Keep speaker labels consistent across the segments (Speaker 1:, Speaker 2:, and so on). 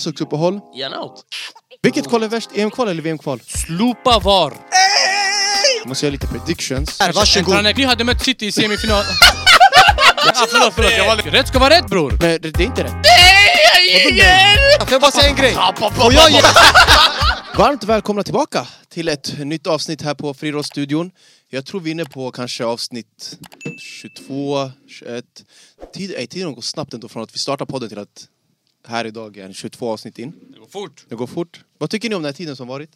Speaker 1: landslagsuppehåll.
Speaker 2: Jan out.
Speaker 1: Vilket kval är värst? EM-kval eller VM-kval?
Speaker 2: Slopa VAR.
Speaker 1: Jag måste göra lite predictions.
Speaker 3: Här, varsågod.
Speaker 2: Ni hade mött City i semifinal. ah, förlåt, förlåt. Jag var... Rätt ska vara rätt bror.
Speaker 1: Men det, det är inte rätt.
Speaker 3: Får jag bara säga en grej? Får jag ge...
Speaker 1: Varmt välkomna tillbaka till ett nytt avsnitt här på Friidrottsstudion. Jag tror vi är inne på kanske avsnitt 22, 21. Tid, nej, tiden går snabbt ändå från att vi startar podden till att här idag är en 22 avsnitt in.
Speaker 2: Det går fort.
Speaker 1: Det går fort. Vad tycker ni om den här tiden som varit?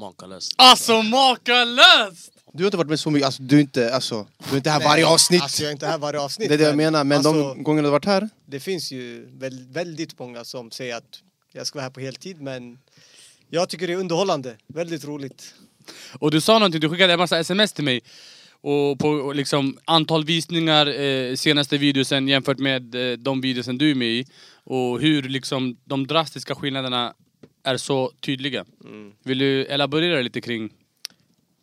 Speaker 2: Makalöst. Alltså makalöst!
Speaker 1: Du har inte varit med så mycket, alltså du är inte, alltså, du är inte här varje avsnitt.
Speaker 3: Alltså jag är inte här varje avsnitt.
Speaker 1: det är det jag menar, men
Speaker 3: alltså,
Speaker 1: de gångerna du har varit här.
Speaker 3: Det finns ju väl, väldigt många som säger att jag ska vara här på heltid men jag tycker det är underhållande, väldigt roligt.
Speaker 4: Och du sa någonting, du skickade en massa sms till mig. Och på och liksom, antal visningar eh, senaste videosen jämfört med eh, de videosen du är med i. Och hur liksom de drastiska skillnaderna är så tydliga.
Speaker 3: Mm.
Speaker 4: Vill du elaborera lite kring...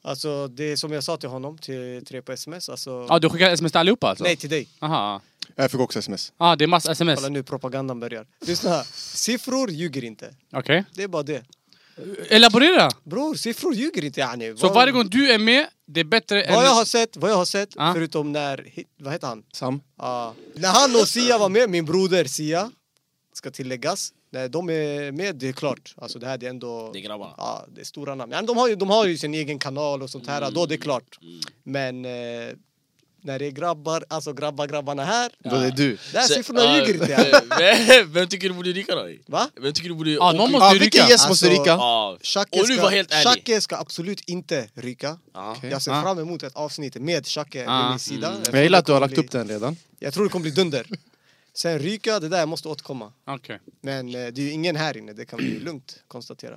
Speaker 3: Alltså det är som jag sa till honom, till tre på sms, alltså...
Speaker 4: Ja, ah, du skickar sms till allihopa alltså?
Speaker 3: Nej till dig.
Speaker 4: Aha.
Speaker 1: Jag fick också sms.
Speaker 4: Ah, det är massa sms.
Speaker 3: Kolla
Speaker 4: Okej.
Speaker 3: nu, propagandan börjar. Lyssna här, siffror ljuger inte. Det är bara det.
Speaker 4: Elaborera!
Speaker 3: Bror, siffror ljuger inte yani.
Speaker 4: Så varje gång du är med, det är bättre än...
Speaker 3: Vad jag har sett, vad jag har sett,
Speaker 4: Ah.
Speaker 3: förutom när, hit- vad heter han?
Speaker 1: Sam.
Speaker 3: Ja. När han och Sia var med, min broder Sia, ska tilläggas. När de är med, det är klart. Alltså det här det är ändå...
Speaker 2: Det är grabbarna.
Speaker 3: Ja, det är stora namn. Ja, de, har ju, de har ju sin egen kanal och sånt här,
Speaker 2: Mm.
Speaker 3: då det är klart. Men eh, när det är grabbar, alltså grabbar grabbarna här.
Speaker 1: Då är det du.
Speaker 3: Där
Speaker 2: Så-
Speaker 3: siffrorna
Speaker 2: ja,
Speaker 3: ljuger inte. ja.
Speaker 2: eh, Vem tycker du borde ryka då?
Speaker 3: Va?
Speaker 2: Vem tycker du borde...
Speaker 4: Ja, någon måste
Speaker 1: Ah,
Speaker 4: ju ryka.
Speaker 1: vilken gäst måste
Speaker 3: Alltså,
Speaker 1: ryka?
Speaker 2: Ja.
Speaker 3: Shake
Speaker 2: Och nu
Speaker 3: ska-
Speaker 2: var helt ärlig.
Speaker 3: Shake ska absolut inte ryka.
Speaker 2: Ja.
Speaker 1: Okej. mm.
Speaker 3: Jag ser
Speaker 4: Ah.
Speaker 3: fram emot ett avsnitt med Shake
Speaker 4: Ah.
Speaker 3: vid min sida. tror
Speaker 1: Jag gillar att du har
Speaker 3: det
Speaker 1: lagt
Speaker 3: kommer
Speaker 1: upp den redan.
Speaker 3: bli- Jag tror det kommer bli dunder. Sen ryka, det där måste återkomma.
Speaker 4: Okej.
Speaker 3: Men eh, det är ju ingen här inne, det kan vi lugnt konstatera.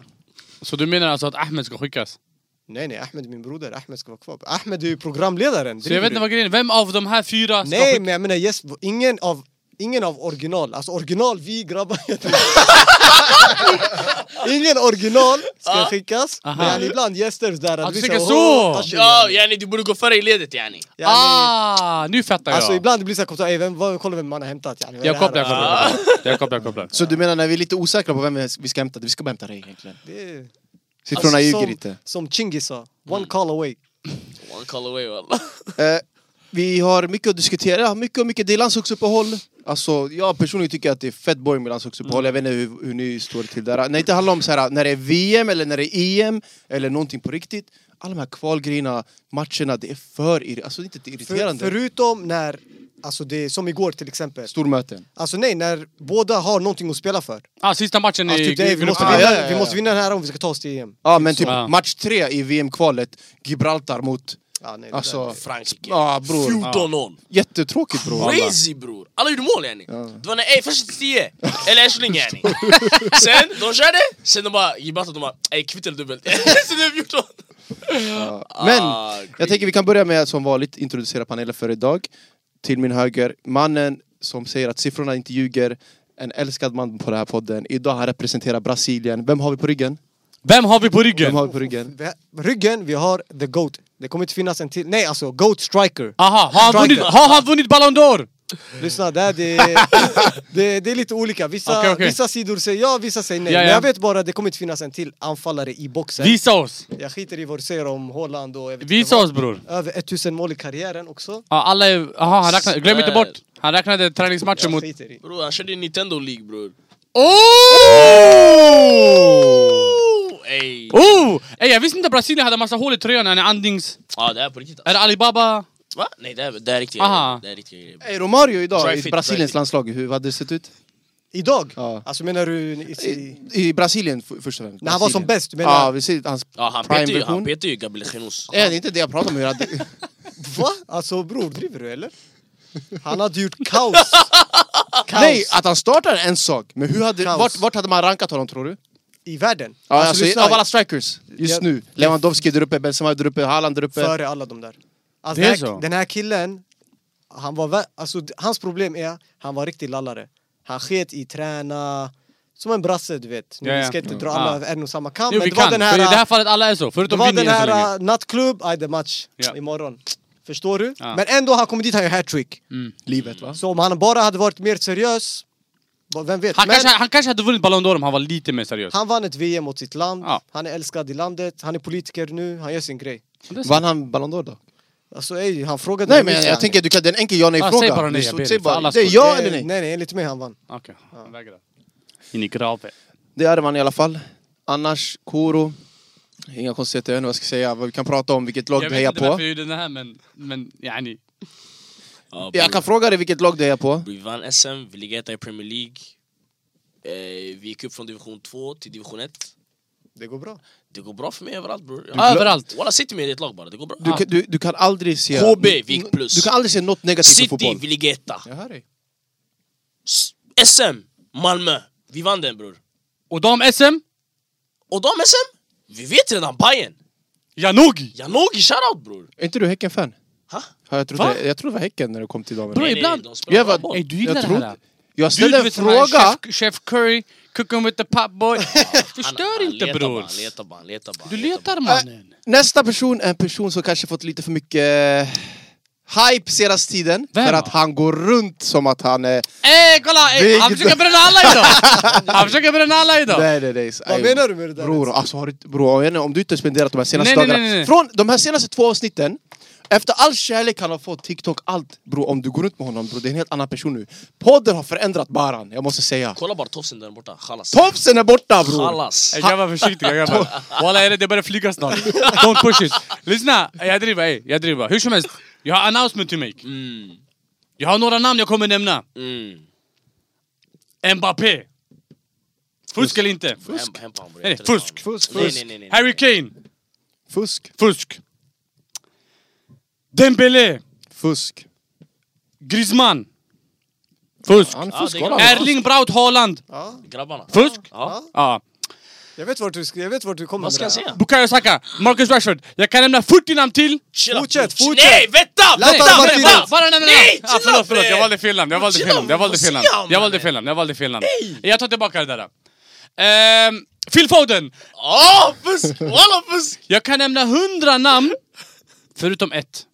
Speaker 4: Så du menar alltså att Ahmed ska skickas?
Speaker 3: Nej nej, Ahmed är min broder, Ahmed ska vara kvar. Ahmed är ju programledaren.
Speaker 4: Så jag vet
Speaker 3: driver
Speaker 4: inte
Speaker 3: du?
Speaker 4: vad grejen är. Vem av de här fyra ska
Speaker 3: Nej
Speaker 4: skickas?
Speaker 3: men jag menar yes, ingen av Ingen av original, alltså original vi grabbar Ingen original ska skickas
Speaker 4: Aha.
Speaker 3: Men yani ibland gäster där
Speaker 4: Ah, du
Speaker 3: vissa-
Speaker 4: tänker
Speaker 3: åh,
Speaker 4: så.
Speaker 3: alltså,
Speaker 2: Ja, yani du borde gå före i ledet yani.
Speaker 3: yani,
Speaker 4: Ah, nu fattar jag!
Speaker 3: Alltså ibland det blir det såhär, vem, vad- kolla vem man har hämtat yani, vad är
Speaker 4: Jag
Speaker 3: det här?"
Speaker 4: kopplar, jag kopplar, jag
Speaker 3: Ah.
Speaker 4: kopplar. jag kopplar, jag kopplar.
Speaker 1: Så du menar när vi är lite osäkra på vem vi ska hämta, vi ska bara hämta dig egentligen?
Speaker 3: Det är-
Speaker 1: Siffrorna
Speaker 3: alltså,
Speaker 1: ljuger
Speaker 3: som,
Speaker 1: inte.
Speaker 3: Som Chingis sa, one call away
Speaker 2: One call away wallah.
Speaker 1: Eh, vi har mycket att diskutera, mycket och mycket. Det är landslagsuppehåll. Alltså, jag personligen tycker att det är fett boring med landslagsuppehåll. Jag vet inte hur, hur ni står till där. När det inte handlar om så här, när det är VM eller när det är EM eller någonting på riktigt. Alla de här kvalgrejerna, matcherna, det är för irri- alltså, det är inte
Speaker 3: För,
Speaker 1: irriterande.
Speaker 3: Förutom när, alltså det är som igår till exempel
Speaker 1: Stormöten.
Speaker 3: Alltså nej, när båda har någonting att spela för
Speaker 4: Ah, sista matchen
Speaker 3: Alltså,
Speaker 4: i
Speaker 3: typ, det, vi, måste
Speaker 4: gruppen.
Speaker 3: vinna,
Speaker 1: Ja, ja, ja, ja.
Speaker 3: vi måste vinna den här om vi ska ta oss till EM
Speaker 1: Ja men typ
Speaker 4: Ja.
Speaker 1: match tre i VM-kvalet, Gibraltar mot...
Speaker 3: Ja, nej, det där-
Speaker 1: Alltså,
Speaker 2: Frankrike.
Speaker 1: Ja, bror.
Speaker 2: 14 år.
Speaker 1: jättetråkigt bror.
Speaker 2: Crazy bror! Alla gjorde mål yani. Det var när, ey först till 10, eller Ashling yani. sen, de körde, sen de bara, Gibraltar de bara, ey kvitt eller dubbelt. sen det är 14.
Speaker 1: Ja. Men
Speaker 2: Ah,
Speaker 1: jag tänker vi kan börja med att som vanligt introducera panelen för idag. Till min höger, mannen som säger att siffrorna inte ljuger. En älskad man på den här podden. Idag han representerar Brasilien. Vem har vi på ryggen?
Speaker 4: Vem har vi på ryggen?
Speaker 1: Vem har vi på ryggen?
Speaker 3: Vi har- Ryggen, vi har the GOAT. Det kommer inte finnas en till. Nej alltså, GOAT striker.
Speaker 4: Aha, har han, vunnit,
Speaker 3: Striker.
Speaker 4: har han vunnit Ballon d'Or?
Speaker 3: Lyssna, där det, det, det är lite olika. Vissa,
Speaker 4: Okej, okej.
Speaker 3: vissa sidor säger ja, vissa säger nej.
Speaker 4: Ja, ja.
Speaker 3: Men jag vet bara, det kommer inte finnas en till anfallare i boxen.
Speaker 4: Visa oss!
Speaker 3: Jag skiter i vad du säger om Holland och... jag vet
Speaker 4: Visa
Speaker 3: inte
Speaker 4: oss bror!
Speaker 3: vad. Över 1000 mål i karriären också.
Speaker 4: Ah, alla är, aha, han räknade, glöm inte bort! Han räknade träningsmatchen
Speaker 3: Eh. Jag
Speaker 4: mot...
Speaker 3: skiter i.
Speaker 2: Bror han körde i Nintendo League bror.
Speaker 4: Oh!
Speaker 2: Oh, ey.
Speaker 4: Oh! Ey, jag visste inte att Brasilien hade massa hål i tröjan, han är andnings...
Speaker 2: Ja det här är på riktigt
Speaker 4: Är
Speaker 2: alltså.
Speaker 4: det Alibaba?
Speaker 2: Va? Nej det här, det här är riktiga
Speaker 4: Aha.
Speaker 2: grejer. Det här är riktiga grejer.
Speaker 1: Hey, Romario idag
Speaker 2: Dry
Speaker 1: i
Speaker 2: fit, dry
Speaker 1: Brasiliens
Speaker 2: fit.
Speaker 1: landslag, hur hade det sett ut?
Speaker 3: Idag?
Speaker 1: Ja.
Speaker 3: Alltså menar du... I,
Speaker 1: I,
Speaker 3: i,
Speaker 1: i Brasilien f- först och främst.
Speaker 3: När han var som
Speaker 1: Brasilien.
Speaker 3: bäst, du menar?
Speaker 1: Ja, vi ser hans
Speaker 2: Ja han petar ju, han
Speaker 1: prime-version.
Speaker 2: petar ju Gabriel Jesus.
Speaker 1: Nej, det är inte det jag pratar om. Hur hade...
Speaker 3: Va? Alltså bror, driver du eller? Han hade gjort kaos. kaos.
Speaker 1: Nej, att han startar är en sak. Men hur hade,
Speaker 3: Kaos.
Speaker 1: vart, vart hade man rankat honom tror du?
Speaker 3: I världen.
Speaker 1: Ja, alltså,
Speaker 3: lyssna,
Speaker 1: av alla strikers just
Speaker 3: Ja.
Speaker 1: nu. Lewandowski där uppe, Benzema där uppe, Haaland där uppe.
Speaker 3: Före alla de där. Alltså,
Speaker 4: Det är
Speaker 3: den,
Speaker 4: så?
Speaker 3: här, den här killen, han var, vä- alltså, d- hans problem är han var riktig lallare. Han sket i träna, som en brasse du vet. Nu,
Speaker 4: Ja, ja.
Speaker 3: Vi ska inte dra
Speaker 4: Ja.
Speaker 3: alla en och samma kam.
Speaker 4: Jo
Speaker 3: men
Speaker 4: vi
Speaker 3: det var
Speaker 4: kan,
Speaker 3: den
Speaker 4: för i det här
Speaker 3: här,
Speaker 4: fallet alla är så,
Speaker 3: det
Speaker 4: förutom
Speaker 3: var
Speaker 4: Vinny
Speaker 3: den
Speaker 4: än så länge.
Speaker 3: här uh, nattklubb, aj det är match
Speaker 4: Ja.
Speaker 3: imorgon. Förstår du?
Speaker 4: Ja. Mm.
Speaker 3: Men ändå, han kommer dit, han gör hattrick.
Speaker 1: Livet va?
Speaker 3: Så om han bara hade varit mer seriös, Va- Vem vet?
Speaker 4: Han,
Speaker 3: Men
Speaker 4: kanske, han kanske hade vunnit Ballon d'Or om han var lite mer seriös.
Speaker 3: han vann ett VM åt sitt land,
Speaker 4: Ja.
Speaker 3: han är älskad i landet, han är politiker nu, han gör sin grej.
Speaker 1: Vann han Ballon d'Or då?
Speaker 3: Alltså ej, han frågade
Speaker 1: Nej
Speaker 3: mig
Speaker 1: men
Speaker 3: nyss,
Speaker 1: jag
Speaker 3: han-
Speaker 1: tänker, du kan, det är en enkel ja nej
Speaker 4: Ah,
Speaker 1: fråga.
Speaker 4: säg bara nej,
Speaker 1: Det är
Speaker 4: jag
Speaker 1: så-
Speaker 4: ber
Speaker 1: säg
Speaker 4: dig, för
Speaker 1: bara-
Speaker 4: allas
Speaker 1: Det är
Speaker 4: skull.
Speaker 1: ja eller nej?
Speaker 3: Eh, Nej, nej, enligt mig han vann.
Speaker 4: Okej, han vägrade. In i graven.
Speaker 1: Det är man i alla fall. Annars, Koro. Inga konstigheter, jag vet inte vad jag ska säga. Vad Vi kan prata om vilket lag
Speaker 4: Jag
Speaker 1: du
Speaker 4: vet
Speaker 1: hejar
Speaker 4: inte
Speaker 1: på.
Speaker 4: varför jag gjorde den här men, men yani.
Speaker 2: Ja,
Speaker 1: Jag kan fråga dig vilket lag du hejar på.
Speaker 2: Vi vann SM, vi ligger etta i Premier League. Eh, vi gick upp från division 2 till division 1.
Speaker 3: Det går bra.
Speaker 2: Det går bra för mig överallt bror.
Speaker 4: glöm- Överallt.
Speaker 2: Walla City med i ett lag bara, det går bra.
Speaker 4: Ah.
Speaker 1: Du, kan- du, du kan aldrig se...
Speaker 2: KB, vi gick plus.
Speaker 1: Du kan aldrig se något negativt med
Speaker 2: City,
Speaker 1: fotboll.
Speaker 2: vi ligger etta.
Speaker 1: Jag hör dig.
Speaker 2: S- SM, Malmö. Vi vann den bror.
Speaker 4: Och de SM?
Speaker 2: Och de SM? Vi vet redan Bayern.
Speaker 4: Janogy!
Speaker 2: Janogy, shoutout bror.
Speaker 1: Är inte du Häcken-fan?
Speaker 2: Ha?
Speaker 1: Ja, Jag trodde,
Speaker 4: Va?
Speaker 1: jag trodde det var Häcken när du kom till dem.
Speaker 4: Bro,
Speaker 2: Nej, nej,
Speaker 4: ibland-
Speaker 2: de spelar
Speaker 1: Jag
Speaker 2: bra
Speaker 1: var-
Speaker 2: boll.
Speaker 4: Ey du gillar
Speaker 1: Jag
Speaker 4: det
Speaker 1: trodde-
Speaker 4: här?
Speaker 1: Jag
Speaker 4: Du,
Speaker 1: ställde
Speaker 4: du
Speaker 1: en
Speaker 4: vet den här
Speaker 1: fråga!
Speaker 4: chef, chef Curry, cooking with the popboy. Förstör
Speaker 2: Han- han
Speaker 4: inte
Speaker 2: letar bara,
Speaker 4: bror.
Speaker 2: Han letar bara, han letar bara.
Speaker 4: Du
Speaker 2: han letar
Speaker 4: letar
Speaker 2: bara.
Speaker 4: mannen.
Speaker 1: Nästa person är en person som kanske fått lite för mycket eh, hype senaste tiden.
Speaker 4: Vem
Speaker 1: för
Speaker 4: då?
Speaker 1: att han går runt som att han är...
Speaker 4: Ey kolla! Ey, han
Speaker 1: Big-
Speaker 4: försöker bränna alla idag! Han försöker bränna alla idag!
Speaker 1: Nej, nej, nej.
Speaker 3: Vad
Speaker 1: Aj,
Speaker 3: menar du med det där?
Speaker 1: Bror, alltså, har du, bror, jag vet inte, om du inte spenderat de här senaste
Speaker 4: Nej, nej,
Speaker 1: dagarna...
Speaker 4: nej, nej.
Speaker 1: Från de här senaste två avsnitten, efter all kärlek han har fått, TikTok, allt. Bror, om du går runt med honom, bror, det är en helt annan person nu. Podden har förändrat Baran, jag måste säga.
Speaker 2: Kolla bara tofsen där borta, chalas.
Speaker 1: Tofsen är borta, bror!
Speaker 2: Chalas.
Speaker 4: Ey grabbar försiktiga grabbar. Walla det börjar flyga snart. Don't push it. Lyssna, jag driver ey, jag driver. Hur som helst, jag har announcement to make.
Speaker 2: Mm,
Speaker 4: Jag har några namn jag kommer nämna.
Speaker 2: mm.
Speaker 4: Mbappé. Fusk eller inte?
Speaker 2: Fusk. Hem, hem,
Speaker 4: Nej, fusk.
Speaker 1: Fusk,
Speaker 2: Nej,
Speaker 1: fusk.
Speaker 2: nej, nej, nej.
Speaker 4: Harry Kane.
Speaker 1: Fusk,
Speaker 4: Fusk. Dembélé.
Speaker 1: fusk.
Speaker 4: Griezmann. Fusk.
Speaker 1: Han
Speaker 2: Ja,
Speaker 1: fuskar.
Speaker 2: det är-
Speaker 1: Ja,
Speaker 4: Erling Braut Haaland.
Speaker 3: Ja.
Speaker 2: Grabbarna.
Speaker 4: Fusk.
Speaker 2: Ja.
Speaker 4: Ja.
Speaker 3: Jag vet vart du, ska- jag vet vart du kommer
Speaker 2: Vad ska
Speaker 3: med
Speaker 2: jag
Speaker 3: det här.
Speaker 2: säga?
Speaker 4: Bukayo Saka. Marcus Rashford. Jag kan nämna 40 namn till.
Speaker 2: Chilla,
Speaker 3: Fortsätt,
Speaker 2: bror.
Speaker 3: fortsätt.
Speaker 2: Nej, vänta!
Speaker 3: Latan
Speaker 2: vänta,
Speaker 3: Martinez.
Speaker 2: vänta.
Speaker 4: Bara- Bara nämna
Speaker 2: Nej,
Speaker 4: ah,
Speaker 2: chilla
Speaker 4: Förlåt, förlåt.
Speaker 2: bre.
Speaker 4: Jag valde fel namn. Jag valde
Speaker 2: Chilla,
Speaker 4: fel namn. Jag valde
Speaker 2: vad
Speaker 4: fel namn.
Speaker 2: säger han,
Speaker 4: Jag valde
Speaker 2: mannen?
Speaker 4: fel namn. Jag valde fel namn.
Speaker 2: Nej.
Speaker 4: Jag tar tillbaka det där. Ehm, Phil Foden.
Speaker 2: Ja, fusk! Walla fusk!
Speaker 4: Jag kan nämna hundra namn, förutom ett.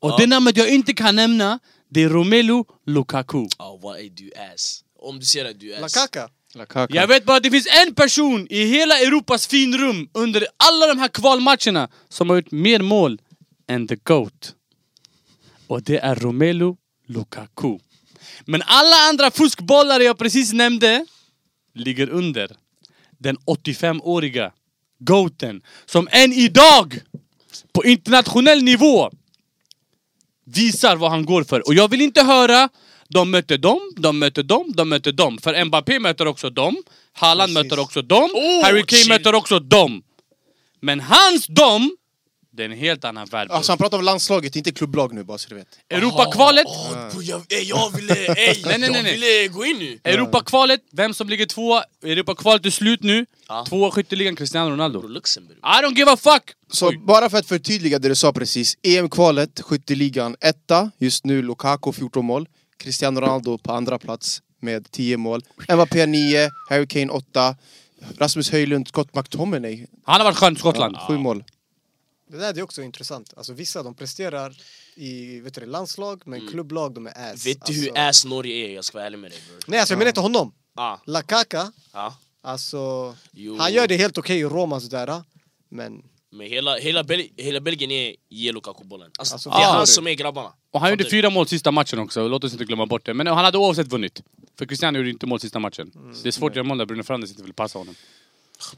Speaker 4: Och
Speaker 2: Ja.
Speaker 4: det namnet jag inte kan nämna, det är Romelu Lukaku.
Speaker 2: Ja, vad är du ass? Om du ser att du är ass.
Speaker 3: Lakaka?
Speaker 4: Jag vet bara att det finns en person i hela Europas finrum under alla de här kvalmatcherna som har gjort mer mål än the GOAT. Och det är Romelu Lukaku. Men alla andra fuskbollare jag precis nämnde ligger under den 85-åriga GOATen som än idag på internationell nivå visar vad han går för. Och jag vill inte höra de mötte dem, de mötte dem, de mötte dem. För Mbappé möter också dem, Haaland
Speaker 3: Precis.
Speaker 4: möter också dem,
Speaker 2: Oh,
Speaker 4: Harry Kane
Speaker 2: chill.
Speaker 4: möter också dem. Men hans dem, det är en helt annan värld.
Speaker 1: Alltså han pratar om landslaget, inte klubblag nu bara så du vet.
Speaker 4: Europakvalet,
Speaker 2: Åh, bror, jag, ey, jag ville... Ey,
Speaker 4: Nej, nej, nej,
Speaker 2: jag
Speaker 4: nej.
Speaker 2: ville gå in nu.
Speaker 4: Europakvalet, vem som ligger tvåa, Europakvalet är slut nu.
Speaker 2: Ja.
Speaker 4: Tvåa skytteligan Cristiano Ronaldo.
Speaker 2: Bror, Luxemburg.
Speaker 4: I don't give a fuck!
Speaker 1: Så bara för att förtydliga det du sa precis. EM-kvalet, skytteligan, etta. Just nu Lukaku 14 mål. Cristiano Ronaldo på andra plats med 10 mål. Mbappé 9, Harry Kane 8. Rasmus Höjlund, Scott McTominay,
Speaker 4: Han har varit skön i Skottland.
Speaker 1: 7 mål.
Speaker 3: Det där det är också intressant. Alltså vissa de presterar i vet du, det, landslag, men
Speaker 1: Mm.
Speaker 3: klubblag de är ass.
Speaker 2: Vet du hur
Speaker 3: alltså,
Speaker 2: ass Norge är? Jag ska vara ärlig med dig bror.
Speaker 3: Nej alltså jag menar inte honom.
Speaker 2: Ah,
Speaker 3: Lakaka,
Speaker 2: ah.
Speaker 3: alltså
Speaker 2: Jo.
Speaker 3: han gör det helt okej i Roma sådär. Men
Speaker 1: Mm.
Speaker 2: Men hela, hela, Bel hela Belgien är ger Lukaku-bollen. Alltså,
Speaker 3: Alltså,
Speaker 2: det är
Speaker 3: ah.
Speaker 2: han som är grabbarna.
Speaker 4: Och han gjorde
Speaker 2: Fattar du?
Speaker 4: fyra mål sista matchen också, låt oss inte glömma bort det. Men han hade oavsett vunnit. För Cristiano gjorde inte mål sista matchen.
Speaker 2: Mm.
Speaker 4: Så det är svårt att göra mål där Bruno Fernandes inte vill passa honom.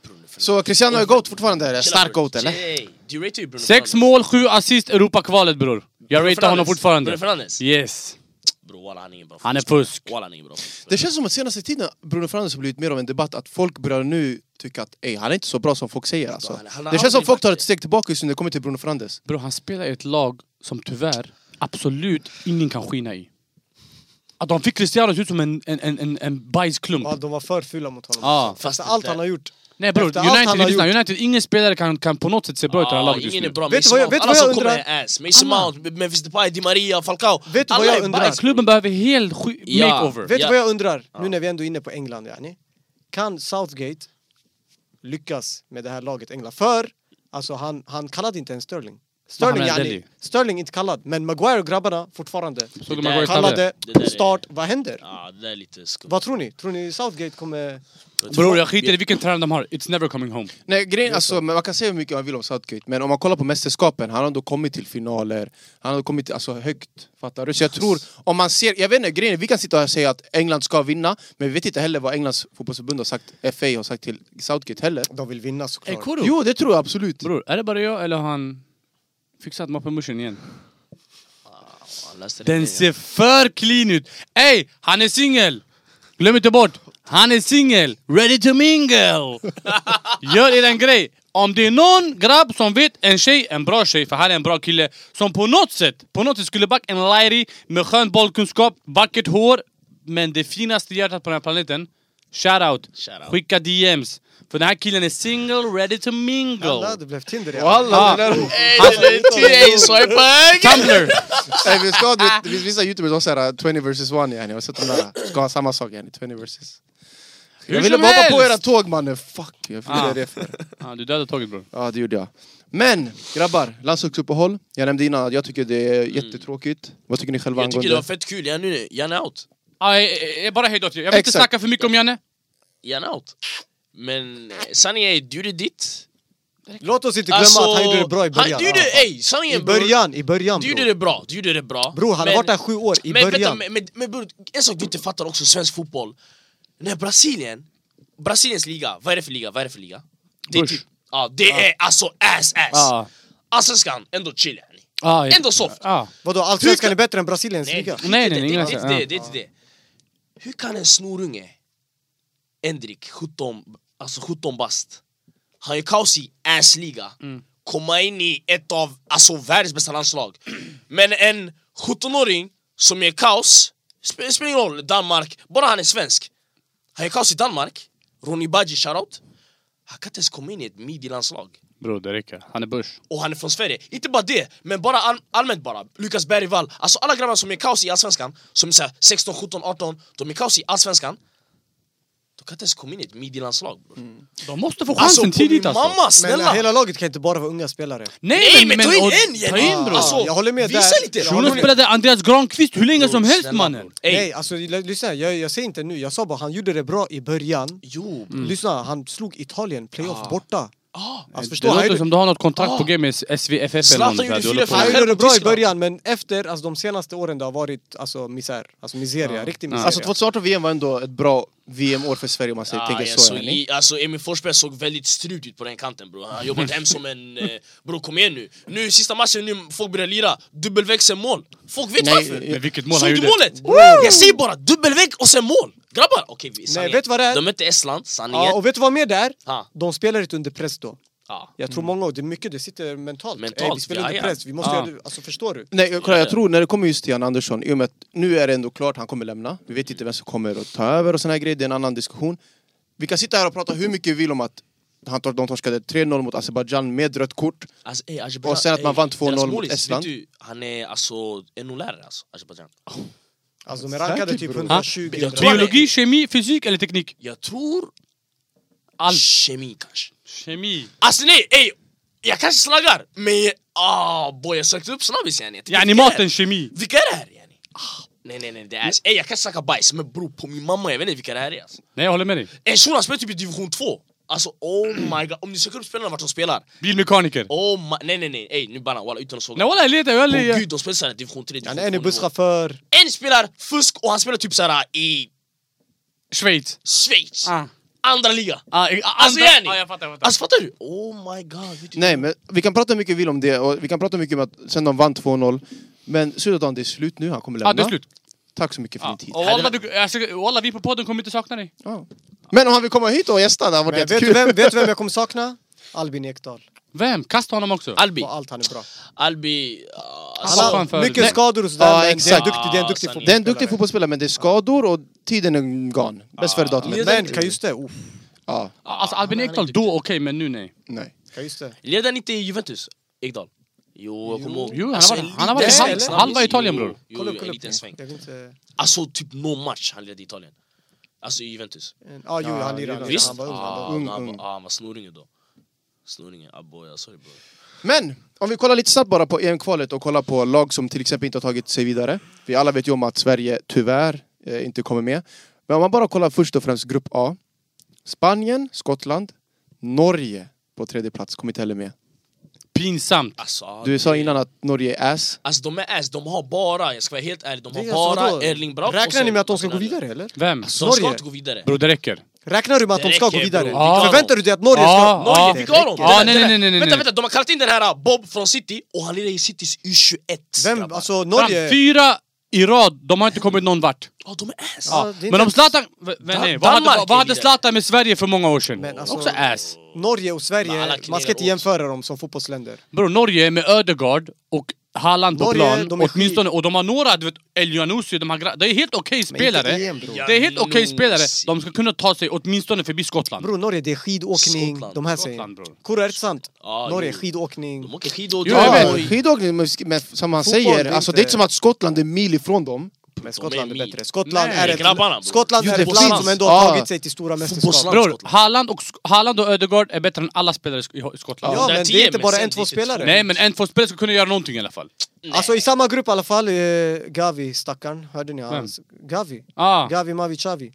Speaker 2: Bror, nu förlåt.
Speaker 1: Så Cristiano är GOAT fortfarande? Eller?
Speaker 2: Chilla,
Speaker 1: Stark
Speaker 2: bror.
Speaker 1: GOAT eller?
Speaker 2: Ey, Du ratear ju Bruno
Speaker 4: Sex
Speaker 2: Fernandes.
Speaker 4: mål, sju assist, Europakvalet bror. Jag
Speaker 2: Bruno
Speaker 4: ratear honom
Speaker 2: Fernandes.
Speaker 4: fortfarande.
Speaker 2: Bruno Fernandes.
Speaker 4: Yes.
Speaker 2: Bror walla han är ingen bra
Speaker 4: Han är fusk.
Speaker 2: Walla han är ingen bra fusk.
Speaker 1: Det känns som att senaste tiden Bruno Fernandes har blivit mer av en debatt att folk börjar nu tycka att "Ey, han är inte så bra som folk säger alltså.
Speaker 2: Han- han har
Speaker 1: Det känns som
Speaker 2: aldrig
Speaker 1: att folk tar
Speaker 2: varit
Speaker 1: ett steg tillbaka just nu när det kommer till Bruno Fernandes.
Speaker 4: Bror han spelar i ett lag som tyvärr absolut ingen kan skina i. Att de fick Cristiano att se ut som en, en, en, en, en bajsklump.
Speaker 3: ja, de var för fula mot honom.
Speaker 4: Ja.
Speaker 3: Fast
Speaker 2: Fast
Speaker 3: allt
Speaker 2: det-
Speaker 3: han har gjort.
Speaker 4: Nej bror,
Speaker 3: Efter allt han
Speaker 4: United,
Speaker 3: har
Speaker 4: lyssna,
Speaker 3: gjort.
Speaker 4: United, ingen spelare kan, kan på något sätt se bra ut i det här
Speaker 2: Ah,
Speaker 4: laget just
Speaker 2: ingen
Speaker 4: nu.
Speaker 2: är bra.
Speaker 3: Vet
Speaker 2: Mason
Speaker 3: du vad jag-
Speaker 2: Mount,
Speaker 3: vet
Speaker 2: alla
Speaker 3: du vad jag
Speaker 2: som kommer
Speaker 3: undrar?
Speaker 2: är ass. Mason
Speaker 4: Alla.
Speaker 2: Mount, Memphis Depay, Di Maria, Falcao.
Speaker 3: Vet du vad
Speaker 2: Alla
Speaker 3: jag
Speaker 2: är
Speaker 3: undrar?
Speaker 2: bajs, bror.
Speaker 4: Klubben behöver helt sky-
Speaker 2: Ja.
Speaker 4: makeover.
Speaker 3: Vet du
Speaker 2: Ja.
Speaker 3: vad jag undrar? Nu när vi ändå är inne på England yani. Kan Southgate lyckas med det här laget England? För alltså han, han kallade inte ens Sterling. Sterling,
Speaker 4: Mohamed
Speaker 3: yani,
Speaker 4: Deli.
Speaker 3: Sterling inte kallad, men Maguire och grabbarna fortfarande.
Speaker 4: Såg
Speaker 2: Det
Speaker 4: du
Speaker 2: där-
Speaker 4: Maguire snabbare?
Speaker 3: Kallade,
Speaker 2: Det där är-
Speaker 3: start, vad händer?
Speaker 2: Ja, det där är lite skumt.
Speaker 3: Vad tror ni? Tror ni Southgate kommer...
Speaker 4: Bror jag skiter i vilken tränare de har, it's never coming home.
Speaker 1: Nej, grejen, alltså, men man kan säga hur mycket man vill om Southgate, men om man kollar på mästerskapen, han har ändå kommit till finaler, han har kommit till, alltså, högt. Fattar du? Så jag tror, om man ser, jag vet inte, grejen är, vi kan sitta här och säga att England ska vinna, men vi vet inte heller vad Englands fotbollsförbund har sagt, FA har sagt till Southgate heller.
Speaker 3: De vill vinna såklart.
Speaker 1: Jo, det tror jag absolut.
Speaker 4: Bror, är det bara jag eller har han fixat mappen igen?
Speaker 2: Han läste det
Speaker 4: Den
Speaker 2: igen.
Speaker 4: ser för clean ut! Ey, han är singel! Glöm inte bort, han är singel! Ready to mingle! Gör er en grej! Om det är någon grabb som vet en tjej, en bra tjej, för han är en bra kille som på något sätt, på något sätt skulle backa en Lairi med skön bollkunskap, vackert hår men det finaste hjärtat på den här planeten Shoutout!
Speaker 2: Shout out.
Speaker 4: Skicka DMs! För den här killen är single, ready to
Speaker 3: Alla,
Speaker 4: mingle! Alltså,
Speaker 3: det blev Tinder Ah. ja.
Speaker 1: Walla, det där...
Speaker 2: Ey, det är en till, ey, swipa höger!
Speaker 4: Tumblr!
Speaker 1: Nej, vi ska, det, det finns vissa youtubers som säger "Uh, 20 vs 1 yani, jag har sett de där, ska ha samma sak yani, 20 vs. Jag
Speaker 4: Hur
Speaker 1: ville
Speaker 4: som
Speaker 1: bara hoppa på
Speaker 4: helst!
Speaker 1: era tåg mannen, fuck! Jag fick
Speaker 4: Ah.
Speaker 1: det för.
Speaker 4: Ja, du dödade tåget bror.
Speaker 1: Ja, det gjorde jag. Men grabbar, landslagsuppehåll. Jag nämnde innan att jag tycker det är jättetråkigt. Vad tycker ni själva
Speaker 2: Mm. Jag tycker det var
Speaker 1: angående?
Speaker 2: fett kul, jag är nu, jag är out.
Speaker 4: Ah, eh, eh, bara hej då till Jag vill inte
Speaker 1: Exakt.
Speaker 4: snacka för mycket om Janne.
Speaker 2: Jag är out. Men eh, sanningen är, du gjorde ditt.
Speaker 3: Låt oss inte glömma att han gjorde det bra i början.
Speaker 2: Alltså,
Speaker 3: Ah.
Speaker 2: han- Du gjorde, ey,
Speaker 3: I
Speaker 2: sanningen bror.
Speaker 3: början, i början
Speaker 2: Du gjorde
Speaker 3: bror.
Speaker 2: det bra, du gjorde det bra.
Speaker 3: Bror, han har
Speaker 2: Men-
Speaker 3: varit där sju år, i
Speaker 2: men,
Speaker 3: början.
Speaker 2: Vänta, men, men, men bror, en sak du inte fattar också, svensk fotboll. När Brasilien, Brasiliens liga, vad är det för liga? Vad är det för liga? Det är,
Speaker 4: Bush.
Speaker 2: typ, ja, det är alltså ass-ass.
Speaker 4: Ja.
Speaker 2: Allsvenskan, ändå chill yani.
Speaker 4: Ah, ja.
Speaker 2: Ändå soft.
Speaker 4: Ah.
Speaker 3: Vadå,
Speaker 2: Hur kan-
Speaker 3: allsvenskan är bättre än Brasiliens
Speaker 2: Nej,
Speaker 3: liga?
Speaker 2: skit i
Speaker 4: Nej, nej,
Speaker 2: det,
Speaker 4: ingen
Speaker 2: det, det,
Speaker 4: alltså,
Speaker 2: det,
Speaker 4: ja.
Speaker 2: det, det, det. Hur kan en snorunge, Endrik, 17, alltså 17 bast, han är kaos i ass-liga,
Speaker 4: Mm.
Speaker 2: komma in i ett av alltså, världens bästa landslag. Men en 17-åring som är kaos, sp- spelar ingen roll, Danmark, bara han är svensk. Han är kaos i Danmark, Ronny Badji, shoutout. Han kan inte ens komma in i ett midi-landslag.
Speaker 4: Bror, det räcker. Han är börs.
Speaker 2: Och han är från Sverige. Inte bara det, men bara all, allmänt bara. Lukas Bergvall, alltså alla grabbar som är kaos i Allsvenskan, som är så här 16, 17, 18, de är kaos i Allsvenskan. De kan inte ens komma in i ett midjelandslag bror.
Speaker 4: De måste få
Speaker 2: Alltså
Speaker 4: chansen
Speaker 2: på min
Speaker 4: tidigt alltså.
Speaker 2: mamma,
Speaker 3: Men eh,
Speaker 2: snälla!
Speaker 3: hela laget kan inte bara vara unga spelare.
Speaker 2: Nej men ta in
Speaker 4: och-
Speaker 2: en
Speaker 4: Ta in
Speaker 2: Jenny!
Speaker 4: bror!
Speaker 2: Alltså,
Speaker 3: jag håller med
Speaker 2: visa
Speaker 3: där.
Speaker 2: lite!
Speaker 3: Jag
Speaker 2: Bror,
Speaker 3: håller
Speaker 4: Shunon
Speaker 3: med.
Speaker 4: spelade Andreas Granqvist hur länge som helst
Speaker 2: snälla,
Speaker 4: mannen!
Speaker 2: bror. Ey,
Speaker 3: Nej, alltså l- lyssna, jag, jag säger inte nu, jag sa bara han gjorde det bra i början.
Speaker 2: Jo,
Speaker 3: Lyssna, han slog Italien, playoff
Speaker 2: Ah.
Speaker 3: borta.
Speaker 2: ah,
Speaker 3: Alltså,
Speaker 4: Det
Speaker 3: förstår du? Han
Speaker 4: låter
Speaker 3: gjorde-
Speaker 4: som du har något kontrakt
Speaker 2: Ah.
Speaker 4: på G med SVFF eller
Speaker 2: Zlatan
Speaker 4: något
Speaker 2: gjorde
Speaker 4: där. Du håller på
Speaker 2: fyra
Speaker 3: Han
Speaker 4: med.
Speaker 2: själv
Speaker 3: gjorde det
Speaker 2: på
Speaker 3: bra i
Speaker 2: Tyskland.
Speaker 3: början, men efter, alltså de senaste åren det har varit alltså misär. Alltså miseria, riktig miseria.
Speaker 1: Alltså 2018 VM var ändå ett bra VM-år för Sverige om man säger,
Speaker 2: Ah,
Speaker 1: tänker
Speaker 2: jag
Speaker 1: så.
Speaker 2: såg
Speaker 1: yani.
Speaker 2: i, alltså Emil Forsberg såg väldigt strut ut på den kanten bror Han har jobbat hem som en... Eh, bror kom igen nu! Nu sista matchen nu, folk börjar lira, dubbelväxel mål! Folk vet
Speaker 1: Nej, eh,
Speaker 2: varför!
Speaker 4: Men vilket mål
Speaker 2: Såg
Speaker 4: han
Speaker 2: du
Speaker 4: gjorde!
Speaker 2: målet? Jag säger bara dubbelvägg och sen mål! Grabbar! Okej, vi- sanningen.
Speaker 3: vet du vad det är?
Speaker 2: De mötte Estland, sanningen.
Speaker 3: Ja, och vet du vad mer det är?
Speaker 2: Ja.
Speaker 3: De spelar inte under press då.
Speaker 2: Ja.
Speaker 3: Jag tror många, och det är mycket det sitter mentalt.
Speaker 2: Mentalt,
Speaker 3: Ey, vi spelar
Speaker 2: ja,
Speaker 3: under
Speaker 2: ja.
Speaker 3: press, vi måste
Speaker 4: Ah.
Speaker 3: göra det, alltså förstår du?
Speaker 1: Nej, jag- kolla, jag tror när det kommer just till Jan Andersson, i och med att nu är det ändå klart han kommer lämna. Vi vet inte vem som kommer att ta över och såna här grejer, det är en annan diskussion. Vi kan sitta här och prata hur mycket vi vill om att han tor- de torskade 3-0 mot Azerbaijan med rött kort.
Speaker 2: Alltså, ey, Azerbaijan-
Speaker 1: Och sen att man
Speaker 2: ey,
Speaker 1: vann 2-0
Speaker 2: deras
Speaker 1: mot
Speaker 2: målis,
Speaker 1: Estland.
Speaker 2: Vet du, han är alltså NO-lärare alltså, Azerbaijan.
Speaker 3: Alltså de är rankade
Speaker 1: Säkert,
Speaker 3: typ
Speaker 1: bror.
Speaker 3: 120
Speaker 2: Ja.
Speaker 3: eller-
Speaker 4: Ah, Biologi, kemi, fysik eller teknik?
Speaker 2: Jag tror...
Speaker 4: Allt.
Speaker 2: Kemi kanske.
Speaker 4: Kemi.
Speaker 2: Alltså nej, ey! Jag kanske slaggar, men... jag- Ah boy, jag sökte upp snabbis yani. Jag tänkte,
Speaker 4: Yani
Speaker 2: vilka är-
Speaker 4: maten, kemi.
Speaker 2: Vilka är det här yani? Ah, nej nej nej, det är... Ey jag kan snacka bajs, men bror på min mamma, jag vet inte vilka det här är alltså.
Speaker 4: Nej jag håller med dig.
Speaker 2: En shuno spelar typ i division 2 Alltså oh my god, om ni söker upp spelarna vart de spelar
Speaker 4: Bilmekaniker.
Speaker 2: Oh my, nej nej nej, ey nu bara walla utan att såga
Speaker 4: Nej walla jag letar, jag
Speaker 2: Åh
Speaker 4: letar.
Speaker 2: gud de spelar såhär division 3,
Speaker 3: Han
Speaker 2: division
Speaker 3: är en är
Speaker 2: 2 nivå.
Speaker 3: busschaufför,
Speaker 2: En spelar fusk och han spelar typ såhär i
Speaker 4: Schweiz.
Speaker 2: Schweiz,
Speaker 4: Ah.
Speaker 2: andra liga
Speaker 4: Ah, eh,
Speaker 2: Alltså
Speaker 4: andra-
Speaker 2: yani!
Speaker 4: Ah, jag fattar, jag fattar.
Speaker 2: Alltså fattar du? Oh my god vet du?
Speaker 1: Nej, men vi kan prata hur mycket vi vill om det och vi kan prata hur mycket om att sen de vann 2-0. Men Sudan, det är slut nu, han kommer lämna.
Speaker 4: Ah, det är slut.
Speaker 1: Tack så mycket för
Speaker 4: Ah.
Speaker 1: din tid.
Speaker 4: Och walla, du- alltså, walla, vi på podden kommer inte sakna dig.
Speaker 1: Ja. Men om han vill komma hit och gästa, det hade varit
Speaker 3: men vet du,
Speaker 1: jättekul.
Speaker 3: vem, vet du vem jag kommer sakna? Albin Ekdal,
Speaker 4: Vem? Kasta honom också.
Speaker 2: Albi,
Speaker 3: på allt han är bra.
Speaker 2: Albi... ah, alltså,
Speaker 4: var
Speaker 3: Han
Speaker 4: skön
Speaker 3: har
Speaker 4: förut.
Speaker 3: mycket
Speaker 4: Nej.
Speaker 3: skador och
Speaker 1: Ja,
Speaker 3: sådär, men det är en
Speaker 1: exakt. alltså,
Speaker 3: duktig, det är en duktig
Speaker 2: Ah,
Speaker 1: Det är
Speaker 3: fotbollsspelare.
Speaker 1: en duktig fotbollsspelare, men det är skador och tiden är gone. Bäst före datumet.
Speaker 3: Men, kan just det, oh,
Speaker 1: Ja,
Speaker 4: Alltså
Speaker 2: han
Speaker 4: Albin
Speaker 2: är
Speaker 4: Ekdal
Speaker 2: inte-
Speaker 4: då okej, men nu nej.
Speaker 1: nej.
Speaker 3: kan just det.
Speaker 2: Leder han inte i Juventus? Ekdal? Jo jag kommer ihåg
Speaker 4: Jo, han har
Speaker 2: Alltså,
Speaker 4: varit-
Speaker 2: en
Speaker 4: han har varit
Speaker 2: liten
Speaker 3: halv-
Speaker 2: sväng,
Speaker 4: halva
Speaker 2: snabbis.
Speaker 4: Italien,
Speaker 2: Jo,
Speaker 4: bror.
Speaker 2: Jo, jo, en liten sväng
Speaker 3: Jag vet inte.
Speaker 2: Alltså typ någon match han ledde Italien Alltså i Juventus
Speaker 3: en- Ah, jo,
Speaker 1: Ja,
Speaker 3: han lirade.
Speaker 1: Visst.
Speaker 2: Visst?
Speaker 3: Han var ung. han var
Speaker 2: ah,
Speaker 3: ung.
Speaker 1: ung,
Speaker 2: han,
Speaker 1: ung.
Speaker 2: Var, ah, han var snoringen då. Snoringen, aboja, sorry bror.
Speaker 1: Men om vi kollar lite snabbt bara på EM-kvalet och kollar på lag som till exempel inte har tagit sig vidare. Vi alla vet ju om att Sverige tyvärr eh, inte kommer med. Men om man bara kollar först och främst grupp A. Spanien, Skottland, Norge på tredje plats kom inte heller med.
Speaker 4: Pinsamt.
Speaker 2: Alltså,
Speaker 1: Du sa
Speaker 2: det-
Speaker 1: innan att Norge är ass.
Speaker 2: Alltså de är ass, de har bara, jag ska vara helt ärlig, de har
Speaker 3: Det är alltså
Speaker 2: bara
Speaker 3: vadå?
Speaker 2: Erling Braut och
Speaker 3: Räknar
Speaker 2: sen-
Speaker 3: ni med att de ska
Speaker 2: och
Speaker 3: gå
Speaker 2: sen är det-
Speaker 3: vidare eller?
Speaker 4: Vem?
Speaker 2: Alltså de ska
Speaker 3: Norge?
Speaker 2: inte gå vidare.
Speaker 4: Bro, det räcker.
Speaker 3: Räknar du med att
Speaker 2: Det
Speaker 3: de ska
Speaker 2: räcker,
Speaker 3: gå vidare?
Speaker 2: bro. Ja.
Speaker 3: Förväntar du dig att Norge
Speaker 4: Ja,
Speaker 3: ska...
Speaker 4: ja.
Speaker 2: Vi gav dem!
Speaker 4: Ja,
Speaker 3: Ah,
Speaker 2: Det där-
Speaker 4: nej,
Speaker 2: det där-
Speaker 4: nej, nej, nej,
Speaker 2: Vänta,
Speaker 4: nej.
Speaker 2: vänta, de har kallat in den här ah, Bob från City och han lirar i Citys U21
Speaker 3: Vem,
Speaker 2: grabbar.
Speaker 3: alltså
Speaker 4: Norge.
Speaker 3: Norge...
Speaker 4: Fyra i rad, de har inte kommit någon vart.
Speaker 2: Ja, Ah, de är ass!
Speaker 3: Ja. det är
Speaker 4: Men om
Speaker 3: inte-
Speaker 4: Zlatan... v- nej, vad,
Speaker 2: Danmark
Speaker 4: hade, vad
Speaker 2: är
Speaker 4: hade
Speaker 2: vidare.
Speaker 4: Zlatan med Sverige för många år sedan?
Speaker 3: Men alltså-
Speaker 4: Också ass.
Speaker 3: Norge
Speaker 2: Men
Speaker 3: och
Speaker 2: alla
Speaker 3: Sverige, man ska
Speaker 2: klirrar
Speaker 3: inte
Speaker 2: åt.
Speaker 3: jämföra dem som fotbollsländer.
Speaker 4: Bro, Norge med Ödegaard och Haaland på
Speaker 3: Norge,
Speaker 4: plan,
Speaker 3: de är skit.
Speaker 4: åtminstone. Och de har några, du vet, El Janusi, de har gra- Det är helt okej
Speaker 3: Men inte
Speaker 4: spelare.
Speaker 3: EM, bro.
Speaker 4: Det är helt okej spelare.
Speaker 2: Janusi.
Speaker 4: De ska kunna ta sig åtminstone förbi Skottland.
Speaker 3: Bro, Norge det är skidåkning,
Speaker 2: Skottland,
Speaker 3: de här
Speaker 4: Skottland,
Speaker 3: säger...
Speaker 4: bror.
Speaker 3: Kurra, är det sant?
Speaker 2: Ja,
Speaker 3: Norge,
Speaker 2: Ah, jo.
Speaker 3: skidåkning...
Speaker 2: De åker skidor,
Speaker 4: Jo,
Speaker 2: de-
Speaker 4: jag
Speaker 1: Ja,
Speaker 4: vet.
Speaker 1: men skidåkning, men- men som han
Speaker 3: Fotboll,
Speaker 1: säger,
Speaker 3: det är
Speaker 1: alltså
Speaker 3: inte-
Speaker 1: det är inte som att Skottland är mil ifrån dem.
Speaker 3: Men Skottland är
Speaker 2: min.
Speaker 3: bättre. Skottland
Speaker 4: Nej,
Speaker 3: är ett,
Speaker 2: grabbarna, bror.
Speaker 3: Skottland
Speaker 1: Jo,
Speaker 3: är
Speaker 1: det
Speaker 3: ett land
Speaker 1: finns.
Speaker 3: som ändå
Speaker 1: Ja.
Speaker 3: har tagit sig till stora mästerskap.
Speaker 2: Fotbollsland.
Speaker 4: Bror,
Speaker 2: Skottland.
Speaker 4: Haaland och, Sk- Haaland och Ödegaard är bättre än alla spelare i Sk- i Skottland.
Speaker 3: Ja,
Speaker 2: där
Speaker 3: men det
Speaker 2: TM,
Speaker 3: är inte bara
Speaker 2: sen
Speaker 3: en, två
Speaker 2: dit är två.
Speaker 3: spelare.
Speaker 4: Nej, men en, två spelare ska kunna göra någonting i alla fall.
Speaker 3: Alltså i samma grupp i alla fall, eh, Gavi stackarn, hörde ni hans? Gavi,
Speaker 4: Ah.
Speaker 3: Gavi Mavi Chavi.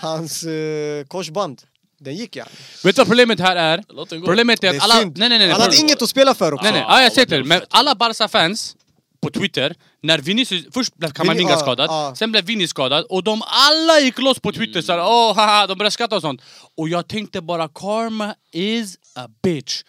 Speaker 3: Hans eh, korsband, den gick ja.
Speaker 4: Vet du vad problemet här är?
Speaker 2: Låt den gå.
Speaker 4: Problemet är
Speaker 3: Det
Speaker 4: att
Speaker 3: är
Speaker 4: alla...
Speaker 3: synd.
Speaker 4: Nej, nej, nej.
Speaker 3: Han hade
Speaker 4: bro.
Speaker 3: inget att spela för också.
Speaker 4: Nej nej,
Speaker 2: Ja,
Speaker 4: ja, jag
Speaker 2: vad
Speaker 4: säger
Speaker 2: blir
Speaker 4: till.
Speaker 2: det
Speaker 4: Men
Speaker 2: för-
Speaker 4: alla Barca-fans på Twitter, när Vinicius... Först blev Kamavinga
Speaker 3: ja,
Speaker 4: skadad,
Speaker 3: ja. Mm.
Speaker 4: sen blev Vinny skadad och de alla gick loss på Twitter såhär åh haha, de började skratta och sånt. Och jag tänkte bara karma is a bitch.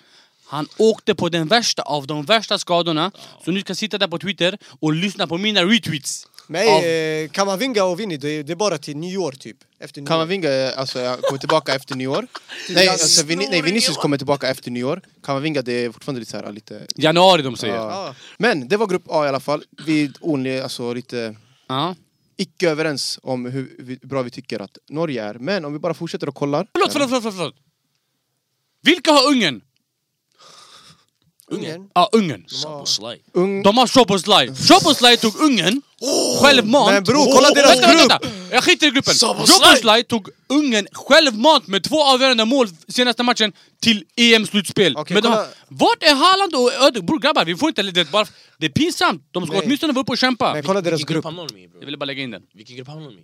Speaker 4: Han åkte på den värsta av de värsta skadorna, så nu ska jag sitta där på Twitter och lyssna på mina retweets. av-
Speaker 3: Nej, eh, Kamavinga och Vinny, det, det är bara till nyår typ. Efter nyår.
Speaker 1: Kamavinga eh, alltså, jag kommer tillbaka efter nyår. Nej, alltså, Vin- nej, Vinicius kommer tillbaka efter nyår. Kamavinga, det är fortfarande lite så här, lite...
Speaker 4: Januari de säger. Ja.
Speaker 1: Ja. Men det var grupp A i alla fall. Vi är only, alltså lite icke överens om hur vi- bra vi tycker att Norge är. Men om vi bara fortsätter och kollar.
Speaker 4: Förlåt, förlåt, förlåt, förlåt. Vilka har Ungern?
Speaker 3: Ungern.
Speaker 4: Ja, Ungern.
Speaker 2: Schaboslaj.
Speaker 1: Ung...
Speaker 4: De har Szoboszlaj. Szoboszlaj tog Ungern självmant.
Speaker 3: Oh!
Speaker 4: Oh!
Speaker 3: Men bror, kolla deras
Speaker 4: vänta,
Speaker 3: grupp.
Speaker 4: Vänta, vänta. Jag skiter i gruppen.
Speaker 2: Szoboszlaj.
Speaker 4: Szoboszlaj tog Ungern självmant med två avgörande mål senaste matchen till EM-slutspel.
Speaker 3: Okej,
Speaker 4: Men de-
Speaker 3: kolla.
Speaker 4: Vart är Haaland och Ödegaard? Bror grabbar, vi får inte... Det är, bara, det är pinsamt. De ska
Speaker 3: Nej.
Speaker 4: åtminstone vara uppe och kämpa.
Speaker 3: Men kolla deras
Speaker 2: Vilken grupp
Speaker 3: grupp.
Speaker 2: hamnar de i bror?
Speaker 4: Jag ville bara lägga in den.
Speaker 2: Vilken grupp hamnar de i?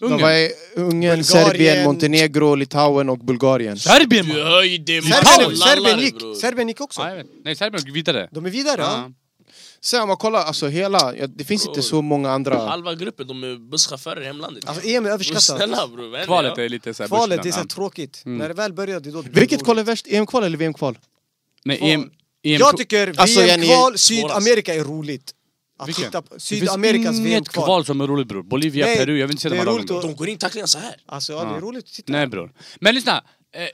Speaker 1: De
Speaker 4: Ungern.
Speaker 1: var i Ungern, Serbien, Montenegro, Litauen och Bulgarien.
Speaker 4: Serbien
Speaker 2: Du
Speaker 4: man.
Speaker 2: höjde
Speaker 3: Serbien,
Speaker 4: Paul,
Speaker 3: Serbien, gick, Serbien gick
Speaker 4: Ja,
Speaker 3: också.
Speaker 4: jag vet. Nej, Serbien gick vidare.
Speaker 3: De är vidare.
Speaker 4: Ja.
Speaker 3: Ja.
Speaker 1: Sen om man kollar, alltså hela... Ja, det finns inte så många andra...
Speaker 2: Halva gruppen, de är busschaufförer i hemlandet.
Speaker 3: Alltså EM är överskattat.
Speaker 2: Snälla bror, vad händer?
Speaker 4: Kvalet är lite såhär...
Speaker 3: Kvalet, det är så här tråkigt.
Speaker 4: Mm.
Speaker 3: När det väl börjar, det är då det blir
Speaker 1: Vilket
Speaker 3: roligt.
Speaker 1: kval är värst? EM-kval eller VM-kval?
Speaker 4: Nej, EM... EM
Speaker 3: Jag tycker
Speaker 1: Alltså, Jenny-
Speaker 3: VM-kval, Sydamerika är roligt. Att
Speaker 4: Vilken?
Speaker 3: titta på.
Speaker 4: det finns
Speaker 3: Sydamerikas
Speaker 4: inget
Speaker 3: VM-kval.
Speaker 4: kval som är roligt bror. Bolivia,
Speaker 3: Nej,
Speaker 4: Peru, jag vill inte se
Speaker 3: det
Speaker 4: de här
Speaker 3: är
Speaker 4: lagen.
Speaker 3: roligt
Speaker 4: bror.
Speaker 3: att-
Speaker 2: De går in tacklingar så här.
Speaker 3: Alltså ja, det
Speaker 4: Ja.
Speaker 3: är roligt att titta.
Speaker 4: Nej bror. Men lyssna,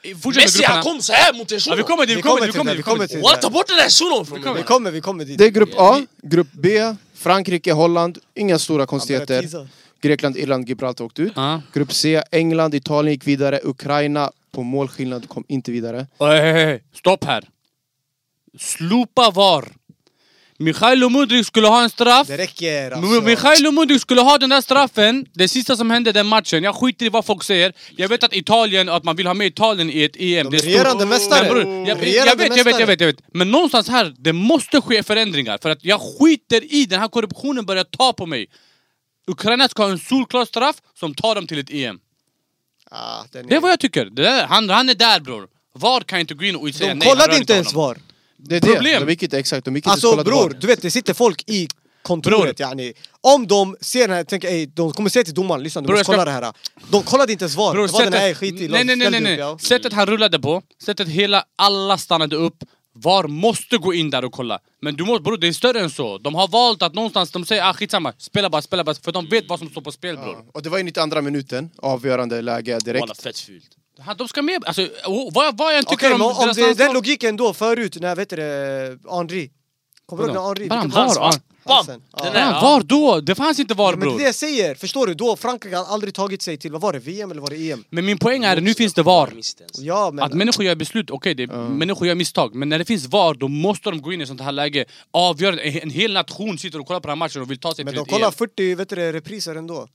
Speaker 4: eh, fortsätt
Speaker 2: Messi
Speaker 4: med grupperna.
Speaker 2: han kom så här mot en
Speaker 4: Ja, vi
Speaker 2: shuno.
Speaker 4: kommer dit, vi kommer dit, vi kommer dit.
Speaker 3: det,
Speaker 4: Vi kommer dit.
Speaker 3: till
Speaker 2: Walla ta bort den där shunon från
Speaker 3: det. Vi
Speaker 2: mig.
Speaker 3: kommer, vi kommer dit.
Speaker 1: Det är grupp A, grupp B, Frankrike, Holland. Inga stora konstigheter. Grekland, Irland, Gibraltar åkte ut.
Speaker 4: Ja.
Speaker 1: Grupp C, England, Italien gick vidare. Ukraina på målskillnad kom inte vidare.
Speaker 4: Oj, hej, hej, Stopp här. Slopa VAR. Michailo Mudrik skulle ha en straff.
Speaker 3: Det räcker alltså.
Speaker 4: M- Michailo Mudrik skulle ha den där straffen, det sista som hände den matchen. Jag skiter i vad folk säger. Jag vet att Italien, att man vill ha med Italien i ett EM. det är
Speaker 3: De är
Speaker 4: stort.
Speaker 3: regerande mästare.
Speaker 4: Men bror, jag,
Speaker 3: Regerande
Speaker 4: jag, vet, jag vet,
Speaker 3: mästare.
Speaker 4: jag vet, jag vet. Men någonstans här, det måste ske förändringar. För att jag skiter i, den här korruptionen börjar ta på mig. Ukraina ska ha en solklar straff som tar dem till ett EM.
Speaker 3: Ah, den är...
Speaker 4: Det är vad jag tycker. Det där, han, han är där bror. VAR kan inte gå in och säga
Speaker 3: De
Speaker 4: nej, han
Speaker 3: kollade
Speaker 4: rör
Speaker 3: inte ens
Speaker 4: honom.
Speaker 3: VAR.
Speaker 1: Det är
Speaker 4: Problem.
Speaker 1: det. De gick inte exakt, de gick inte
Speaker 3: Alltså
Speaker 1: kollade
Speaker 3: bror,
Speaker 1: var.
Speaker 3: du vet det sitter folk i kontoret yani. Om de ser den här, tänker ej, de kommer säga till domaren lyssna du
Speaker 4: Bror,
Speaker 3: måste
Speaker 4: jag ska-
Speaker 3: kolla det här. De kollade inte ens VAR.
Speaker 4: Bror,
Speaker 3: det var den här
Speaker 4: sättet,
Speaker 3: skit i
Speaker 4: nej, nej, nej, nej, nej. sättet han rullade på, sättet hela, alla stannade upp. VAR måste gå in där och kolla. Men du måste, bror det är större än så. De har valt att någonstans, de säger ah skitsamma, spela bara, spela bara. För de vet vad som står på spel bror.
Speaker 1: Och det var ju 92 minuten, avgörande läge direkt.
Speaker 2: Walla fett fult.
Speaker 4: Han- De ska med, alltså oh, vad, vad jag än tycker
Speaker 3: Okej,
Speaker 4: om
Speaker 3: men om
Speaker 4: deras
Speaker 3: det är
Speaker 4: landslag-
Speaker 3: den logiken då förut när, vet du det, Henri. Kommer du ihåg när Henri...
Speaker 4: Bara
Speaker 3: vilken
Speaker 4: VAR,
Speaker 3: pass?
Speaker 4: ja.
Speaker 2: Bam!
Speaker 3: Passen. Ja.
Speaker 2: Den där,
Speaker 4: Fan,
Speaker 2: ja.
Speaker 4: VAR då? Det fanns inte VAR
Speaker 3: Men det är
Speaker 4: bror.
Speaker 3: det jag säger, förstår du? Då Frankrike har aldrig tagit sig till, vad var det, VM eller var det EM?
Speaker 4: Men min poäng är, nu finns det
Speaker 2: Jag
Speaker 4: VAR.
Speaker 2: minns inte ens.
Speaker 3: Ja men...
Speaker 4: Att människor gör beslut, okej, det är människor gör misstag. Men när det finns VAR, då måste de gå in i sånt här läge. Avgöra, en en hel nation sitter och kollar på den här matchen och vill ta sig
Speaker 3: Men
Speaker 4: till
Speaker 3: de
Speaker 4: ett
Speaker 3: kollar
Speaker 4: EM.
Speaker 3: 40 vet du, det, repriser ändå.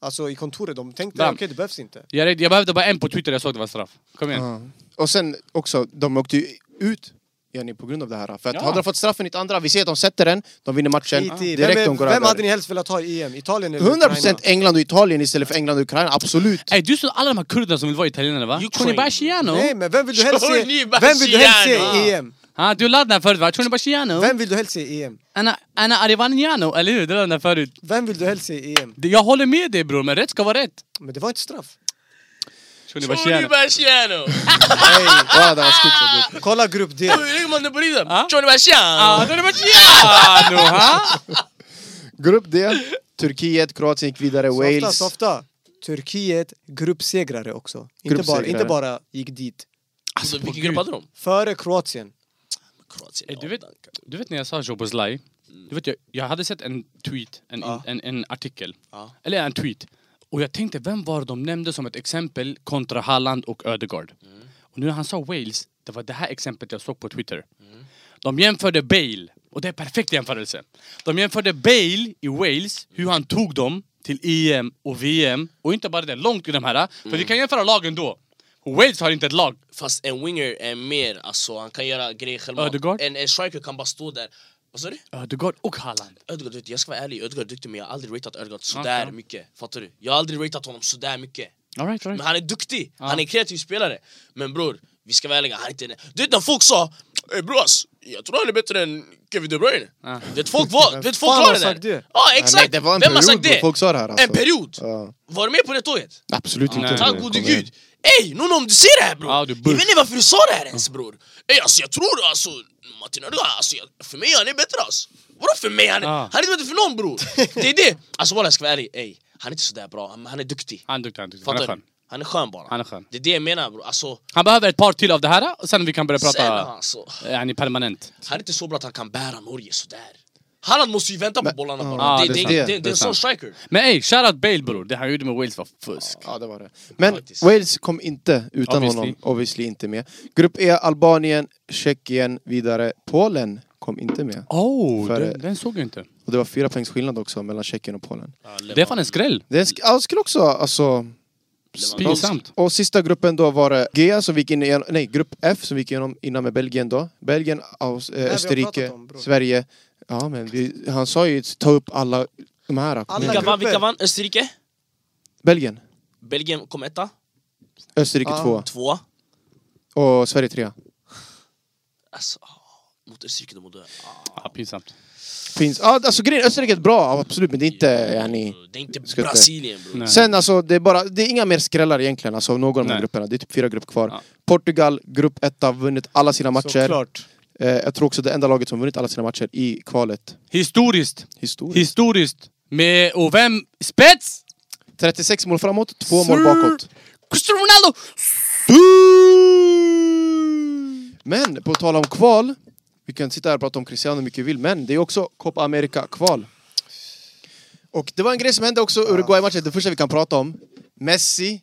Speaker 3: Alltså i kontoret, de tänkte
Speaker 4: Bam.
Speaker 3: okej det behövs inte.
Speaker 4: Jag, red- jag behövde bara en på Twitter, jag såg det var straff. Kom igen.
Speaker 1: Ja. Och sen också, de åkte ju ut yani, på grund av det här. För att
Speaker 4: Ja.
Speaker 1: hade de fått straffen i ett andra, vi ser att de sätter den, de vinner matchen,
Speaker 3: Skit i.
Speaker 1: direkt
Speaker 3: vem,
Speaker 1: de går
Speaker 3: vem hade
Speaker 1: över.
Speaker 3: ni helst velat ha i EM? Italien eller
Speaker 1: 100%
Speaker 3: Ukraina?
Speaker 1: England och Italien istället för England och Ukraina, absolut!
Speaker 4: Ey, du sa alla de här kurderna som vill vara italienare va?
Speaker 2: Ukraine.
Speaker 4: Tony Bashiano?
Speaker 3: Nej men vem vill du helst se?
Speaker 2: Tony
Speaker 3: Vem vill du helst se
Speaker 2: Marciano.
Speaker 3: i EM?
Speaker 4: Ha, du laddade den här förut va? Tony Bashiano?
Speaker 3: Vem vill du helst se i E EM?
Speaker 4: Anna, Anna Arivaniano, eller hur? Du laddade den här förut.
Speaker 3: Vem vill du helst se i EM?
Speaker 4: Det- Jag håller med dig bror, men rätt ska vara rätt.
Speaker 3: Men det var inte straff.
Speaker 4: Tony
Speaker 2: Johnny
Speaker 4: Bashiano.
Speaker 2: Bashiano!
Speaker 4: Ah.
Speaker 1: Nej, walla, det var skit så
Speaker 3: Kolla grupp D.
Speaker 2: Hur man på riden?
Speaker 4: Ah?
Speaker 2: Johnny Bashiano!
Speaker 4: Ah, Tony Bashiano! ha?
Speaker 1: dumt. Grupp D, Turkiet, Kroatien gick vidare,
Speaker 3: Softa,
Speaker 1: Wales.
Speaker 3: softa. Turkiet gruppsegrare också. Inte, bara,
Speaker 1: Gruppsegrare.
Speaker 3: inte bara gick dit.
Speaker 2: Alltså vilken grupp hade de?
Speaker 3: Före Kroatien.
Speaker 2: Kroatien.
Speaker 4: Eh, Du
Speaker 2: ja.
Speaker 4: vet, du vet när jag sa Joboslaj? Du vet, jag, jag hade sett en tweet, en,
Speaker 2: Ja.
Speaker 4: en, en artikel.
Speaker 2: Ja.
Speaker 4: Eller en tweet. Och jag tänkte, vem var de nämnde som ett exempel kontra Haaland och Ödegaard? Och nu när han sa Wales, det var det här exemplet jag såg på Twitter. De jämförde Bale, och det är perfekt jämförelse. De jämförde Bale i Wales, hur han tog dem till EM och VM. Och inte bara det, långt i de här. För vi kan jämföra lagen då. Wales har inte ett lag.
Speaker 2: Fast en winger är mer, alltså han kan göra grejer själv.
Speaker 4: Ödegaard?
Speaker 2: En, en striker kan bara stå där. Vad sa du?
Speaker 4: Ödegaard och Haaland.
Speaker 2: Ödegaard, vet du, jag ska vara ärlig, Ödegaard är duktig men jag har aldrig ratat Ödegaard sådär
Speaker 4: Okej.
Speaker 2: mycket. Fattar du? Jag har aldrig ratat honom sådär mycket.
Speaker 4: All right, all
Speaker 2: Men
Speaker 4: right.
Speaker 2: han är duktig, han är en kreativ spelare. Men bror, vi ska vara ärliga, han är inte... Du vet när folk sa "Ey, bror ass, jag tror han är bättre än Kevin De Bruyne.
Speaker 4: Ja.
Speaker 2: Du vet folk var, du vet folk
Speaker 3: fan
Speaker 2: var
Speaker 3: har
Speaker 2: det
Speaker 3: sagt
Speaker 2: där.
Speaker 3: det?
Speaker 2: Ja
Speaker 1: Ja, nej,
Speaker 2: exakt!
Speaker 1: det var en
Speaker 2: Vem har
Speaker 1: period
Speaker 2: sagt
Speaker 1: då
Speaker 2: det?
Speaker 1: folk sa det här alltså.
Speaker 2: En period!
Speaker 1: Ja.
Speaker 2: Var du med på det tåget?
Speaker 1: Absolut inte.
Speaker 4: Nej.
Speaker 2: Tack
Speaker 1: Kom
Speaker 2: gode
Speaker 1: igen.
Speaker 2: gud! Ey, någon om du ser det här bror!
Speaker 4: Ja, du
Speaker 2: jag
Speaker 4: burk.
Speaker 2: vet inte varför du sa det här ens bror! Ey alltså jag tror alltså, Martin Ödegaard, alltså, jag, för mig han är bättre alltså! Vadå för mig? Han är,
Speaker 4: Ja.
Speaker 2: han är inte bättre för någon bror! Det är det! Alltså walla jag ska vara ärlig, ey, han är inte sådär bra, men han är duktig.
Speaker 4: Han är duktig, han är duktig. Han är
Speaker 2: Fattar
Speaker 4: skön.
Speaker 2: du? Han är skön bara.
Speaker 4: Han är skön.
Speaker 2: Det är det jag menar bror, alltså,
Speaker 4: Han behöver ett par till av det här, och sen vi kan börja
Speaker 2: sen,
Speaker 4: prata
Speaker 2: alltså
Speaker 4: yani, permanent.
Speaker 2: Han är inte så bra att han kan bära Norge sådär. Halland måste ju vänta på bollarna bara.
Speaker 4: Ja,
Speaker 2: det, det,
Speaker 4: det är
Speaker 2: det,
Speaker 4: sant.
Speaker 2: det, det,
Speaker 4: Det
Speaker 2: är
Speaker 4: är
Speaker 2: en sån
Speaker 4: sant.
Speaker 2: striker.
Speaker 4: Men ey, shoutout Bale bror, det han gjorde med Wales var fusk.
Speaker 1: Ja, det var det. Men
Speaker 2: Faktiskt.
Speaker 1: Wales kom inte utan
Speaker 4: Obviously.
Speaker 1: honom, obviously inte med. Grupp E, Albanien, Tjeckien, vidare. Polen kom inte med.
Speaker 4: Oh,
Speaker 1: För-
Speaker 4: den, den såg jag inte.
Speaker 1: Och det var fyra poängs skillnad också mellan Tjeckien och Polen.
Speaker 4: Det är fan en skräll.
Speaker 1: Det sk- ja, skulle också, alltså...
Speaker 4: Pinsamt.
Speaker 1: Och sista gruppen då var det G som gick in igen, nej, grupp F som gick igenom innan med Belgien då. Belgien, Aus, eh,
Speaker 3: har
Speaker 1: Österrike,
Speaker 3: pratat om, bror.
Speaker 1: Sverige. Ja men vi, han sa ju ta upp alla de här.
Speaker 2: Vilka
Speaker 3: Alla
Speaker 1: men,
Speaker 3: grupper.
Speaker 2: vann, vilka vann? Österrike?
Speaker 1: Belgien,
Speaker 2: Belgien kom etta,
Speaker 1: Österrike
Speaker 3: Ah.
Speaker 1: tvåa
Speaker 2: tvåa.
Speaker 1: och Sverige trea.
Speaker 2: Alltså, ah, mot Österrike de mådde... ah,
Speaker 4: Ja, pinsamt.
Speaker 1: Finns, ja, alltså grejen, Österrike är bra, absolut men det är inte, yani,
Speaker 2: alltså, Det är inte
Speaker 1: Ska inte-
Speaker 2: Brasilien bror.
Speaker 4: Nej.
Speaker 1: Sen alltså, det är, bara, det är inga mer skrällar egentligen, alltså någon av de här
Speaker 4: Nej.
Speaker 1: grupperna. Det är typ fyra grupper kvar.
Speaker 4: Ja.
Speaker 1: Portugal, grupp etta, vunnit alla sina matcher.
Speaker 3: Såklart.
Speaker 1: Eh, jag tror också det enda laget som vunnit alla sina matcher i kvalet.
Speaker 4: Historiskt.
Speaker 1: Historiskt.
Speaker 4: Historiskt. Med, och vem? Spets!
Speaker 1: 36 mål framåt, två
Speaker 4: Sir.
Speaker 1: mål bakåt.
Speaker 4: Cristiano Ronaldo!
Speaker 1: Men på tal om kval, vi kan sitta här och prata om Cristiano hur mycket vi vill, men det är också Copa America-kval. Och det var en grej som hände också i Uruguay-matchen, det första vi kan prata om. Messi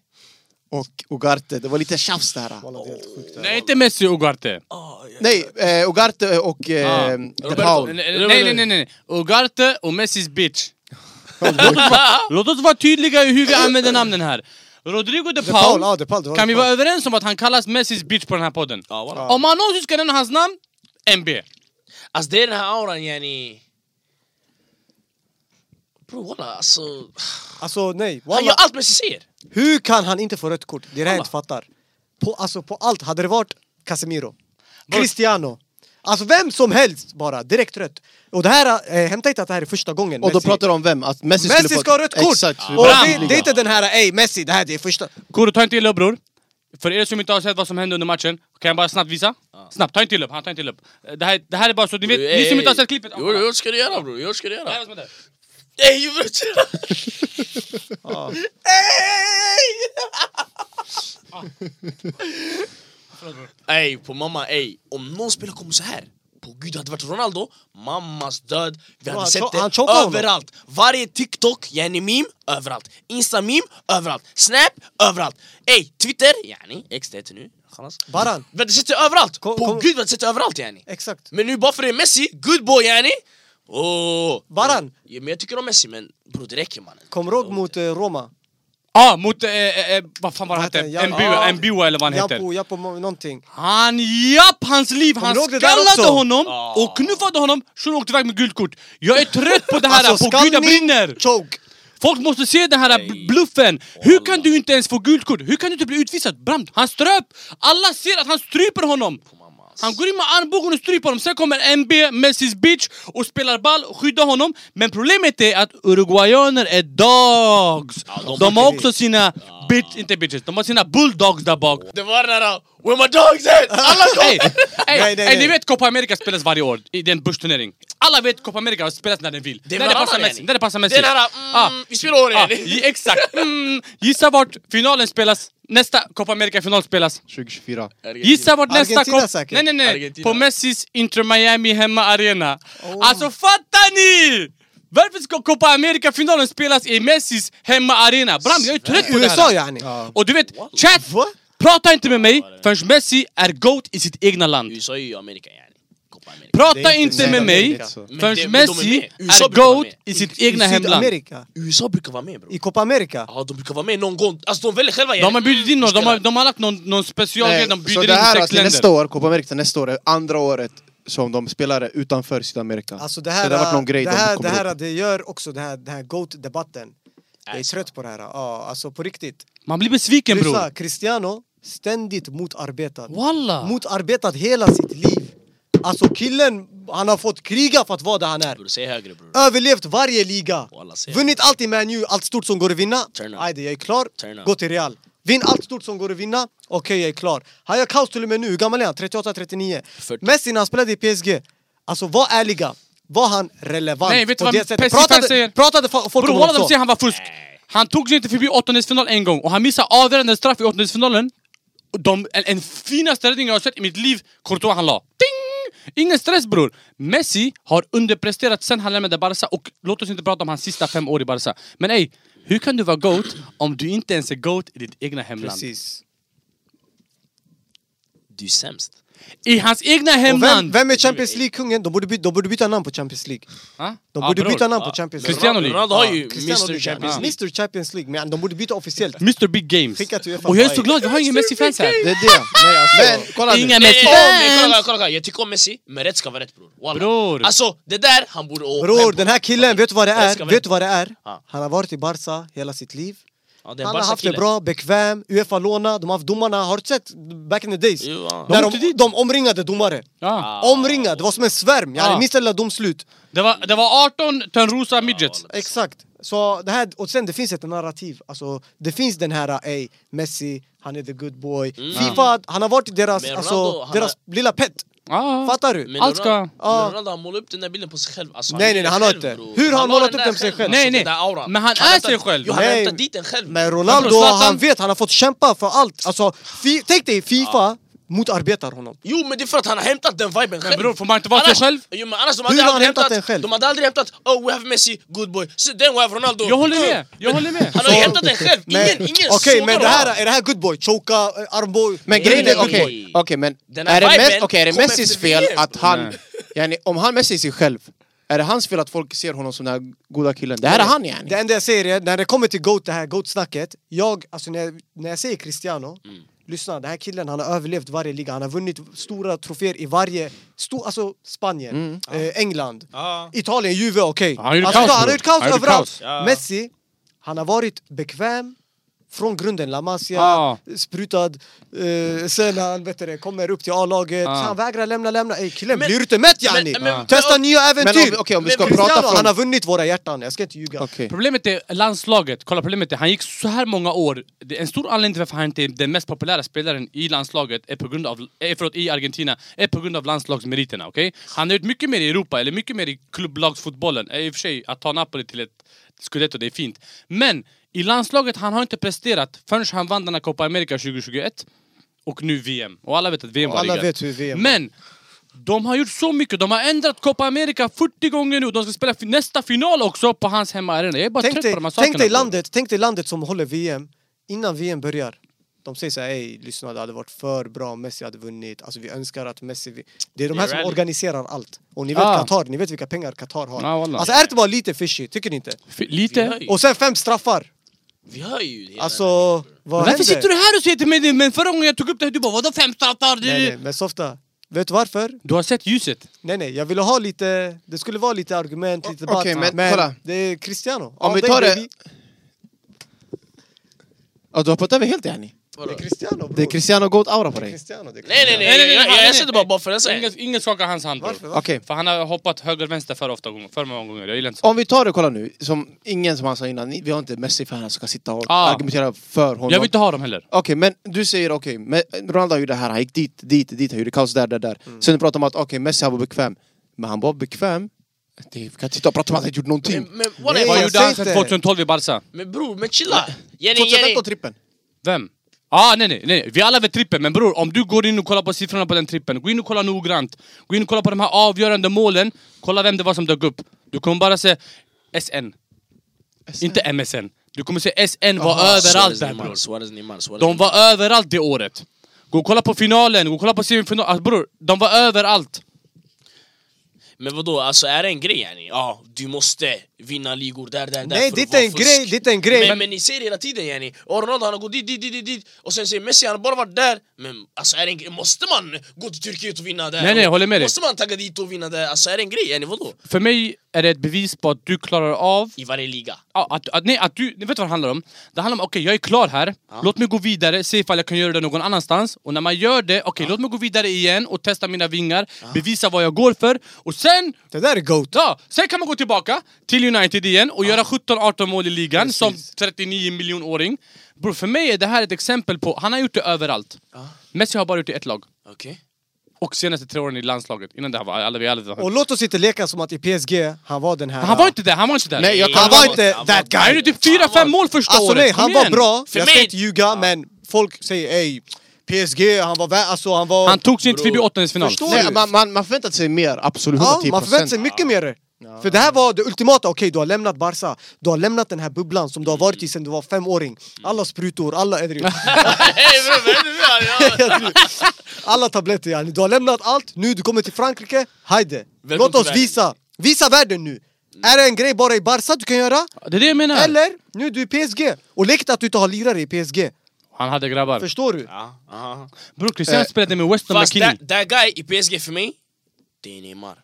Speaker 1: och Ugarte, det var lite tjafs det här.
Speaker 3: Walla, det är helt sjukt.
Speaker 4: Nej, inte Messi och Ugarte.
Speaker 2: Ah, ja.
Speaker 1: Nej, eh, Ugarte och eh,
Speaker 4: Ah.
Speaker 3: Ehm,
Speaker 1: De Paul.
Speaker 4: Nej, nej, nej, nej. Ugarte och Messis bitch. Låt oss vara tydliga i hur vi använder namnen här. Rodrigo de
Speaker 3: De Paul, ja
Speaker 4: Paul,
Speaker 3: de Paul. det var
Speaker 4: kan
Speaker 3: de
Speaker 4: vi
Speaker 3: Paul.
Speaker 4: vara överens om att han kallas Messis bitch på den här podden?
Speaker 2: Ja, voilà.
Speaker 4: Om man någonsin ska nämna hans namn, MB.
Speaker 2: Alltså det är den här auran yani... Bror walla alltså...
Speaker 3: Alltså nej,
Speaker 2: Han gör
Speaker 3: walla.
Speaker 2: allt Messi säger!
Speaker 3: Hur kan han inte få rött kort? Det är det jag
Speaker 2: Alla.
Speaker 3: inte fattar. På, alltså på allt. Hade det varit Casemiro, Cristiano. Alltså vem som helst bara, direkt rött. Och det här, eh, hämta inte att det här är första gången
Speaker 1: Och då
Speaker 3: Messi-
Speaker 1: pratar de om vem? Att Messi, skulle
Speaker 3: Messi
Speaker 1: fått-
Speaker 3: ska ha rött kort! Ah.
Speaker 1: Exakt.
Speaker 3: Och
Speaker 4: Bra.
Speaker 3: det, det är inte den här, ey Messi, det här det är första...
Speaker 4: Kuro, ta inte illa upp bror. För er som inte har sett vad som hände under matchen, kan jag bara snabbt visa? Snabbt, ta inte illa upp, han tar inte illa upp. Eh, Det här, det här är bara så ni vet,
Speaker 2: Ey,
Speaker 4: ni som
Speaker 2: ey,
Speaker 4: inte har
Speaker 2: ey.
Speaker 4: sett klippet.
Speaker 2: Jo, jo, vad ska du göra bror? Jo, vad ska du
Speaker 4: Det här är
Speaker 2: göra?
Speaker 4: vad som händer.
Speaker 2: Ey, vad ska du göra?
Speaker 3: Ah.
Speaker 2: Ey, på mamma, ey. Om någon spelare kommer så här på gud, det hade varit Ronaldo, mammas död, vi hade
Speaker 3: han
Speaker 2: sett
Speaker 3: cho-
Speaker 2: det
Speaker 3: han chokade honom.
Speaker 2: överallt. Varje TikTok, yani meme, överallt. Insta-meme, överallt. Snap, överallt. Ey, Twitter, yani, X det heter nu. Khalas.
Speaker 3: Baran,
Speaker 2: Vi hade sett det överallt!
Speaker 3: Kom-
Speaker 2: på
Speaker 3: kom-
Speaker 2: gud, vi hade sett det överallt yani.
Speaker 3: exakt.
Speaker 2: Men nu bara för det är Messi, good boy Oh. yani. Åh!
Speaker 3: Baran.
Speaker 2: Mm. Ja, men jag tycker om Messi, men bror det räcker mannen.
Speaker 3: Kommer du ihåg mot eh, Roma?
Speaker 4: ah, mot... Eh, eh, eh, vad fan var han
Speaker 3: Vad
Speaker 4: hette?
Speaker 3: heter han?
Speaker 4: Mbua,
Speaker 3: Ja.
Speaker 4: Mbua eller vad han hette.
Speaker 3: Japo, Japo, mo- någonting.
Speaker 4: Han, japp! Hans liv! Han
Speaker 3: du ihåg det där också?
Speaker 4: skallade honom
Speaker 2: Ah.
Speaker 4: och knuffade honom. Shun åkte iväg med guldkort. Jag är trött på det här,
Speaker 3: Alltså,
Speaker 4: på gud jag
Speaker 3: skallning,
Speaker 4: brinner!
Speaker 3: Choke!
Speaker 4: Folk måste se den här bl-
Speaker 2: Nej.
Speaker 4: bluffen! Hur kan
Speaker 2: Wallah.
Speaker 4: du inte ens få gult kort? Hur kan du inte bli utvisad? Brand, han ströp! Alla ser att han stryper honom!
Speaker 2: mamma, ass.
Speaker 4: Han går in med armbågen och stryper honom, sen kommer MB med sin bitch och spelar ball och skyddar honom Men problemet är att uruguayaner är dogs!
Speaker 2: Ja,
Speaker 4: de,
Speaker 2: de
Speaker 4: har
Speaker 3: åker
Speaker 4: också sina, bitch, inte bitches, de har sina bulldogs där bak
Speaker 2: Det var den där Where my dogs at? Alla
Speaker 4: Ey, ey,
Speaker 3: Nej, nej,
Speaker 4: ey, ni
Speaker 3: nej.
Speaker 4: vet Copa America spelas varje år, i- det är en börsturnering Alla vet Copa America spelas när den vill,
Speaker 2: Det är
Speaker 4: när det
Speaker 2: varannan,
Speaker 4: passar
Speaker 2: yani.
Speaker 4: Messi, när det passar Messi
Speaker 2: Den här,
Speaker 4: Ah.
Speaker 2: mm, vi spelar
Speaker 4: Ja,
Speaker 2: året!
Speaker 4: gi- exakt. Mm, gissa vart finalen spelas, nästa Copa America-final spelas.
Speaker 1: 2024.
Speaker 4: Gissa vart nästa...
Speaker 3: Argentina
Speaker 4: Cop-
Speaker 3: säkert.
Speaker 4: Nej, nej, nej.
Speaker 2: Argentina.
Speaker 4: På Messis Inter Miami hemmaarena. Alltså fattar ni? Varför ska Copa America-finalen spelas i Messis hemmaarena? Bram, jag är trött på det här.
Speaker 3: USA yani.
Speaker 4: Och du vet, chat!
Speaker 3: Va?
Speaker 4: Prata inte med mig förrän Messi är GOAT i sitt egna land.
Speaker 2: USA är ju Amerika yani. Copa America.
Speaker 4: Prata
Speaker 3: inte
Speaker 4: inte
Speaker 3: så
Speaker 4: med mig
Speaker 3: Amerika.
Speaker 2: Men det- men
Speaker 4: förrän
Speaker 2: de är
Speaker 4: Messi
Speaker 2: med. USA
Speaker 4: är
Speaker 2: brukar vara
Speaker 4: GOAT
Speaker 2: med.
Speaker 4: i sitt egna
Speaker 3: I
Speaker 4: hemland.
Speaker 3: Sydamerika.
Speaker 2: USA brukar vara med bror.
Speaker 3: I Copa America.
Speaker 2: Ja, de brukar vara med någon gång. Alltså de väljer själva
Speaker 4: De har bjudit in någon, de har,
Speaker 2: Spelar.
Speaker 4: de har lagt någon, någon specialgrej,
Speaker 1: Nej,
Speaker 4: de
Speaker 1: så
Speaker 4: bjuder
Speaker 1: det
Speaker 4: in
Speaker 1: här
Speaker 4: sex
Speaker 1: alltså,
Speaker 4: länder.
Speaker 1: nästa år, Copa America nästa år, är andra året som de spelar utanför Sydamerika.
Speaker 3: Alltså det
Speaker 1: så
Speaker 3: här,
Speaker 1: det har varit någon grej
Speaker 3: det
Speaker 1: de
Speaker 3: här, det,
Speaker 1: kommer
Speaker 3: här
Speaker 1: ihåg.
Speaker 3: det gör också den här, den här GOAT-debatten. Jag
Speaker 1: Äh.
Speaker 3: är
Speaker 2: Alltså.
Speaker 3: trött på det här. Ja, alltså på riktigt.
Speaker 4: Man blir besviken
Speaker 3: Lyssna,
Speaker 4: bror.
Speaker 3: Cristiano, ständigt motarbetad.
Speaker 4: Walla!
Speaker 3: Motarbetad hela sitt liv. Alltså killen, han har fått kriga för att vara där han är.
Speaker 2: Bror, säg högre
Speaker 3: Ah.
Speaker 2: bror.
Speaker 3: Överlevt varje liga.
Speaker 2: Walla, säg
Speaker 3: Vunnit allt i Man U, allt stort som går att vinna.
Speaker 2: Turn up.
Speaker 3: Ajde, jag är klar.
Speaker 2: Turn up.
Speaker 3: Gå till Real. Vinn allt stort som går att vinna. Okej, jag är klar. Han gör kaos till och med nu. Hur gammal är han? 38-39.
Speaker 2: 40.
Speaker 3: Messi när han spelade i PSG. Alltså, var ärliga. Var han relevant?
Speaker 4: Nej, vet du
Speaker 3: på
Speaker 4: vad
Speaker 3: det sättet?
Speaker 4: Pessi-fans säger?
Speaker 3: Pratade, pratade fo- folk
Speaker 4: Bror
Speaker 3: om
Speaker 4: walla de
Speaker 3: honom
Speaker 4: säger
Speaker 3: så?
Speaker 4: han var fusk. Han tog sig inte förbi åttondelsfinal en gång och han missade avgörande straff i åttondelsfinalen. Och De, en, en finaste räddning jag har sett i mitt liv, Courtois han la. Ding! Ingen stress bror! Messi har underpresterat sen han lämnade Barca och låt oss inte prata om hans sista fem år i Barca. Men ey, hur kan du vara GOAT om du inte ens är GOAT i ditt egna hemland?
Speaker 3: Precis.
Speaker 2: Du är sämst.
Speaker 4: I hans egna
Speaker 3: Och vem,
Speaker 4: hemland!
Speaker 3: vem är Champions League-kungen? De borde, by- de borde byta namn på Champions League.
Speaker 4: Ha?
Speaker 3: De
Speaker 4: Ja,
Speaker 3: borde
Speaker 4: bror.
Speaker 3: byta namn
Speaker 2: Ja.
Speaker 3: på Champions League.
Speaker 4: Cristiano League.
Speaker 2: Ronaldo har ju
Speaker 3: Ah, Cristiano
Speaker 2: Mr Champions League.
Speaker 3: Mr Champions League, men de borde byta officiellt.
Speaker 4: Mr Big Games.
Speaker 3: Skicka till UEFA.
Speaker 4: Och jag är så glad, vi har ingen Messi-fans här.
Speaker 1: Det är det. Nej, alltså, men kolla
Speaker 4: Inga
Speaker 1: nu.
Speaker 2: Nej, nej, nej, kolla,
Speaker 4: Messi-fans!
Speaker 2: kolla, kolla, kolla. Jag tycker om Messi, men rätt ska vara rätt bror. Walla.
Speaker 4: Bror.
Speaker 2: Alltså det där, han borde... åh,
Speaker 3: Bror,
Speaker 2: men-
Speaker 3: den här killen, vet du vad det
Speaker 2: Jag ska
Speaker 3: är?
Speaker 2: väl-
Speaker 3: Vet du vad det är?
Speaker 2: Ja.
Speaker 3: Han har varit i Barca hela sitt liv.
Speaker 2: Ja, det är
Speaker 3: han har
Speaker 2: Barca
Speaker 3: haft det
Speaker 2: killen.
Speaker 3: bra, bekväm, Uefa låna, de har haft domarna. Har du sett back in the days?
Speaker 2: Jo, ja.
Speaker 3: När
Speaker 4: åkte
Speaker 3: de, de omringade domare.
Speaker 4: Ja.
Speaker 3: Omringade, det var som en svärm.
Speaker 4: Ja.
Speaker 3: Jag minns alla domslut.
Speaker 4: Det, var, det var 18 Törnrosa midgets.
Speaker 3: Exakt. Så det här, och sen det finns ett narrativ. Alltså, det finns den här, eh, ey, Messi, han är the good boy. Fifa, han har varit deras,
Speaker 2: Mm. Men Ronaldo,
Speaker 3: alltså,
Speaker 2: han
Speaker 3: deras lilla pet.
Speaker 4: Ja.
Speaker 3: Fattar du?
Speaker 2: Men
Speaker 4: Allt ska-
Speaker 2: Ronaldo,
Speaker 3: Ja.
Speaker 2: men Ronaldo han målar upp den där bilden på sig själv. Alltså,
Speaker 3: Nej,
Speaker 2: är
Speaker 3: nej,
Speaker 2: den
Speaker 3: han har
Speaker 2: själv,
Speaker 3: inte.
Speaker 2: bror.
Speaker 3: Hur har han
Speaker 2: har
Speaker 3: målat
Speaker 2: den där
Speaker 3: upp den på sig själv?
Speaker 4: Nej,
Speaker 2: alltså,
Speaker 4: nej.
Speaker 2: den där auran.
Speaker 4: Men han är
Speaker 2: hämtar-
Speaker 4: sig själv.
Speaker 2: Jo, han
Speaker 3: Nej.
Speaker 2: hämtar dit den själv.
Speaker 3: Men
Speaker 4: Bror,
Speaker 3: Ronaldo,
Speaker 4: Zlatan-
Speaker 3: han vet, han har fått kämpa för allt. Alltså, fi, tänk dig, Fifa motarbetar honom.
Speaker 2: Jo men det är för att han har hämtat den viben själv.
Speaker 4: bror, får man inte vara sig
Speaker 2: Annars-
Speaker 4: själv?
Speaker 2: Jo men annars de
Speaker 3: Hur
Speaker 2: hade
Speaker 3: har han
Speaker 2: aldrig
Speaker 3: hämtat
Speaker 2: hämtat
Speaker 3: den själv?
Speaker 2: De hade aldrig hämtat oh we have Messi, good boy. Så then we have Ronaldo.
Speaker 4: Jag håller med,
Speaker 2: good.
Speaker 4: jag håller med.
Speaker 2: Han har ju hämtat den själv. Ingen,
Speaker 3: Men-
Speaker 2: ingen
Speaker 3: Okej,
Speaker 2: sågar
Speaker 3: men det
Speaker 2: honom.
Speaker 3: här, är det här good boy? Choka, eh, armbåge?
Speaker 1: Men grejen
Speaker 2: Nej,
Speaker 1: är,
Speaker 2: nej,
Speaker 1: okej,
Speaker 2: okej.
Speaker 1: okej, men
Speaker 2: Den
Speaker 1: är
Speaker 2: här
Speaker 1: det,
Speaker 2: viben
Speaker 1: mest, okej, är det
Speaker 2: kom
Speaker 1: Messis
Speaker 2: efter
Speaker 1: fel
Speaker 2: VM,
Speaker 1: att
Speaker 2: bror.
Speaker 1: han...
Speaker 4: Nej.
Speaker 1: Yani, om han Messi är sig själv, är det hans fel att folk ser honom som den här goda killen? Det här är han yani!
Speaker 3: Eh, Det enda jag säger är, när det kommer till GOAT, det här GOAT-snacket. Jag, alltså när jag, när jag säger Cristiano,
Speaker 1: Mm.
Speaker 3: lyssna, den här killen han har överlevt varje liga. Han har vunnit stora troféer i varje, stor, alltså Spanien,
Speaker 1: Mm.
Speaker 3: eh, England,
Speaker 2: Ja.
Speaker 3: Italien, Juve, okej.
Speaker 4: Han har gjort
Speaker 3: Alltså,
Speaker 4: kaos,
Speaker 3: han har
Speaker 4: bror.
Speaker 3: gjort kaos
Speaker 4: Han har gjort
Speaker 3: överallt.
Speaker 4: kaos.
Speaker 2: Ja.
Speaker 3: Messi, han har varit bekväm. Från grunden, La Masia,
Speaker 4: Ja.
Speaker 3: sprutad, eh, sen han vet du, det, kommer upp till A-laget,
Speaker 4: Ja.
Speaker 3: han vägrar lämna, lämna. Ey killen,
Speaker 2: Men-
Speaker 3: blir du inte mätt yani?
Speaker 2: men- men-
Speaker 3: Testa nya äventyr!
Speaker 1: Men om, vi- okej, om vi
Speaker 2: Men
Speaker 1: ska
Speaker 3: Cristiano,
Speaker 1: prata
Speaker 3: han
Speaker 1: från...
Speaker 3: har vunnit våra hjärtan, jag ska inte ljuga.
Speaker 1: Okej.
Speaker 4: Problemet är landslaget, kolla problemet är han gick så här många år Det är En stor anledning till varför han inte är den mest populära spelaren i landslaget är på grund av, eh, förlåt, i Argentina är på grund av landslagsmeriterna, okej? Han har gjort mycket mer i Europa, eller mycket mer i klubblagsfotbollen Eh, I och för sig, att ta Napoli till ett scudetto, det är fint Men i landslaget, han har inte presterat förrän han vann den här Copa America 2021 Och nu VM, och alla vet att VM
Speaker 3: Och
Speaker 4: var
Speaker 3: alla
Speaker 4: riggat.
Speaker 3: vet hur VM var.
Speaker 4: Men de har gjort så mycket, de har ändrat Copa America 40 gånger nu de ska spela fi- nästa final också på hans hemmaarena. Jag är bara
Speaker 3: Tänk
Speaker 4: trött
Speaker 3: dig,
Speaker 4: på de här sakerna.
Speaker 3: tänk, dig
Speaker 4: bror.
Speaker 3: landet, tänk dig landet som håller VM innan VM börjar. De säger såhär, ey lyssna det hade varit för bra om Messi hade vunnit, alltså vi önskar att Messi... Vi... Det är de här
Speaker 2: Det är
Speaker 3: som
Speaker 2: rally.
Speaker 3: organiserar allt. Och ni vet
Speaker 4: Ah.
Speaker 3: Qatar, ni vet vilka pengar Qatar har.
Speaker 4: Ja, wallah.
Speaker 3: alltså är det inte bara lite fishy, tycker ni inte?
Speaker 4: F- Lite.
Speaker 2: Vi höjer.
Speaker 3: Och sen fem straffar!
Speaker 2: Vi hör ju hela
Speaker 3: Alltså,
Speaker 2: den här.
Speaker 3: vad
Speaker 4: Varför
Speaker 3: händer?
Speaker 4: sitter du här och säger till mig det? Men förra gången jag tog upp det här, du bara vadå fem startar? Du?
Speaker 3: Nej, nej, men softa. Vet du varför?
Speaker 4: du har sett ljuset.
Speaker 3: Nej, nej, jag ville ha lite... Det skulle vara lite argument, lite
Speaker 1: Okej,
Speaker 3: debatt.
Speaker 1: men kolla.
Speaker 3: det är Cristiano.
Speaker 1: Om vi
Speaker 3: dig,
Speaker 1: tar det-
Speaker 3: baby.
Speaker 1: Ja, du har hoppat över helt yani.
Speaker 2: Vadå?
Speaker 3: Det är Cristiano, bror.
Speaker 1: Det är Cristiano Goat-aura på
Speaker 3: Det är
Speaker 1: dig.
Speaker 3: Cristiano. det är
Speaker 2: Nej nej
Speaker 3: Cristiano.
Speaker 2: nej, jag, jag, jag sätter bara bara för den
Speaker 4: Ingen,
Speaker 2: säger.
Speaker 4: ingen skakar hans hand
Speaker 3: Varför?
Speaker 4: bror.
Speaker 3: varför?
Speaker 1: Okej.
Speaker 4: För han har hoppat höger vänster för ofta gånger, för många gånger. Jag gillar inte sånt.
Speaker 1: Om vi tar det, kolla nu. Som ingen som han sa innan, ni- vi har inte Messi-fan som kan sitta och
Speaker 4: Ah.
Speaker 1: argumentera för honom.
Speaker 4: Jag vill inte ha dem heller.
Speaker 1: Okej, men du säger okej, men Ronaldo gjorde det här, han gick dit, dit, dit, han gjorde kaos där, där, där.
Speaker 3: Mm.
Speaker 1: Sen du pratar om att okej, Messi han var bekväm. Men han var bekväm. Det, vi kan titta och prata om att han inte gjort någonting.
Speaker 2: Men, men
Speaker 3: Nej,
Speaker 4: Vad
Speaker 3: jag
Speaker 2: whatever.
Speaker 4: gjorde han
Speaker 3: säger
Speaker 4: sen
Speaker 3: inte.
Speaker 4: 2012 i Barca?
Speaker 2: Men bror, men chilla. Jenny, Jenny.
Speaker 1: 2015 trippen.
Speaker 4: Vem? Ah, nej, nej, nej, vi alla vet trippen, men bror om du går in och kollar på siffrorna på den trippen, gå in och kolla noggrant. Gå in och kolla på de här avgörande målen, kolla vem det var som dök upp. Du kommer bara se SN, inte MSN. Du kommer se SN var överallt
Speaker 2: Suarez,
Speaker 4: där
Speaker 2: Neymar,
Speaker 4: bror.
Speaker 2: Suarez, Neymar, Suarez.
Speaker 4: De
Speaker 2: Neymar.
Speaker 4: var överallt det året. Gå och kolla på finalen, gå och kolla på semifinalen. Alltså, bror, de var överallt.
Speaker 2: Men vadå, alltså är det en grej yani? Ja, du måste vinna ligor där, där, där
Speaker 3: Nej,
Speaker 2: för
Speaker 3: det
Speaker 2: att
Speaker 3: är inte
Speaker 2: vara
Speaker 3: en
Speaker 2: fusk.
Speaker 3: grej, det är inte en grej.
Speaker 2: Men, men ni säger hela tiden yani, och Ronaldo han har gått dit, dit, dit, dit, dit och sen säger Messi han har bara varit där Men alltså är det en grej, måste man gå till Turkiet och vinna där?
Speaker 4: Nej, nej, jag håller med dig.
Speaker 2: Måste man tagga dit och vinna där? Alltså är det en grej yani, vadå?
Speaker 4: För mig är det ett bevis på att du klarar av
Speaker 2: I varje liga
Speaker 4: Ja, att, att, nej, att du, vet du vad det handlar om? Det handlar om, okej jag är klar här, låt mig gå vidare, se ifall jag kan göra det någon annanstans Och när man gör det, okej låt mig gå vidare igen och testa mina vingar, bevisa vad jag går för Och sen,
Speaker 3: Det där är GOAT.
Speaker 4: ja, sen kan man gå tillbaka till United igen och göra 17-18 mål i ligan
Speaker 3: Precis.
Speaker 4: som 39 miljonåring Bror för mig är det här ett exempel på, han har gjort det överallt
Speaker 2: Ja.
Speaker 4: Messi har bara gjort det i ett lag,
Speaker 2: Okej
Speaker 4: och senaste tre åren i landslaget, innan det här var, alla vi alla vet.
Speaker 3: Och låt oss inte leka som att i PSG, han var den här...
Speaker 4: Han var inte där, han var inte där!
Speaker 1: Nej, jag
Speaker 3: Han
Speaker 1: kan...
Speaker 3: var inte that
Speaker 4: Han
Speaker 3: guy.
Speaker 4: gjorde typ 4-5 mål första
Speaker 3: Alltså
Speaker 4: året,
Speaker 3: nej,
Speaker 4: Kom
Speaker 3: han var
Speaker 4: igen.
Speaker 3: bra.
Speaker 2: För
Speaker 3: jag ska
Speaker 2: mig-
Speaker 3: inte ljuga, men folk säger ey, PSG, han var vä- alltså han var...
Speaker 4: Han tog sig inte förbi
Speaker 2: Bror.
Speaker 4: åttondelsfinal.
Speaker 3: Förstår
Speaker 1: Nej, man, man, man förväntar sig mer, absolut.
Speaker 3: ja,
Speaker 1: 110%.
Speaker 3: man förväntar sig mycket mer. För det här var det ultimata, okej du har lämnat Barca, du har lämnat den här bubblan som du har varit i sen du var femåring. Alla sprutor, alla edry,
Speaker 2: Hej bror, vad händer nu?
Speaker 3: alla tabletter yani. Du har lämnat allt, nu du kommer till Frankrike, hajde.
Speaker 2: Välkommen
Speaker 3: Låt
Speaker 2: till
Speaker 3: oss
Speaker 2: världen.
Speaker 3: visa, visa världen nu. Är det en grej bara i Barca du kan göra?
Speaker 4: Det är det jag menar.
Speaker 3: Eller, nu är du i PSG. Och lek inte att du inte har lirare i PSG.
Speaker 4: Han hade grabbar.
Speaker 3: Förstår du?
Speaker 2: Ja, aha.
Speaker 4: Bror, Cristiano
Speaker 1: Eh,
Speaker 4: spelade med Weston
Speaker 2: Fast
Speaker 4: McKinney.
Speaker 2: that, that guy i PSG för mig, det är Neymar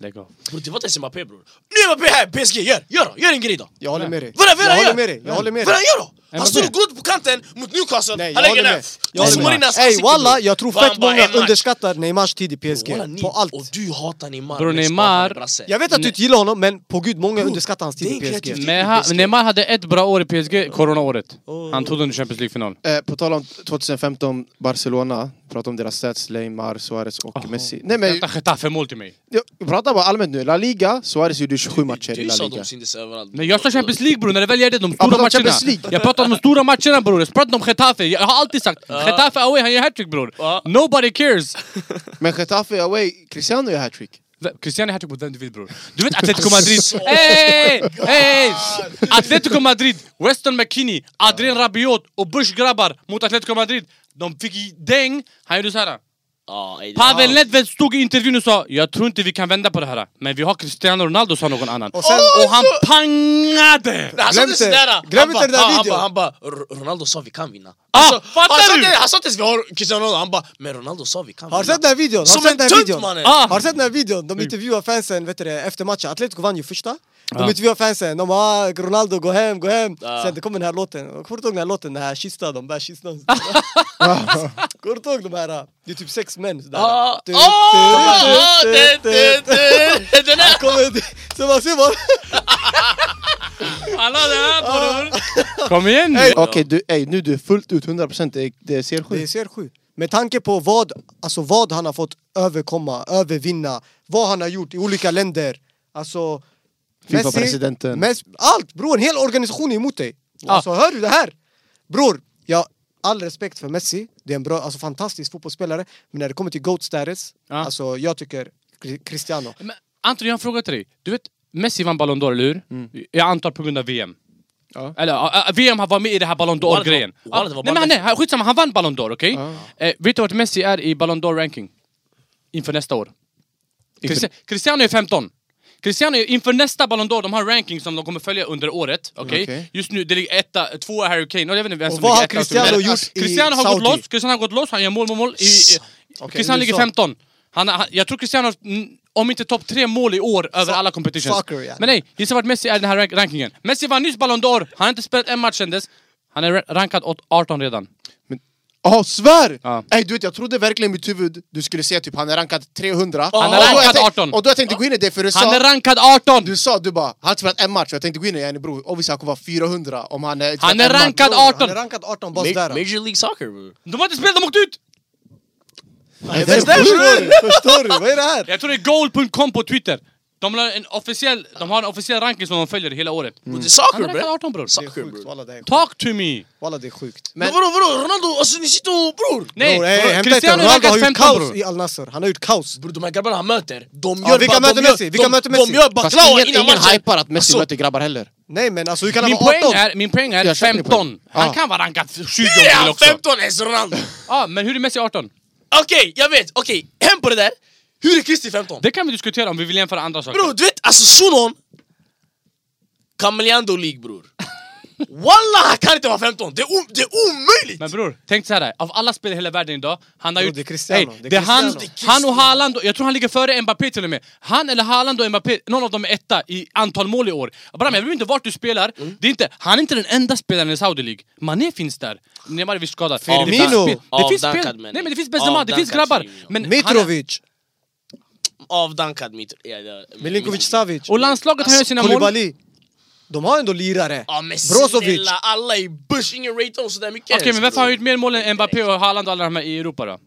Speaker 4: Lägg av.
Speaker 2: Bror det var inte ens Mbappé bror Nu är Mbappé här, PSG, gör, gör, då, gör en grej då!
Speaker 3: Jag håller med dig.
Speaker 2: Vadå, vadå,
Speaker 3: jag håller
Speaker 2: gör?
Speaker 3: med dig. Jag håller med
Speaker 2: Vad
Speaker 3: dig.
Speaker 2: han gör då? Han
Speaker 4: Mbappé.
Speaker 2: står och går ut på kanten mot Newcastle,
Speaker 3: Nej, jag
Speaker 2: han lägger
Speaker 3: håller
Speaker 2: den
Speaker 3: med. Jag
Speaker 2: Det
Speaker 4: håller
Speaker 2: smäller
Speaker 4: med.
Speaker 2: in hans
Speaker 3: Ey
Speaker 2: ansikte,
Speaker 3: walla,
Speaker 2: bror.
Speaker 3: jag tror
Speaker 2: Fan,
Speaker 3: fett
Speaker 2: bara
Speaker 3: många
Speaker 2: en match.
Speaker 3: underskattar Neymars tid i PSG.
Speaker 2: Walla, ni-
Speaker 3: På
Speaker 2: Och
Speaker 3: allt.
Speaker 2: du hatar Neymar
Speaker 4: Bror,
Speaker 2: men fan,
Speaker 4: Neymar-
Speaker 2: han är brasse.
Speaker 3: Jag vet att du inte gillar honom, men på gud, många underskattar hans tid
Speaker 2: det är
Speaker 3: i
Speaker 2: en
Speaker 3: PSG.
Speaker 2: kreativ-
Speaker 4: Men han,
Speaker 2: PSG.
Speaker 4: Neymar hade ett bra år i PSG, coronaåret. Han tog den i Champions League-final.
Speaker 1: Eh, på tal om 2015, Barcelona. Prata om deras stats, Neymar, Suarez och Messi. Nej men,
Speaker 4: Vänta, Getafe-mål till mig.
Speaker 1: jag pratar bara allmänt nu. La Liga, Suarez gjorde 27 matcher i
Speaker 2: Du
Speaker 1: La
Speaker 2: sa
Speaker 1: Liga.
Speaker 2: de syntes överallt
Speaker 4: Men jag sa Champions League bror, när det väl gällde de stora
Speaker 1: pratar om
Speaker 4: matcherna.
Speaker 1: Champions League.
Speaker 4: Jag pratar om de stora matcherna bror, jag pratade om Getafe. Jag har alltid sagt, Getafe away, han gör hattrick
Speaker 2: Ja.
Speaker 4: bror. Nobody cares.
Speaker 1: Men Getafe away, Cristiano gör hattrick.
Speaker 4: V- Cristiano är hattrick mot vem du vill bror. Du vet Atletico Madrid... Ey! Ey! Atletico Madrid, Weston McKinney, Adrien Rabiot och Bush grabbar mot Atletico Madrid. De fick i däng, han gjorde såhär.
Speaker 2: Ja, ey, det-
Speaker 4: Pavel Nedved stod i intervjun och sa Jag tror inte vi kan vända på det här, men vi har Cristiano Ronaldo sa någon annan. Och,
Speaker 3: Och sen,
Speaker 4: han pangade!
Speaker 2: Nej, Han sa
Speaker 3: Glöm
Speaker 2: inte
Speaker 3: inte-
Speaker 2: sådär!
Speaker 3: glöm inte
Speaker 2: Han
Speaker 3: den där
Speaker 2: bara- han
Speaker 3: videon.
Speaker 2: bara- Han bara, "R- Ronaldo sa vi kan vinna
Speaker 4: Ah,
Speaker 2: Alltså,
Speaker 4: fattar
Speaker 2: han sa
Speaker 4: du?
Speaker 2: inte- Han sa inte ens vi har Cristiano Ronaldo, han bara Men Ronaldo sa vi kan vinna
Speaker 3: Har du sett den här videon? Har
Speaker 2: Som
Speaker 3: du sett
Speaker 2: en
Speaker 3: den här
Speaker 2: tutt,
Speaker 3: videon?
Speaker 2: mannen! Mm.
Speaker 4: Ah.
Speaker 3: Har du sett den här videon? De intervjuar fansen vet du, det, efter matchen, Atletico vann ju första De intervjuar fansen, de bara ah, Ronaldo gå hem, gå hem
Speaker 2: Ja.
Speaker 3: Sen det kommer den här låten, Och kommer du ihåg den här låten, den här kistan, de bär kistan Kommer du ihåg de här, det är typ sex män sådär
Speaker 2: Ah,
Speaker 3: Du,
Speaker 2: ah,
Speaker 3: du,
Speaker 2: ah,
Speaker 3: du,
Speaker 2: det-
Speaker 3: du,
Speaker 2: det-
Speaker 3: du.
Speaker 2: det- Den
Speaker 3: Han
Speaker 2: här!
Speaker 3: kommer, så man ser bara
Speaker 4: Alla det här bror! Kom igen nu!
Speaker 1: Okej, du, ey, nu du är fullt ut 100%, det, det ser
Speaker 3: Det är
Speaker 1: sjukt.
Speaker 3: CR7. Med tanke på vad, alltså vad han har fått överkomma, övervinna, vad han har gjort i olika länder. Alltså...
Speaker 1: Fifa-presidenten.
Speaker 3: Messi, allt bror, en hel organisation är emot dig.
Speaker 4: Ja.
Speaker 3: Alltså hör du det här? Bror, jag all respekt för Messi, det är en bra, alltså fantastisk fotbollsspelare. Men när det kommer till GOAT status,
Speaker 4: Ja.
Speaker 3: alltså jag tycker Cri- Cristiano.
Speaker 4: Men, Anton, jag har en fråga till dig. Du vet, Messi vann Ballon d'Or, eller hur?
Speaker 3: Mm.
Speaker 4: Jag antar på grund av VM.
Speaker 1: Ja.
Speaker 4: Eller, ja, ja, VM har varit med i det här Ballon d'Or-grejen.
Speaker 2: Wallet var- Wallet
Speaker 4: Ja,
Speaker 2: var
Speaker 4: nej,
Speaker 2: bara
Speaker 4: men, nej, han- skitsamma, han vann Ballon d'Or, okej? Eh, vet du vart Messi är i Ballon d'Or-ranking? Inför nästa år. Christi- Cristiano är 15. Cristiano, är- inför nästa Ballon d'Or, de har ranking som de kommer följa under året. Okej?
Speaker 1: Okej.
Speaker 4: Just nu, det ligger etta, tvåa Harry Kane, och jag vet inte vem
Speaker 3: Och
Speaker 4: som
Speaker 3: vad
Speaker 4: ligger
Speaker 3: har
Speaker 4: etta. och så
Speaker 3: Cristiano
Speaker 4: vidare.
Speaker 3: gjort i
Speaker 4: Cristiano har gått
Speaker 3: Saudi?
Speaker 4: loss, Cristiano har gått loss, han gör mål, mål, mål. I,
Speaker 2: Sa-
Speaker 4: Cristiano ligger
Speaker 3: USA.
Speaker 4: 15. Han, han, jag tror Cristiano, har, mm, om inte topp tre mål i år över
Speaker 3: Sa-
Speaker 4: alla competitions.
Speaker 3: soccer, ja.
Speaker 4: Men nej, gissa vart Messi är i den här rank- rankingen. Messi vann nyss Ballon d'Or, han har inte spelat en match sedan dess. Han är ra- rankad åt 18 redan.
Speaker 1: Jaha, svär!
Speaker 4: Ja.
Speaker 1: Ey, du vet, jag trodde verkligen i mitt huvud du skulle säga typ han är rankad 300.
Speaker 4: Han är
Speaker 1: Och då jag
Speaker 4: rankad
Speaker 1: tänkte-
Speaker 4: 18.
Speaker 1: Och då jag tänkte gå in i det för du
Speaker 4: Han är
Speaker 1: sa...
Speaker 4: rankad 18!
Speaker 1: Du sa du bara, han har spelat en match, jag tänkte gå in i det, yani, bror, obviously han kommer vara 400 om han... är-
Speaker 4: Han är
Speaker 1: en match.
Speaker 4: rankad
Speaker 3: Bror, Han
Speaker 4: 18!
Speaker 3: är rankad 18 bast
Speaker 2: Ma-
Speaker 3: där.
Speaker 2: Major League Soccer bror.
Speaker 4: De har inte spelat, de åkte ut!
Speaker 1: Nej, det är
Speaker 3: Förstår
Speaker 1: bror.
Speaker 3: du? Förstår du? Vad är det här?
Speaker 4: Jag tror det är goal.com på Twitter. De har en officiell, de har en officiell ranking som de följer hela året.
Speaker 3: Mm.
Speaker 2: Det är
Speaker 4: Han
Speaker 2: soccer
Speaker 4: är rankad
Speaker 2: bror.
Speaker 4: 18 bror.
Speaker 3: Det är
Speaker 2: Soccer
Speaker 3: sjukt,
Speaker 2: bror.
Speaker 3: walla det är sjukt.
Speaker 4: Talk to me!
Speaker 3: Walla det är sjukt.
Speaker 2: Men vadå vadå Ronaldo, alltså ni sitter och bror!
Speaker 4: Nej,
Speaker 3: Bror, ey, hämta inte.
Speaker 4: Cristiano är
Speaker 3: Ronaldo har
Speaker 4: rankad
Speaker 3: gjort
Speaker 4: 15
Speaker 3: kaos
Speaker 4: bror.
Speaker 3: i Al Nassr. Han har gjort kaos.
Speaker 2: Bror de här grabbarna han möter, de
Speaker 3: Ja,
Speaker 2: gör bara...
Speaker 3: vilka möter
Speaker 2: de gör,
Speaker 3: Messi? Vilka
Speaker 2: de,
Speaker 3: möter
Speaker 2: De
Speaker 3: Messi?
Speaker 2: gör
Speaker 1: Fast
Speaker 2: baklava
Speaker 1: ingen,
Speaker 2: innan
Speaker 1: ingen
Speaker 2: matchen!
Speaker 1: hypar att Messi
Speaker 2: Alltså,
Speaker 1: möter grabbar heller.
Speaker 3: Nej men alltså hur kan han
Speaker 4: Min
Speaker 3: vara
Speaker 4: poäng
Speaker 3: 18?
Speaker 4: är, min poäng är
Speaker 1: Jag köper din
Speaker 4: 15.
Speaker 1: poäng.
Speaker 4: Han
Speaker 1: Ah.
Speaker 4: kan vara rankad 20 om
Speaker 2: Det är
Speaker 4: han vill
Speaker 2: han
Speaker 4: också.
Speaker 2: 15 ens Ronaldo!
Speaker 4: Ja, men hur är Messi 18?
Speaker 2: Okej, jag vet, okej, hem på det där! Hur är Kristi 15?
Speaker 4: Det kan vi diskutera om vi vill jämföra andra saker.
Speaker 2: Bror du vet, alltså shunon... Kameleando League bror. Wallah han kan inte vara 15, det är, o- det är omöjligt!
Speaker 4: Men bror, tänk så här. av alla spelare i hela världen idag, han har
Speaker 3: Bror,
Speaker 4: gjort...
Speaker 3: det är Cristiano,
Speaker 4: Nej,
Speaker 3: det är
Speaker 4: det är han,
Speaker 3: Cristiano.
Speaker 4: han och Haaland, och- jag tror han ligger före Mbappé till och med. Han eller Haaland och Mbappé, någon av dem är etta i antal mål i år. Abraham, jag bryr mig inte vart du spelar,
Speaker 3: Mm.
Speaker 4: det är inte, han är inte den enda spelaren i Saudi League. Mané finns där, Neymar är visst skadad.
Speaker 2: Firmino.
Speaker 4: Det finns spe- Det finns
Speaker 2: Avdankad,
Speaker 4: spel-
Speaker 2: menar
Speaker 4: Nej men det
Speaker 2: jag.
Speaker 4: finns Benzema, det finns
Speaker 2: Avdankad
Speaker 4: grabbar.
Speaker 2: Firmino.
Speaker 4: Men han är-
Speaker 3: Mitrovic,
Speaker 2: Avdankad mitt... Ja, ja,
Speaker 3: Milinkovic Savic,
Speaker 4: Och landslaget har gör sina mål.
Speaker 3: Koulibaly. De har ändå lirare.
Speaker 2: Ja men
Speaker 3: Brozovic.
Speaker 2: snälla, alla i Bush, ingen ratear dem sådär mycket
Speaker 4: Okej
Speaker 2: ens,
Speaker 4: men varför
Speaker 2: bror.
Speaker 4: har han gjort mer mål än Mbappé och Haaland och alla de här i Europa då?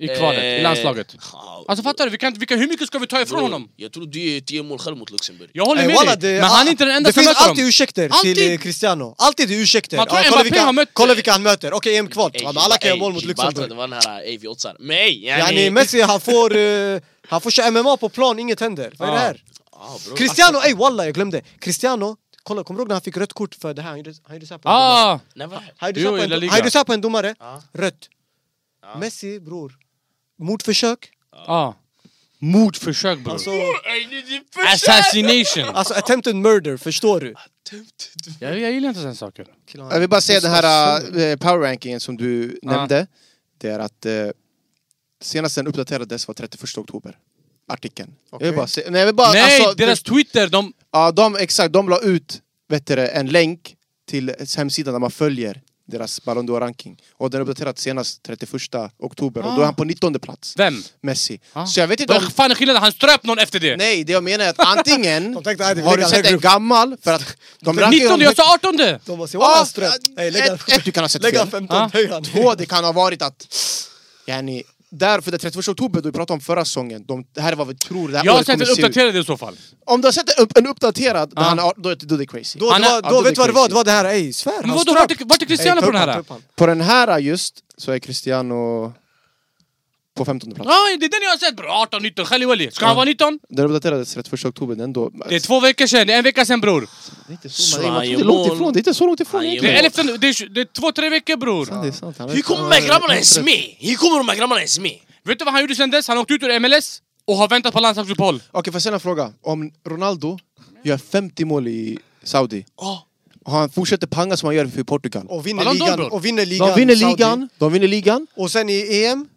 Speaker 4: I kvalet, i
Speaker 2: Eh,
Speaker 4: landslaget.
Speaker 2: ja,
Speaker 4: Alltså fattar du, vi kan, vi kan, hur mycket ska vi ta ifrån
Speaker 2: bror,
Speaker 4: honom?
Speaker 2: Jag tror du är 10 mål själv mot Luxemburg
Speaker 4: Jag håller
Speaker 3: Ey,
Speaker 4: med
Speaker 3: Eh, walla,
Speaker 4: dig,
Speaker 3: det- ah,
Speaker 4: men han är inte den enda
Speaker 3: Det
Speaker 4: som
Speaker 3: finns
Speaker 4: möter
Speaker 3: alltid
Speaker 4: dem.
Speaker 3: ursäkter till
Speaker 4: Alltid.
Speaker 3: eh, Cristiano. Alltid är ursäkter.
Speaker 4: Man tror
Speaker 3: Ja,
Speaker 4: Mbappé
Speaker 3: kolla, vilka,
Speaker 4: har mött-
Speaker 3: kolla vilka han möter. Okej, EM-kval. Ja, men alla kan göra
Speaker 2: ey,
Speaker 3: mål mot
Speaker 2: Gilbert,
Speaker 3: Luxemburg.
Speaker 2: Det var den här av 8 Men ey,
Speaker 3: Yani, Messi han får, eh, han får köra MMA på plan, inget händer. Vad är det
Speaker 4: Ja.
Speaker 3: här?
Speaker 2: Ah, bror.
Speaker 3: Cristiano,
Speaker 4: alltså-
Speaker 3: ey walla jag glömde. Cristiano, kolla kommer du ihåg när han fick rött kort för det här? Han gjorde, han gjorde så här på en domare.
Speaker 4: Ah,
Speaker 2: Nej, vad-
Speaker 3: Han gjorde
Speaker 4: Jo,
Speaker 3: så här på
Speaker 4: i
Speaker 3: en
Speaker 4: La
Speaker 3: dom-
Speaker 4: Liga.
Speaker 3: han gjorde så här på en domare.
Speaker 2: Ja.
Speaker 3: Rött. Messi bror, mordförsök.
Speaker 4: ah. Mordförsök bror.
Speaker 3: Alltså,
Speaker 2: Ey, det är för-
Speaker 4: Assassination!
Speaker 3: alltså attempted murder, förstår du?
Speaker 4: jag, jag gillar inte sådana saker.
Speaker 3: Killarna-
Speaker 1: Jag vill bara säga den här
Speaker 3: Sönder.
Speaker 1: eh, power rankingen som du
Speaker 4: Alltså- Ja.
Speaker 1: nämnde. Det är att eh, senast den uppdaterades var 31 oktober. Artikeln. Jag vill bara se, nej, jag vill
Speaker 3: Ah,
Speaker 1: bara,
Speaker 4: Nej,
Speaker 1: alltså,
Speaker 4: deras Twitter, de...
Speaker 1: Ja, de, exakt, de la ut vet du, det, en länk till hemsidan där man följer deras Ballon d'Or-ranking. Och den är uppdaterad senast 31 oktober och då
Speaker 4: Ah.
Speaker 1: är han på 19 plats.
Speaker 4: Vem?
Speaker 1: Messi.
Speaker 4: Ah.
Speaker 1: Så jag vet inte om...
Speaker 4: Vad fan är skillnaden? Han ströp någon efter det!
Speaker 1: Nej, det jag menar är att antingen
Speaker 3: De tänkte, nej, det är
Speaker 1: har du
Speaker 3: legal
Speaker 1: sett en
Speaker 3: högre upp.
Speaker 1: gammal, för att de rankar ju
Speaker 4: 19,
Speaker 1: honom
Speaker 4: jag
Speaker 1: högt.
Speaker 4: sa 18!
Speaker 3: De bara säger
Speaker 1: Ja,
Speaker 3: walla han ströp.
Speaker 1: ja,
Speaker 3: Ey, lägg han-
Speaker 1: Ah! ett- ett, du kan ha sett
Speaker 3: Lägg han
Speaker 1: fel.
Speaker 3: 15,
Speaker 4: Ja.
Speaker 3: höj han.
Speaker 1: Två, det kan ha varit att... Yani, där för det 31 oktober, då vi pratade om förra säsongen, de, det här är vad vi tror det här
Speaker 4: Jag har
Speaker 1: året
Speaker 4: sett
Speaker 1: kommer
Speaker 4: en
Speaker 1: se ut.
Speaker 4: uppdaterad i så fall.
Speaker 1: Om du har sett en upp- en uppdaterad,
Speaker 4: Ah.
Speaker 1: där han, har- då, är det- då är det crazy.
Speaker 3: Då,
Speaker 4: Han
Speaker 3: det
Speaker 4: är-
Speaker 3: var,
Speaker 1: ja,
Speaker 3: då
Speaker 1: då
Speaker 3: vet
Speaker 1: det
Speaker 3: du vad det var?
Speaker 1: crazy.
Speaker 3: Det var det här, ey svär,
Speaker 4: Men
Speaker 3: han
Speaker 4: vadå,
Speaker 3: ströp.
Speaker 4: vart är- vart är Cristiano
Speaker 3: Ey, ta
Speaker 4: på
Speaker 3: upp
Speaker 4: den
Speaker 3: han,
Speaker 4: här?
Speaker 3: ta upp han.
Speaker 1: På den här äh, just så är Cristiano på 15 plats.
Speaker 4: Ja, det är den jag har sett bror! 18, 19, Khalil Wali. Ska han vara 19?
Speaker 1: Den uppdaterades 31 oktober, den då.
Speaker 4: Det är två veckor sedan, det är en vecka sedan bror.
Speaker 1: Det är inte så, man,
Speaker 2: Så
Speaker 1: man,
Speaker 2: han
Speaker 1: det
Speaker 2: gör
Speaker 1: är långt
Speaker 2: mål.
Speaker 1: ifrån, det är inte så långt ifrån
Speaker 2: Han gör
Speaker 4: Det
Speaker 1: egentligen.
Speaker 4: är, 11, det är, tj- det är två, tre veckor bror.
Speaker 1: Det är sant, han
Speaker 2: Hur
Speaker 1: vet-
Speaker 2: kommer
Speaker 1: han
Speaker 2: de här
Speaker 1: har-
Speaker 2: grabbarna ens med? Hur kommer de här grabbarna ens med?
Speaker 4: Vet du vad han gjorde sen dess? Han åkte ut ur MLS och har väntat på landslagsuppehåll.
Speaker 1: Okej, får jag ställa en fråga? Om Ronaldo gör 50 mål i Saudi,
Speaker 2: Ja.
Speaker 1: och han fortsätter panga som han gör för Portugal.
Speaker 3: Och vinner
Speaker 4: Ballon d'Or,
Speaker 3: ligan.
Speaker 4: bror.
Speaker 3: Och vinner ligan.
Speaker 1: De vinner
Speaker 3: Saudi.
Speaker 1: ligan, de vinner ligan,
Speaker 3: Och sen i E EM.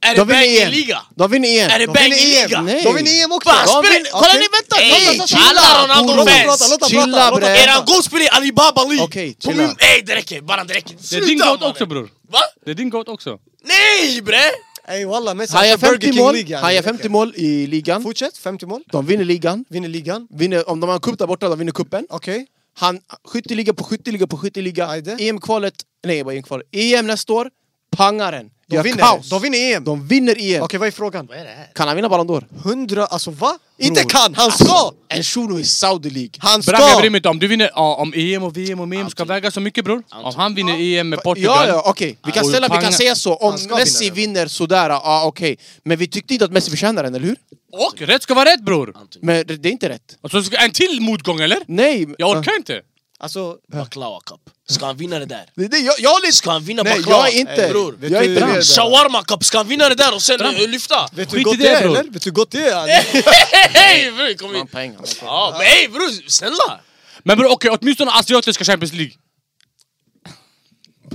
Speaker 2: Är det
Speaker 1: de vinner
Speaker 2: bang
Speaker 1: EM.
Speaker 2: liga?
Speaker 1: De vinner EM!
Speaker 2: Är det
Speaker 1: De
Speaker 2: bang
Speaker 1: vinner
Speaker 2: i
Speaker 1: EM.
Speaker 2: liga?
Speaker 1: Nej.
Speaker 3: E De vinner EM också!
Speaker 2: Fan,
Speaker 1: De
Speaker 2: spela-
Speaker 1: vinner-
Speaker 2: Kolla
Speaker 1: Okej.
Speaker 2: ni, vänta!
Speaker 1: Ey,
Speaker 2: Kolla,
Speaker 1: chilla,
Speaker 2: alla
Speaker 1: bror.
Speaker 2: Ronaldo-fans!
Speaker 3: låt dem
Speaker 1: Chilla,
Speaker 3: prata, låt dem
Speaker 1: bre.
Speaker 2: Eran goalspelare är Alibaba League!
Speaker 1: Okej,
Speaker 2: Kom in-
Speaker 1: chilla.
Speaker 2: Ey, det räcker! Bara det räcker!
Speaker 4: Det är din
Speaker 2: Sluta,
Speaker 4: goat
Speaker 2: mannen.
Speaker 4: också bror.
Speaker 2: Va?
Speaker 4: Det är din goat också.
Speaker 2: Nej bre!
Speaker 3: Ey walla, Messi
Speaker 1: Han gör
Speaker 3: kör Burger
Speaker 1: 50
Speaker 3: King
Speaker 1: mål,
Speaker 3: League, yani.
Speaker 1: han gör 50 mål i ligan,
Speaker 3: Fortsätt, 50 mål.
Speaker 1: de vinner ligan,
Speaker 3: Vinner ligan.
Speaker 1: vinner, om de har en cup där borta, de vinner cupen.
Speaker 3: Okej.
Speaker 1: Han, skytteliga på skytteliga på skytteliga.
Speaker 3: Ajde.
Speaker 1: EM-kvalet, nej bara EM-kvalet. EM nästa år, pangar den.
Speaker 3: De
Speaker 1: Gör
Speaker 3: vinner.
Speaker 1: kaos. Mm.
Speaker 3: De vinner EM.
Speaker 1: De vinner EM.
Speaker 3: Okej, vad är frågan?
Speaker 2: Vad är det här?
Speaker 1: Kan han vinna Ballon d'Or?
Speaker 3: 100, alltså va? Inte kan! Han
Speaker 1: Alltså,
Speaker 3: ska!
Speaker 1: En shuno i Saudi League.
Speaker 3: Han ska!
Speaker 4: Bram, jag bryr mig inte om du vinner, ja, om EM och VM och VM ska
Speaker 2: Anton.
Speaker 4: väga så mycket bror.
Speaker 2: Anton.
Speaker 4: Om han vinner EM med Portugal.
Speaker 1: Ja, ja, okej. Vi, kan
Speaker 4: Och
Speaker 1: ställa, vi
Speaker 4: panga-
Speaker 1: kan säga så. Om
Speaker 3: Han ska
Speaker 1: Messi
Speaker 3: vinna den.
Speaker 1: vinner sådär, ja okej. Men vi tyckte inte att Messi förtjänar den, eller hur?
Speaker 4: Och rätt ska vara rätt bror!
Speaker 2: Anton.
Speaker 1: Men det det är inte rätt.
Speaker 4: Och så ska, en till motgång eller?
Speaker 1: Nej!
Speaker 4: Jag orkar inte!
Speaker 3: Alltså,
Speaker 2: Baklava cup. Ska han vinna det där?
Speaker 1: Det är det, jag, jag har lite...
Speaker 2: Ska han vinna
Speaker 1: Nej,
Speaker 2: baklava?
Speaker 1: jag är inte...
Speaker 3: Ey,
Speaker 2: bror.
Speaker 1: jag är
Speaker 3: Vet du-
Speaker 1: inte med där.
Speaker 2: Shawarma cup, ska han vinna det där och sen
Speaker 4: Bram.
Speaker 2: eh, lyfta?
Speaker 3: vet du
Speaker 4: Skit
Speaker 3: hur
Speaker 4: i
Speaker 3: gott
Speaker 4: det,
Speaker 3: det är
Speaker 4: bror.
Speaker 3: eller? Vet du hur gott det är?
Speaker 2: Hej bror, kom
Speaker 1: Man,
Speaker 2: hit!
Speaker 1: pengar.
Speaker 2: Ja, men hej bror, snälla!
Speaker 4: Men bror okej, åtminstone asiatiska Champions League.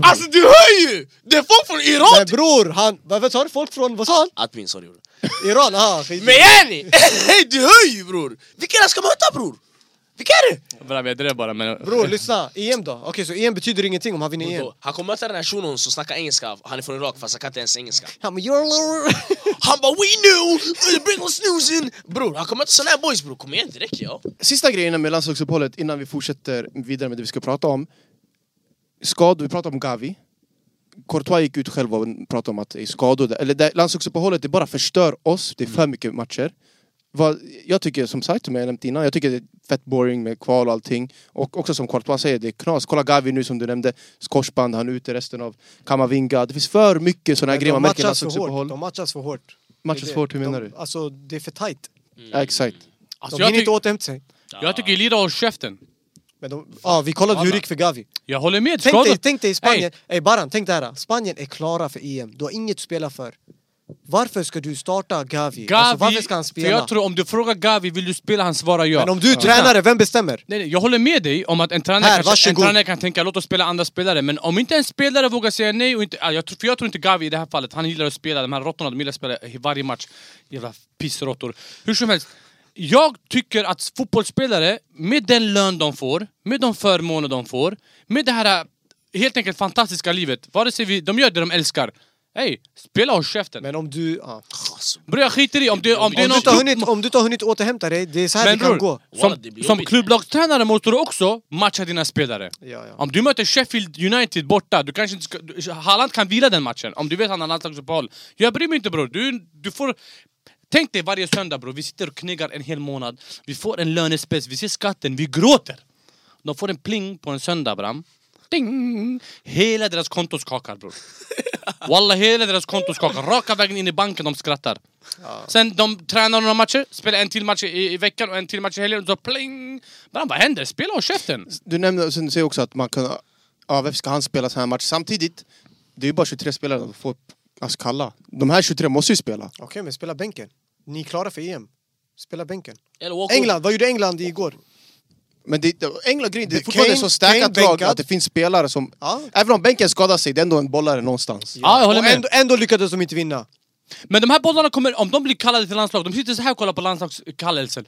Speaker 2: Alltså du hör ju! Det är folk från
Speaker 3: Men
Speaker 2: Iran!
Speaker 3: bror, han... Vad vad sa du? Folk från... Vad sa han?
Speaker 2: Atmin, sorry bror.
Speaker 3: Iran? Aha, skit.
Speaker 2: Men yani! Hej du hör ju bror! Vilka är det jag ska möta bror? Vilka är det?
Speaker 4: Bra, jag drev bara men...
Speaker 3: Bror, lyssna. EM då? Okej, så EM betyder ingenting om han vinner EM.
Speaker 2: Då, Han kommer möta den här shunon som snackar engelska, han är från Irak fast han kan inte ens engelska
Speaker 3: Ja, men you're lower.
Speaker 2: Han bara we knew, we bring on snoozen Bror han kommer möta såna här boys bror, kom igen det räcker ja
Speaker 1: Sista grejen innan med landslagsuppehållet, innan vi fortsätter vidare med det vi ska prata om. Skador, vi pratade om Gavi. Courtois gick ut själv och pratade om att det är skador. där. Eller det- landslagsuppehållet, det bara förstör oss. Det är
Speaker 3: Mm.
Speaker 1: för mycket matcher. Vad, jag tycker, som sagt, som jag nämnt innan, jag tycker det är fett boring med kval och allting. Och också som Courtois säger, det är knas. Kolla Gavi nu som du nämnde, korsband, han är ute resten av Kamavinga. Det finns för mycket sådana här alltså, grejer man märker i
Speaker 3: matchas för hårt.
Speaker 1: landslagsuppehåll.
Speaker 3: De matchas för hårt.
Speaker 1: typ Matchas för hårt, hur menar
Speaker 3: de,
Speaker 1: du?
Speaker 3: Alltså, det är för tight.
Speaker 1: Ja, exakt.
Speaker 4: Alltså,
Speaker 3: De
Speaker 4: jag,
Speaker 3: hinner inte
Speaker 4: tyck-
Speaker 3: återhämta sig.
Speaker 4: jag tycker Elida har käften.
Speaker 3: Men de, ja, vi kollade hur det gick för Gavi.
Speaker 4: Jag håller med,
Speaker 3: Tänk dig,
Speaker 4: skador-
Speaker 3: tänk dig
Speaker 4: Ey,
Speaker 3: Spanien. Ey Baran, tänk det här. Spanien är klara för EM. Du har inget att spela för. Varför ska du starta Gavi?
Speaker 4: Gavi,
Speaker 3: alltså, varför ska han
Speaker 4: För
Speaker 3: spela?
Speaker 4: jag tror om du frågar Gavi, vill du spela? Han svarar ja.
Speaker 3: Men om du är tränare, vem bestämmer?
Speaker 4: Nej, nej, jag håller med dig om att en tränare,
Speaker 3: Här,
Speaker 4: kanske, en
Speaker 3: varsågod.
Speaker 4: tränare kan tänka låt oss spela andra spelare, men om inte en spelare vågar säga nej och inte... ja, Jag, tror- för jag tror inte Gavi i det här fallet, han gillar att spela, de här råttorna, de gillar att spela i varje match. Jävla pissråttor. Hur som helst, jag tycker att fotbollsspelare, med den lön de får, med de förmåner de får, med det här helt enkelt fantastiska livet, vare sig vi, de gör det de älskar, Ey, spela och käften!
Speaker 3: Men om du... Ja.
Speaker 2: Alltså,
Speaker 4: Bror jag skiter i om det, om det är
Speaker 3: Om, du
Speaker 4: någon
Speaker 3: inte har
Speaker 4: klubb-
Speaker 3: hunnit, om du inte har hunnit återhämta dig, det är så här
Speaker 4: men
Speaker 3: det kan
Speaker 4: bror,
Speaker 3: gå.
Speaker 2: Walla,
Speaker 4: som,
Speaker 2: det blir
Speaker 4: som
Speaker 2: jobbigt.
Speaker 4: klubblagstränare måste du också matcha dina spelare.
Speaker 3: Ja, ja.
Speaker 4: Om du möter Sheffield United borta, du kanske inte ska, du, Haaland kan vila den matchen om du vet att han har landslagsuppehåll. Jag bryr mig inte bror, du, du får... Tänk dig varje söndag bror, vi sitter och kneggar en hel månad, vi får en lönespec, vi ser skatten, vi gråter! De får en pling på en söndag bram. Ding! Hela deras konto skakar bror. Walla, hela deras konto skakar. Raka vägen in i banken, de skrattar. Sen de tränar några matcher, spelar en till match i, i veckan och en till match i helgen. och Så pling! Bram, vad händer? Spela och käften!
Speaker 1: Du nämnde och sen säger också att man kan... Ja, varför ska han spela så här match? Samtidigt, det är ju bara 23 spelare som får alltså, kalla. De här 23 måste ju spela.
Speaker 3: Okej, men spela bänken. Ni är klara för EM. Spela bänken.
Speaker 2: eller walk
Speaker 3: England, vad gjorde England igår?
Speaker 1: Men det, England grejen, det är fortfarande
Speaker 3: Kane-
Speaker 1: så stärkat
Speaker 3: Kane
Speaker 1: lag
Speaker 3: bänkad.
Speaker 1: att det finns spelare som...
Speaker 3: Ja.
Speaker 1: Även om bänken skadar sig, det är ändå en bollare någonstans.
Speaker 4: Ja, jag håller
Speaker 3: Och
Speaker 4: med.
Speaker 3: Ändå, ändå lyckades de inte vinna.
Speaker 4: Men de här bollarna kommer, om de blir kallade till landslag, de sitter så här och kollar på landslagskallelsen.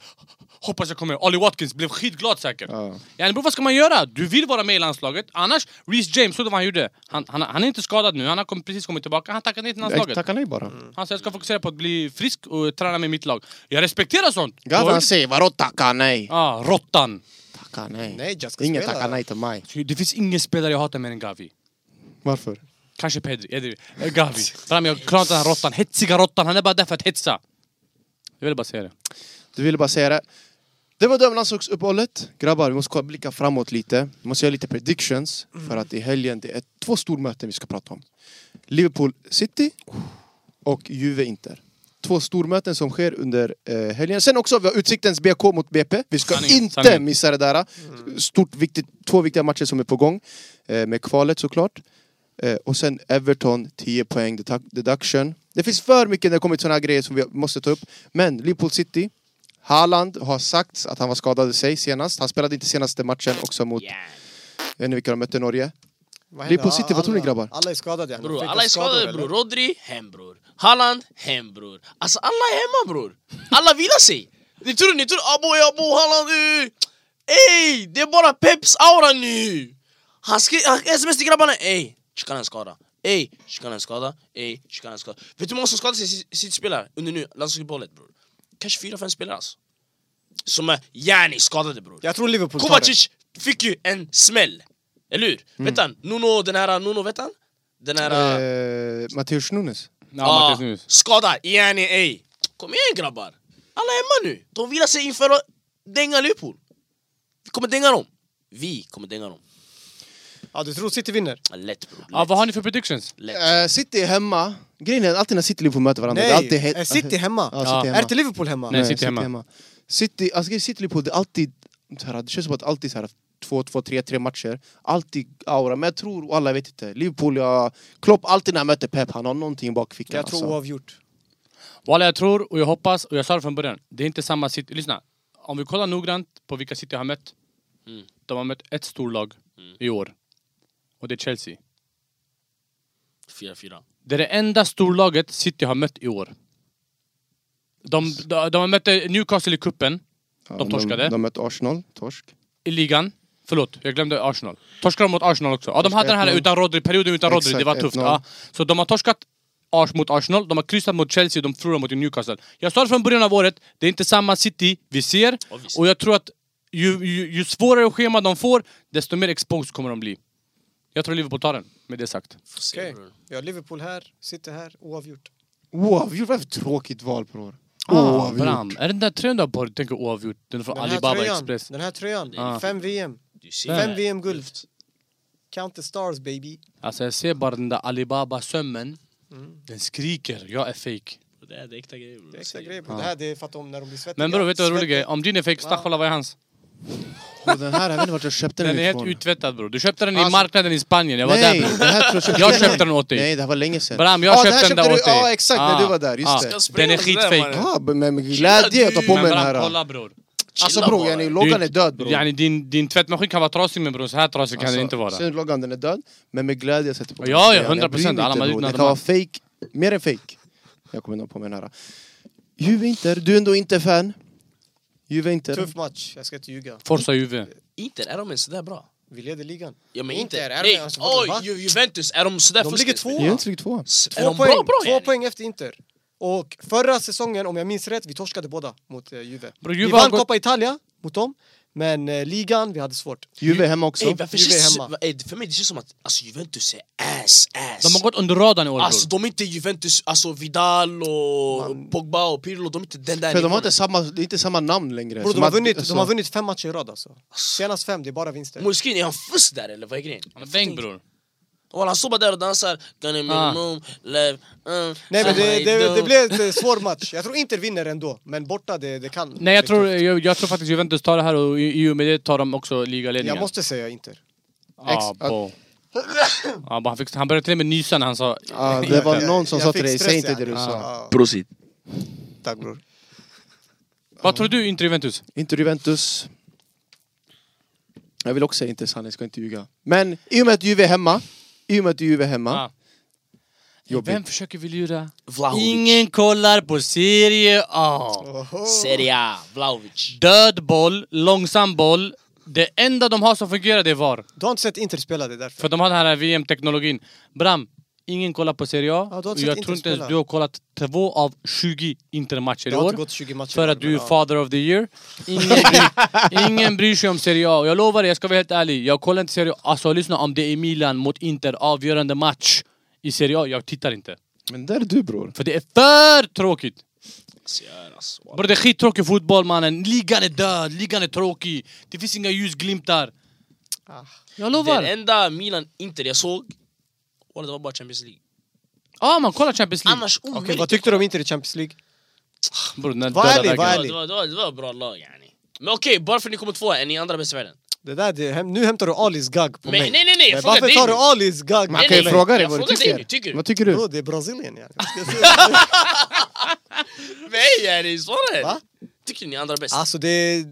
Speaker 4: Hoppas jag kommer. Ollie Watkins blev skitglad säkert.
Speaker 1: Ja.
Speaker 4: Ja. bror vad ska man göra? Du vill vara med i landslaget, annars... Reece James, såg du vad han gjorde? Han, han, han är inte skadad nu, han har kom, precis kommit tillbaka, han tackade nej till
Speaker 1: Jag
Speaker 4: landslaget.
Speaker 1: tackar nej bara.
Speaker 4: Han sa jag ska fokusera på att bli frisk och träna med mitt lag. Jag respekterar sånt!
Speaker 1: Gavan
Speaker 4: Då-
Speaker 1: säger vadå tacka nej?
Speaker 4: Ah, råttan!
Speaker 1: Tacka nej.
Speaker 3: Nej, jag ska
Speaker 1: Ingen
Speaker 3: spela.
Speaker 1: tackar nej till mig.
Speaker 4: Det finns ingen spelare jag hatar mer än Gavi.
Speaker 1: Varför?
Speaker 4: Kanske Pedri, jag driver. Eh, Gavi. Fram, jag klarar inte den här råttan, hetsiga råttan, han är bara där för att hetsa. Jag ville bara säga det.
Speaker 1: Du ville bara säga det. Det var dömlandslagsuppehållet. Grabbar, vi måste kolla- blicka framåt lite. Vi måste göra lite predictions.
Speaker 4: Mm.
Speaker 1: För att i helgen, det är två stormöten vi ska prata om. Liverpool City och Juve-Inter. Två stormöten som sker under eh, helgen. Sen också, vi har Utsiktens BK mot BP. Vi ska
Speaker 4: Sanningen,
Speaker 1: inte
Speaker 4: sanningen.
Speaker 1: missa det där. Stort, viktigt, två viktiga matcher som är på gång. Eh, med kvalet såklart. Eh, och sen Everton, 10 poäng dedu- deduction. Det finns för mycket när det kommer till såna här grejer som vi måste ta upp. Men Liverpool City, Haaland har sagt att han var skadad i sig senast. Han spelade inte senaste matchen också mot,
Speaker 2: Yeah.
Speaker 1: jag vet inte vilka de mötte, Norge.
Speaker 3: Vad
Speaker 1: Liverpool
Speaker 3: händer?
Speaker 1: City, vad tror ni,
Speaker 3: Alla-
Speaker 1: grabbar?
Speaker 3: Alla är skadade. ja.
Speaker 2: Bror,
Speaker 3: Alltså, Fick
Speaker 2: alla är
Speaker 3: skador,
Speaker 2: skadade
Speaker 3: eller?
Speaker 2: bror. Rodri, hem bror. Haaland, hem bror. Alltså alla är hemma bror. Alla vilar sig. Ni tror, ni tror, abo, abo, Haaland, eh. Ey, det är bara Peps aura nu. Han skriver, sms till grabbarna, ey, Chikan är skadad. Ey, Chikan är skadad. Ey, Chikan är skadad. Vet du hur många som skadade sig i sitt- sitt spelare under nu, landslagsuppehållet bror? Kanske fyra, fem spelare alltså. Som är yani skadade bror.
Speaker 3: Jag tror Liverpool tar det.
Speaker 2: Kovacic fick ju en smäll, eller hur?
Speaker 3: Mm.
Speaker 2: Vet han? Nuno, den här Nuno, vet han? Den här...
Speaker 1: Eh, Matteus Nunes.
Speaker 4: Ja,
Speaker 2: Ja,
Speaker 4: Marcus Nunes.
Speaker 2: skada, yani ey. Kom igen grabbar. Alla är hemma nu. De vilar sig inför att dänga Liverpool. Vi kommer dänga dem. Vi kommer dänga dem.
Speaker 3: Ja, du tror City vinner?
Speaker 2: Lätt bror. Lätt.
Speaker 4: Ja, vad har ni för predictions?
Speaker 2: Lätt.
Speaker 1: Eh, City är hemma. Grejen är alltid när City och Liverpool möter varandra. det är alltid
Speaker 3: är eh, City hemma?
Speaker 1: Ja,
Speaker 4: Ja.
Speaker 1: City
Speaker 3: Är
Speaker 1: hemma.
Speaker 3: inte Liverpool hemma?
Speaker 4: Nej. City hemma.
Speaker 1: City, alltså grejen är City och Liverpool, det är alltid... Så här, det känns som att alltid så här, två, två, tre, tre matcher. Alltid aura, men jag tror, och alla vet inte. Liverpool, jag... Klopp, alltid när han möter Pep, han har någonting i bakfickan. alltså.
Speaker 3: Jag tror oavgjort.
Speaker 4: Walla, jag tror och jag hoppas, och jag sa det från början, det är inte samma City. Lyssna, om vi kollar noggrant på vilka City har mött.
Speaker 2: Mm.
Speaker 4: De har mött ett storlag i år. Och det är Chelsea.
Speaker 3: Eh.
Speaker 2: 4-4.
Speaker 4: Det är det enda storlaget City har mött i år. De, de, de mötte Newcastle i kuppen
Speaker 1: Ja,
Speaker 4: de torskade.
Speaker 1: De, de mötte Arsenal, torsk.
Speaker 4: i ligan. Förlåt, jag glömde Arsenal. Torskade de mot Arsenal också? Ja, de hade den här
Speaker 1: 1-0.
Speaker 4: utan Rodri, perioden utan Rodri,
Speaker 1: Exakt,
Speaker 4: det var tufft.
Speaker 1: 1-0.
Speaker 4: Ja. Så de har torskat Ars mot Arsenal, de har kryssat mot Chelsea, de förlorade mot Newcastle. Jag sa det från början av året, det är inte samma City vi ser.
Speaker 2: Ja, visst.
Speaker 4: Och jag tror att ju, ju, ju svårare schema de får, desto mer exposed kommer de bli. Jag tror Liverpool tar den, med det sagt.
Speaker 2: Får se,
Speaker 3: Okej.
Speaker 2: bror.
Speaker 3: Jag har Liverpool här, sitter här, oavgjort.
Speaker 1: Oavgjort, vad för tråkigt val bror.
Speaker 4: Ah, Bram. Är det den där tröjan du har på dig? tänker oavgjort? Den är från
Speaker 3: Den här
Speaker 4: Alibaba
Speaker 3: tröjan,
Speaker 4: Express.
Speaker 3: Den här tröjan,
Speaker 4: Ah.
Speaker 3: fem VM.
Speaker 2: Du ser.
Speaker 4: Vem?
Speaker 3: Fem VM-guld. Counter stars baby.
Speaker 4: Alltså jag ser bara den där Alibaba-sömmen.
Speaker 3: Mm.
Speaker 4: Den skriker, jag är fake.
Speaker 2: Det är det är äkta grejer bror.
Speaker 3: Det är
Speaker 2: Jag
Speaker 3: extra
Speaker 2: säger.
Speaker 3: grejer.
Speaker 4: Ah.
Speaker 3: Det här det är för att de, när de blir svettiga.
Speaker 4: Men bror, vet du vad roligt är?
Speaker 3: svettiga-
Speaker 4: Om din är fake, stachwalla vad är hans?
Speaker 1: Och den här, jag vet inte vart jag köpte den
Speaker 4: Den är helt
Speaker 1: ifrån.
Speaker 4: uttvättad bror. Du köpte den i
Speaker 1: Alltså-
Speaker 4: marknaden i Spanien, jag var
Speaker 1: Nej,
Speaker 4: där bror.
Speaker 1: den här tror jag köpte
Speaker 4: Jag köpte den åt dig.
Speaker 1: Nej, det här var länge sedan.
Speaker 4: Bram, jag
Speaker 1: Ah,
Speaker 4: köpte
Speaker 1: här
Speaker 4: den där åt dig. Ah.
Speaker 1: Ja, exakt, när du var där. Just det.
Speaker 2: Ska spela
Speaker 4: Den är
Speaker 2: så där,
Speaker 4: skitfake.
Speaker 2: mannen.
Speaker 1: Ja, men med glädje jag tar på
Speaker 4: Men
Speaker 1: mig den
Speaker 4: Bram,
Speaker 1: här. ah.
Speaker 4: kolla bror.
Speaker 1: Alltså
Speaker 2: Chilla
Speaker 1: bror,
Speaker 2: bara.
Speaker 1: yani, loggan är död bror.
Speaker 4: Yani, din, din tvättmaskin kan vara trasig men bror, så här trasig kan
Speaker 1: Alltså,
Speaker 4: den inte vara.
Speaker 1: Sen loggan, den är död. Men med glädje jag sätter på mig
Speaker 4: Ja, ja,
Speaker 1: den. Jag bryr
Speaker 4: 100%,
Speaker 1: mig
Speaker 4: alla
Speaker 1: inte,
Speaker 4: man
Speaker 1: bror.
Speaker 4: utnär
Speaker 1: Det
Speaker 4: de
Speaker 1: kan vara
Speaker 4: här.
Speaker 1: fake, mer än fake. Jag kommer nog på mig den här. Juve Inter, du är ändå inte fan. Juve Inter.
Speaker 3: Tuff match, jag ska inte ljuga.
Speaker 4: Forza Juve.
Speaker 2: Inter, är de ens sådär bra?
Speaker 3: Vi leder ligan.
Speaker 2: Ja men
Speaker 3: Inter,
Speaker 2: Inter,
Speaker 3: är alltså, de
Speaker 2: nej! Oj,
Speaker 3: ens- va?
Speaker 2: Ju- Juventus, är de sådär
Speaker 3: De
Speaker 2: fuskis?
Speaker 3: ligger tvåa.
Speaker 1: Juventus ligger tvåa.
Speaker 2: S- Är
Speaker 3: Två,
Speaker 2: de
Speaker 3: poäng,
Speaker 2: bra, bra?
Speaker 3: två
Speaker 2: yani?
Speaker 3: poäng efter Inter. Och förra säsongen, om jag minns rätt, vi torskade båda mot eh, Juve.
Speaker 4: Bro,
Speaker 3: vi
Speaker 4: Juve har
Speaker 3: vann
Speaker 4: gått-
Speaker 3: Coppa Italia mot dem, men eh, ligan, vi hade svårt.
Speaker 1: Juve hemma också.
Speaker 2: Ey, varför
Speaker 3: Juve är
Speaker 2: känns
Speaker 3: hemma.
Speaker 2: ey, För mig det känns som att alltså, Ah, Juventus är ass, ass. Ah,
Speaker 4: De har gått under radarn i år
Speaker 2: Alltså
Speaker 4: bror.
Speaker 2: de är inte Juventus, alltså Vidal och Pogba och Pirlo, de är inte den där
Speaker 1: För de har
Speaker 2: nivån.
Speaker 1: inte samma, det är inte samma namn längre.
Speaker 3: Bro,
Speaker 1: Som
Speaker 3: de, har
Speaker 1: att-
Speaker 3: vunnit,
Speaker 1: alltså,
Speaker 3: de har vunnit fem matcher i rad alltså. Senast fem, det är bara vinster.
Speaker 2: Moskvin, är han fuss där eller vad är grejen?
Speaker 4: Han är Bäng bror.
Speaker 2: Walla, han står bara där och dansar Gonna make
Speaker 4: Ah.
Speaker 2: a move, love, mm,
Speaker 3: Nej men det, det, det
Speaker 2: somebody
Speaker 3: blev en svår match. Jag tror Inter vinner ändå, men borta det, det kan.
Speaker 4: Nej jag
Speaker 3: bli
Speaker 4: tror,
Speaker 3: tufft.
Speaker 4: jag, jag tror faktiskt Juventus tar det här och i i och med det tar de också
Speaker 3: Jag
Speaker 4: ligaledningen. Ah,
Speaker 3: måste säga Inter.
Speaker 4: Ja,
Speaker 1: Ex-
Speaker 4: bo. Ja, bo, Ah, han, fick, han började till och med nysa när han sa...
Speaker 1: Ja, det var någon som
Speaker 3: Jag
Speaker 1: sa
Speaker 3: fick
Speaker 1: till dig,
Speaker 3: stress,
Speaker 1: säg inte
Speaker 3: yani.
Speaker 1: det du sa.
Speaker 3: Ja,
Speaker 2: do. Prosit.
Speaker 3: Tack bror.
Speaker 4: Vad tror du, inte Juventus?
Speaker 1: Inte Juventus. Jag vill också säga inte sanning, ska inte ljuga. Men i och med att Juve är hemma, i och med att Juve är hemma,
Speaker 4: Ja.
Speaker 1: jobbigt.
Speaker 4: Vem försöker vi lura?
Speaker 2: Vlahovic,
Speaker 4: Ingen kollar på Serie A.
Speaker 2: Serie A, Vlahovic
Speaker 4: Död boll, långsam boll. Det enda de har som fungerar det är VAR.
Speaker 3: Du har inte sett Inter spela, det är därför.
Speaker 4: För de har den här VM-teknologin. Bram, ingen kollar på Serie A.
Speaker 3: Ja, du har
Speaker 4: och
Speaker 3: inte
Speaker 4: jag
Speaker 3: sett
Speaker 4: tror
Speaker 3: Inter
Speaker 4: inte ens
Speaker 3: spela.
Speaker 4: du har kollat två av 20 Inter-matcher i
Speaker 3: Det har inte
Speaker 4: år.
Speaker 3: gått 20 matcher.
Speaker 4: För
Speaker 3: i år,
Speaker 4: att du är
Speaker 3: men, ja.
Speaker 4: father of the year. Ingen bryr, ingen bryr sig om Serie A. Och Jag lovar dig, jag ska vara helt ärlig. Jag kollar inte Serie A. Alltså lyssna, om det är Milan mot Inter, avgörande match i Serie A, jag tittar inte.
Speaker 1: Men där är du bror.
Speaker 4: För det är för tråkigt.
Speaker 2: Alltså, jag är alltså, walla.
Speaker 4: Bror det är skittråkig fotboll mannen, ligan är död, ligan är tråkig Det finns inga ljusglimtar
Speaker 3: Ah.
Speaker 4: Jag
Speaker 2: Den
Speaker 4: lovar!
Speaker 2: enda Milan-Inter jag såg, walla det var bara Champions League
Speaker 4: Ja man kollar Champions League!
Speaker 2: Annars
Speaker 3: Okej,
Speaker 2: omöjligt
Speaker 3: vad tyckte du om Inter i Champions League?
Speaker 4: Bror den där
Speaker 3: Var
Speaker 4: döda
Speaker 3: ärlig, var
Speaker 4: vägen
Speaker 3: ärlig.
Speaker 2: det, var, det, var, det var bra lag yani Men okej, bara för att ni kommer tvåa, är ni andra bäst i världen?
Speaker 3: Det där, det, hem- nu hämtar du Alis gag på
Speaker 2: Men, nej
Speaker 3: mig.
Speaker 2: nej nej, jag
Speaker 3: Men
Speaker 2: frågar
Speaker 3: varför
Speaker 2: dig
Speaker 3: tar du
Speaker 2: nu!
Speaker 3: Alis gag?
Speaker 1: Man
Speaker 2: Nej,
Speaker 1: kan ju
Speaker 2: nej,
Speaker 1: fråga dig
Speaker 2: jag
Speaker 1: vad du
Speaker 2: frågar
Speaker 1: tycker.
Speaker 2: dig nu, tycker du?
Speaker 1: Vad tycker du?
Speaker 3: Bro, det är Brasilien yani.
Speaker 2: Nej yani, svara!
Speaker 3: Va?
Speaker 2: Tycker ni är andra bäst? Alltså,
Speaker 3: Alltså det är,